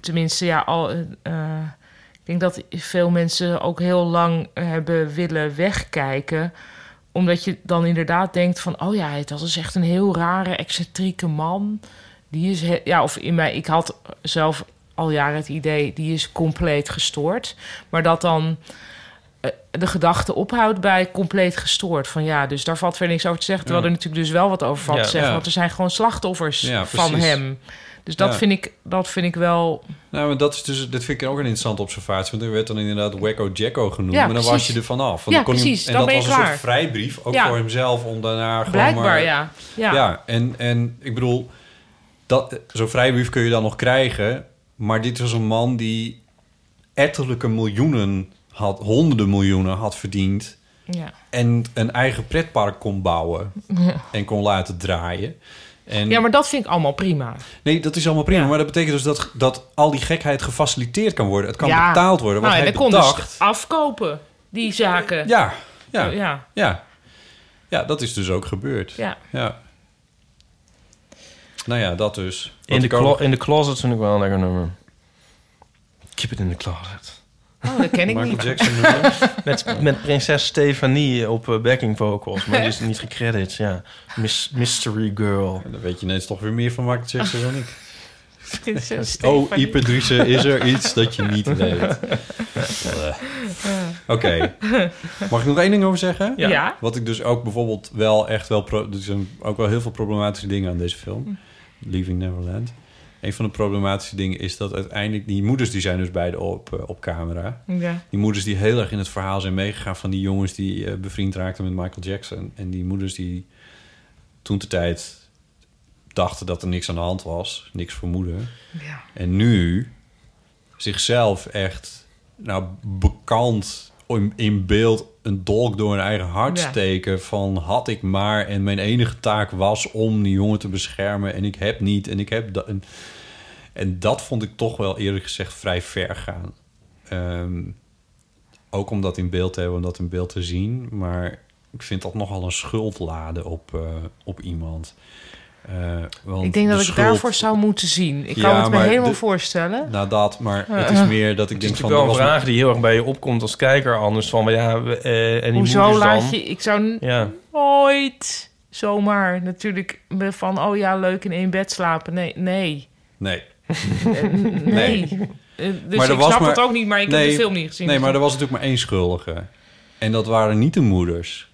Tenminste, ja, al... eh, eh, ik denk dat veel mensen ook heel lang eh, hebben willen wegkijken. Omdat je dan inderdaad denkt van... Oh ja, dat is echt een heel rare, excentrieke man. Die is... he- ja, of in mij... Ik had zelf al jaren het idee... Die is compleet gestoord. Maar dat dan... eh, De gedachte ophoudt bij compleet gestoord. Van ja, dus daar valt verder niks over te zeggen. Terwijl Ja. er natuurlijk dus wel wat over valt Ja. te zeggen. Ja. Want er zijn gewoon slachtoffers Ja, van precies. hem. Dus dat, Ja. vind ik, dat vind ik wel. Nou, maar dat, is dus, dat vind ik ook een interessante observatie. Want er werd dan inderdaad Wacko Jacko genoemd. Ja, maar dan was precies. je er vanaf. Ja, Want kon je- precies. En Dan dat ben je was dus een klaar. soort vrijbrief. Ook Ja. voor hemzelf. Om daarna gewoon Blijkbaar, maar... ja. Ja. en, en ik bedoel... dat- Zo'n vrijbrief kun je dan nog krijgen. Maar dit was een man die ettelijke miljoenen had... honderden miljoenen had verdiend. Ja. En een eigen pretpark kon bouwen. En kon laten draaien. En ja, maar dat vind ik allemaal prima. Nee, dat is allemaal prima. Maar dat betekent dus dat, dat al die gekheid gefaciliteerd kan worden. Het <laughs> kan ja. betaald worden. Wat Nou, hij en dat kon bedacht. dus afkopen, die zaken. Ja, ja, Oh, ja. ja. ja. dat is dus ook gebeurd. Ja. Nou ja, dat dus. Wat In de, ik ook- clo- <laughs> in de closet vind ik wel een lekker nummer. Keep it in the closet. Oh, dat ken ik Michael niet. Jackson nummer. <laughs> Met, met prinses Stefanie op eh, backing vocals, maar die is niet gecredit. Ja. Miss, mystery Girl. dan weet je ineens toch weer meer van Michael Jackson dan ik. <laughs> Prinses <laughs> Oh, Stefanie. Ipadrice, is er iets dat je niet <laughs> weet? Eh. Oké. Mag ik nog één ding over zeggen? Ja. Ja. Wat ik dus ook bijvoorbeeld wel echt wel... pro- Er zijn ook wel heel veel problematische dingen aan deze film. Hm. Leaving Neverland. Een van de problematische dingen is dat uiteindelijk... Die moeders die zijn dus beide op, eh, op camera. Ja. Die moeders die heel erg in het verhaal zijn meegegaan... van die jongens die eh, bevriend raakten met Michael Jackson. En die moeders die toen de tijd dachten dat er niks aan de hand was. Niks vermoeden. Ja. En nu zichzelf echt nou, bekant in, in beeld een dolk door hun eigen hart Ja. steken van had ik maar en mijn enige taak was om die jongen te beschermen en ik heb niet en ik heb dat. En, en dat vond ik toch wel eerlijk gezegd vrij ver gaan. Ehm, ook om dat in beeld te hebben, om dat in beeld te zien. Maar ik vind dat nogal een schuld laden op, eh, op iemand. Eh, want Ik denk de dat ik schuld- daarvoor zou moeten zien. Ik kan Ja, het me maar helemaal de- voorstellen. Nou, dat, maar het is meer dat ik Het is denk natuurlijk van... wel er een was vraag die heel erg bij je opkomt als kijker anders. Van, ja, we- eh, en die Hoezo moeders dan? laat je. Ik zou n- Ja. nooit zomaar natuurlijk van... oh ja, leuk in één bed slapen. Nee, nee. Nee. nee. Eh, Dus ik snap het ook niet, maar ik heb de film niet gezien. Nee, maar Dus- er was natuurlijk maar één schuldige. En dat waren niet de moeders.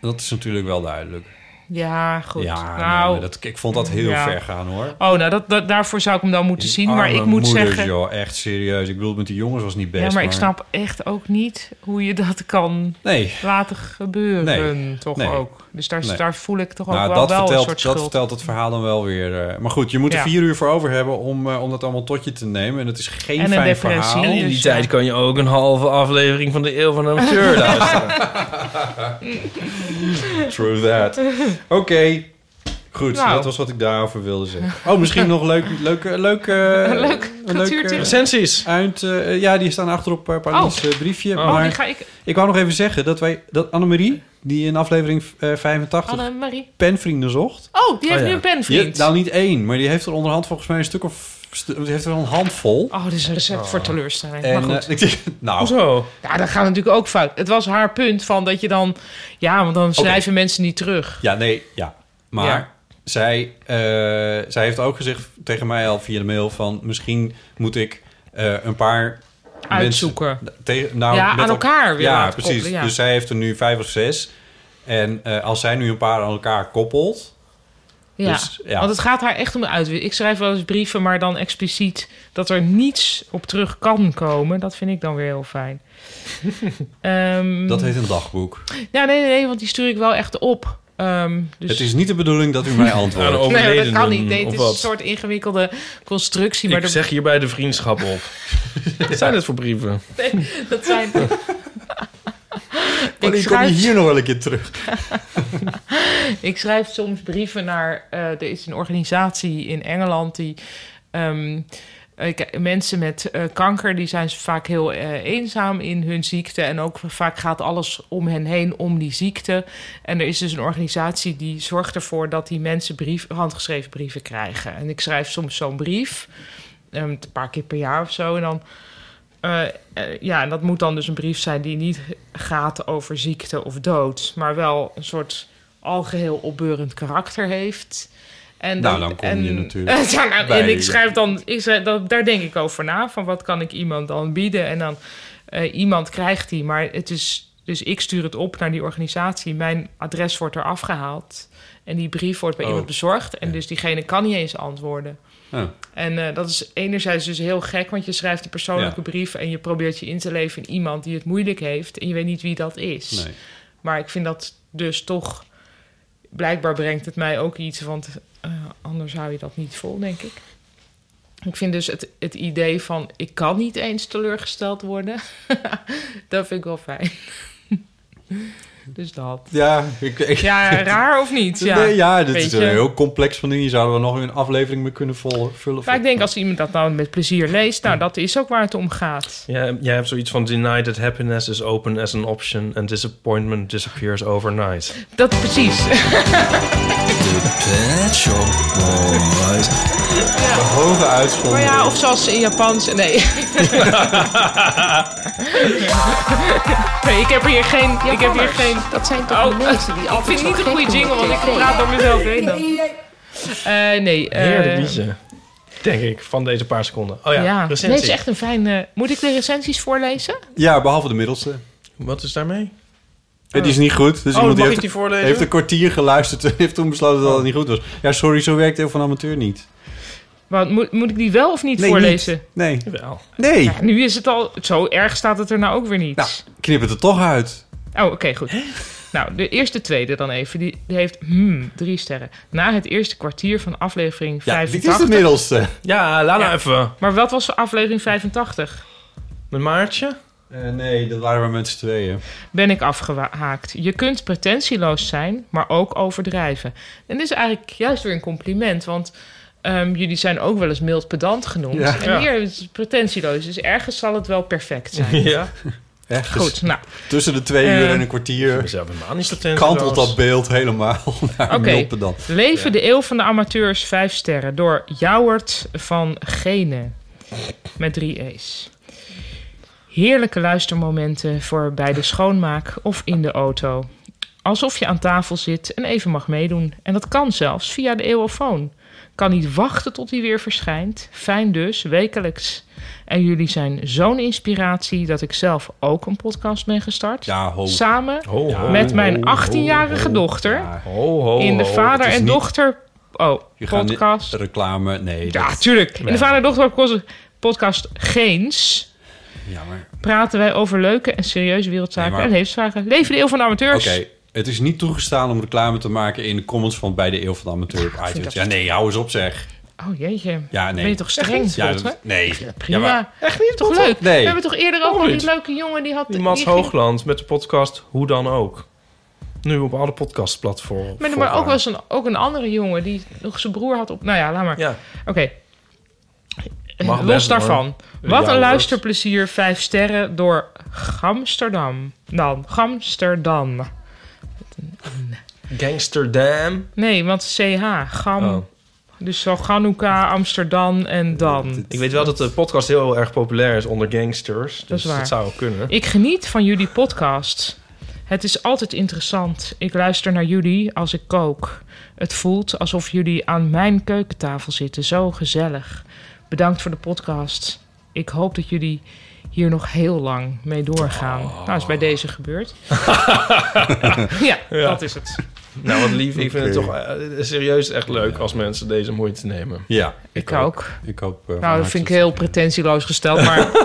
Dat is natuurlijk wel duidelijk. Ja, goed. Ja, nou, nee, maar dat, ik vond dat heel ja. ver gaan hoor. Oh, nou, dat, dat, daarvoor zou ik hem dan moeten zien. Maar Arme ik moet moeders, zeggen... joh, echt serieus. Ik bedoel, met die jongens was niet best. ja, maar, ik snap echt ook niet hoe je dat kan Nee. laten gebeuren. Nee. Toch Nee. ook. Dus daar, Nee. daar voel ik toch Nou, ook wel, dat wel vertelt, een soort Dat schuld. vertelt het verhaal dan wel weer. eh, maar goed, je moet er Ja. vier uur voor over hebben om, eh, om dat allemaal tot je te nemen. En het is geen En een fijn depressie, verhaal. En in die tijd kan je ook een halve aflevering van de Eeuw van <laughs> de Amateur luisteren. True that. Oh, Oké. Goed, Nou. dat was wat ik daarover wilde zeggen. Oh, misschien nog leuk, leuk, eh, leuk, eh, <laughs> Leuk eh, cultuurtip. eh, Recensies. Uit, eh, ja, die staan achterop eh Paulien's Oh. eh, briefje. Oh, maar die ga ik- ik wou nog even zeggen dat, wij, dat Annemarie, die in aflevering eh, 85 Annemarie. penvrienden zocht. Oh, die heeft nu een penvriend. Ja, nou, niet één, maar die heeft er onderhand volgens mij een stuk of... stu- die heeft er wel een handvol. Oh, dit is een recept voor teleurstelling. En, maar goed. eh, <laughs> ik- nou, Hoezo? Ja, dat gaat natuurlijk ook fout. Het was haar punt van dat je dan... Ja, want dan schrijven mensen niet terug. Ja, nee, ja. Maar Ja. Zij, eh, zij heeft ook gezegd tegen mij al via de mail van... misschien moet ik eh, een paar... Uitzoeken. mensen- tegen- nou, Ja, met aan elkaar weer Ja, laten precies. koppelen, ja. Dus zij heeft er nu vijf of zes. En eh, als zij nu een paar aan elkaar koppelt... Ja. Dus, ja. want het gaat haar echt om de uitwisseling. Ik schrijf wel eens brieven, maar dan expliciet dat er niets op terug kan komen. Dat vind ik dan weer heel <laughs> fijn. Ehm, Dat heet een dagboek. Ja, nee, nee, nee, want die stuur ik wel echt op. Ehm, dus... Het is niet de bedoeling dat u <laughs> mij antwoordt. Aan Nee, de dat kan overledenen, niet. Nee, het of is een wat? soort ingewikkelde constructie. Maar Ik de- zeg hierbij de vriendschap <laughs> op. Wat zijn het voor brieven? <laughs> Nee, dat zijn... Wanneer Oh, kom je schrijf- hier nog wel een keer terug? <laughs> ik schrijf soms brieven naar. eh, er is een organisatie in Engeland die. ehm, eh, k- mensen met eh, kanker die zijn vaak heel eh, eenzaam in hun ziekte. En ook vaak gaat alles om hen heen om die ziekte. En er is dus een organisatie die zorgt ervoor dat die mensen brief, handgeschreven brieven krijgen. En ik schrijf soms zo'n brief, ehm, een paar keer per jaar of zo. En dan eh, eh, ja, en dat moet dan dus een brief zijn die niet gaat over ziekte of dood, maar wel een soort algeheel opbeurend karakter heeft. En Nou, dan kom je natuurlijk Ja, <laughs> nou, bij- en ik schrijf dan, ik schrijf, dat, daar denk ik over na, van wat kan ik iemand dan bieden? En dan eh, iemand krijgt die, maar het is, dus ik stuur het op naar die organisatie, mijn adres wordt er afgehaald en die brief wordt bij Oh. iemand bezorgd en dus diegene kan niet eens antwoorden. Oh. En eh, dat is enerzijds dus heel gek, want je schrijft een persoonlijke brief en je probeert je in te leven in iemand die het moeilijk heeft en je weet niet wie dat is. Nee. Maar ik vind dat dus toch, blijkbaar brengt het mij ook iets, want eh, anders hou je dat niet vol, denk ik. Ik vind dus het, het idee van ik kan niet eens teleurgesteld worden, <laughs> dat vind ik wel fijn. <laughs> dus dat. Ja, ik, ik- Ja, raar of <laughs> niet? Ja, Nee, ja dit is Weet een je? heel complex van dingen. Hier Zouden we nog een aflevering mee kunnen vol- vullen? Maar ik denk als iemand dat nou met plezier leest, nou dat is ook waar het om gaat. Ja, jij hebt zoiets van deny that happiness is open as an option and disappointment disappears overnight. Dat precies. De hoge <laughs> Maar uitzondering. ja, of zoals ze in Japans. Nee. <laughs> <laughs> nee ik heb hier geen. ik heb hier geen. Dat zijn toch <laughs> mensen die Ik vind zo niet een gek goede doen jingle, op want ik tv. praat door mezelf heen dan. Eh, nee. eh, Heerlijk liedje. Denk ik, van deze paar seconden. Oh ja, ja. recensie. Nee, het is echt een fijne. Moet ik de recensies voorlezen? Ja, behalve de middelste. Wat is daarmee? Het is niet goed. Dus Oh, iemand mag heeft, ik die voorlezen? heeft een kwartier geluisterd en heeft toen besloten dat het niet goed was. Ja, sorry, zo werkt heel van amateur niet. Want, moet, moet ik die wel of niet Nee, voorlezen? Nee. Wel. Nee. nu is het al. Zo erg staat het er nou ook weer niet. Knip het er toch uit. Oh, oké, goed. Nou, de eerste tweede dan even. Die, die heeft hmm, drie sterren. Na het eerste kwartier van aflevering Ja, dit 85. is de middelste. Ja, laat nou even. Maar wat was de aflevering 85? Met Maartje? Eh, nee, dat waren we met z'n tweeën. Ben ik afgehaakt. Je kunt pretentieloos zijn, maar ook overdrijven. En dit is eigenlijk juist weer een compliment, want ehm, jullie zijn ook wel eens mild pedant genoemd. Ja. En Ja. hier is het pretentieloos, dus ergens zal het wel perfect zijn. <laughs> Ja. Echt? Goed, Dus nou. Tussen de twee Eh, uur en een kwartier kantelt dat beeld helemaal <laughs> naar Oké, dus Milpen dan. Leven de eeuw van de amateurs, vijf sterren. Door Jouwert van Gene. Met drie E's. Heerlijke luistermomenten voor bij de schoonmaak of in de auto. alsof je aan tafel zit en even mag meedoen. En dat kan zelfs via de eeuwofoon. Kan niet wachten tot hij weer verschijnt. Fijn dus, wekelijks. En jullie zijn zo'n inspiratie dat ik zelf ook een podcast ben gestart. Ja, ho. Samen Ho, ho, met mijn ho, ho, 18-jarige ho. dochter. Ho, ho, in de ho. vader Het is en niet- dochter... Oh, Je gaat niet- podcast. reclame, nee. Ja, tuurlijk. In de vader en dochter podcast- podcast Geens... Jammer. praten wij over leuke en serieuze wereldzaken Nee, maar- en levensvragen. Leven de eeuw van de amateurs. Oké, het is niet toegestaan om reclame te maken in de comments van bij de Eeuw van de Amateur op vind iTunes. dat- Ja, nee, hou eens op zeg. Oh jeetje. Ja, nee. Ben je toch streng? Ja, Botte? dat- nee. Prima. Ja, maar- Echt niet? Toch Botte? leuk? Nee. We hebben toch eerder ook Waarom al die niet? leuke jongen die had... Die Mats ging- Hoogland met de podcast Hoe Dan Ook. Nu op alle podcastplatformen. Maar, maar ook wel eens een, ook een andere jongen die nog zijn broer had op... Nou ja, laat maar. Oké. Mag Los best, hoor. daarvan. Ja, Wat een hoor. luisterplezier. Vijf sterren door Amsterdam. Dan. Amsterdam. Gangsterdam. Nee, want CH. Gam. Oh. Dus zo Ganuka, Amsterdam en dan. Ik weet wel dat de podcast heel erg populair is onder gangsters. Dus dat, is waar. zou ook kunnen. Ik geniet van jullie podcast. Het is altijd interessant. Ik luister naar jullie als ik kook. Het voelt alsof jullie aan mijn keukentafel zitten. Zo gezellig. Bedankt voor de podcast. Ik hoop dat jullie hier nog heel lang mee doorgaan. Oh. Nou, is bij deze gebeurd. ja, <laughs> Ja. dat is het. Nou, wat lief. Ik vind het Oké. toch eh, serieus echt leuk als mensen deze moeite nemen. Ja, Ik ook. Ik hoop... eh, van Nou, dat harte vind ik heel pretentieloos gesteld, maar... <laughs> <laughs>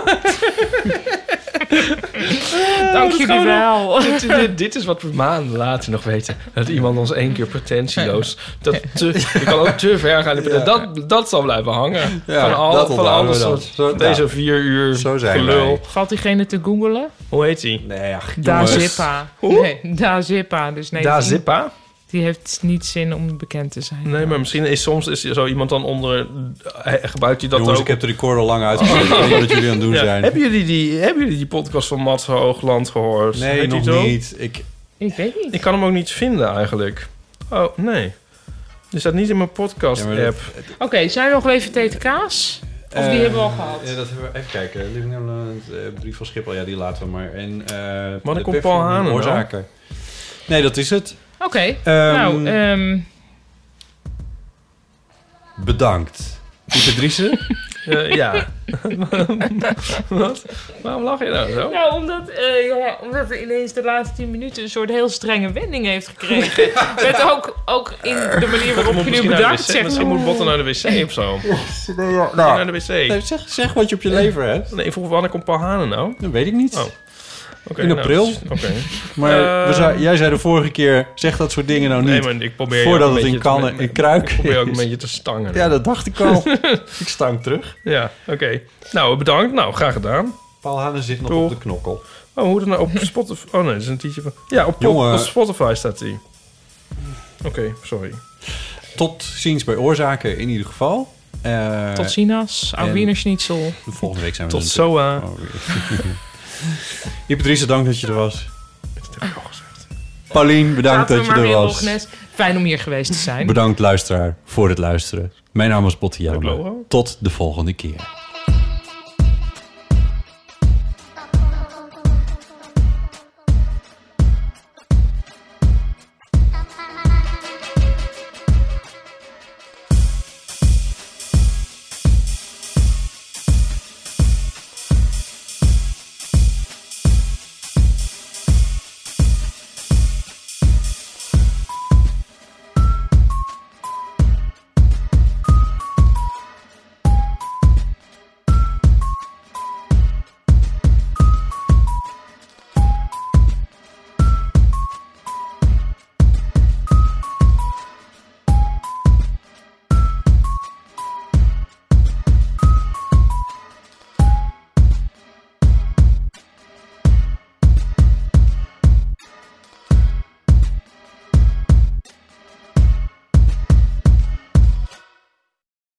Dank Eh, Oh, dat is jullie gewoon- wel. <laughs> Dit, dit, dit is wat we maanden later nog weten. Dat iemand ons één keer pretentieloos... Dat te, je kan ook te ver gaan. Dat, dat zal blijven hangen. Ja, van al, dat van onthouden alles we dan. Nou. soort, Zo- van deze ja. vier uur Zo zijn gelul. wij. Valt diegene te googelen? Hoe heet hij? Nee, ach, Da jongens. Zippa. Nee, Da Zippa. Dus nee, Da die- Zippa? Die heeft niet zin om bekend te zijn. Nee, maar misschien is soms is zo iemand dan onder... eh, Gebruikt hij dat Jongens, ook? ik heb de record al lang uitgezet. Ik <laughs> weet niet wat jullie aan het <laughs> doen Ja. zijn. Hebben jullie, die, hebben jullie die podcast van Mats Hoogland gehoord? Nee, Heet die nog zo? niet. Ik, Ik weet niet. Ik kan hem ook niet vinden eigenlijk. Oh, nee. Die staat niet in mijn podcast-app. Oké, zijn er nog WVT kaas? Of die Eh, hebben we al gehad? Ja, dat hebben we, even kijken. Living Neverland, eh, brief van Schiphol, ja, die laten we maar. En, eh Maar dan de komt pef- Paul Hanen wel. Oorzaken. Nee, dat is het. Oké, nou, ehm, Bedankt. Pieter <laughs> Driessen. Eh, ja. <laughs> Wat? Waarom lach je nou zo? nou omdat, eh ja, omdat hij ineens de laatste tien minuten een soort heel strenge wending heeft <laughs> gekregen. Met ook, ook in de manier waarop je nu Misschien naar de bedankt wc. zegt. Misschien moet Botten naar de wc of zo. nee, ja, nou. Moet je naar de wc. Nee, zeg, zeg wat je op je lever hebt. Nee, ik vroeg wanneer komt Paul Hanen nou? Dat weet ik niet. Oh. Oké, In nou, april. dus- Oké. Maar Eh, we zei- jij zei de vorige keer, zeg dat soort dingen nou niet. Nee, maar ik probeer je Voordat ook een het in beetje te- kannen en kruik Ik probeer ook een is. beetje te stangen. Ja, dat dacht ik <laughs> al. ik stang terug. Ja, oké. Nou, bedankt. Nou, graag gedaan. Paul Hanen zit nog Doeg. op de knokkel. Oh, hoe dan nou? Op Spotify... Oh nee, dat is een tientje van... Ja, op, Jongen. op Spotify staat die. Oké, sorry. Tot ziens bij Oorzaken in ieder geval. Eh, Tot ziens, en- aan Wiener Schnitzel. Volgende week zijn we Tot er zo, eh. natuurlijk. eh. Oh, weer. <laughs> Iep Driessen, dank dat je er was. Oh, Paulien, bedankt Laten we dat je maar er weer was. Loch Ness. Fijn om hier geweest te zijn. Bedankt luisteraar voor het luisteren. Mijn naam is Botte Jellema. Tot de volgende keer.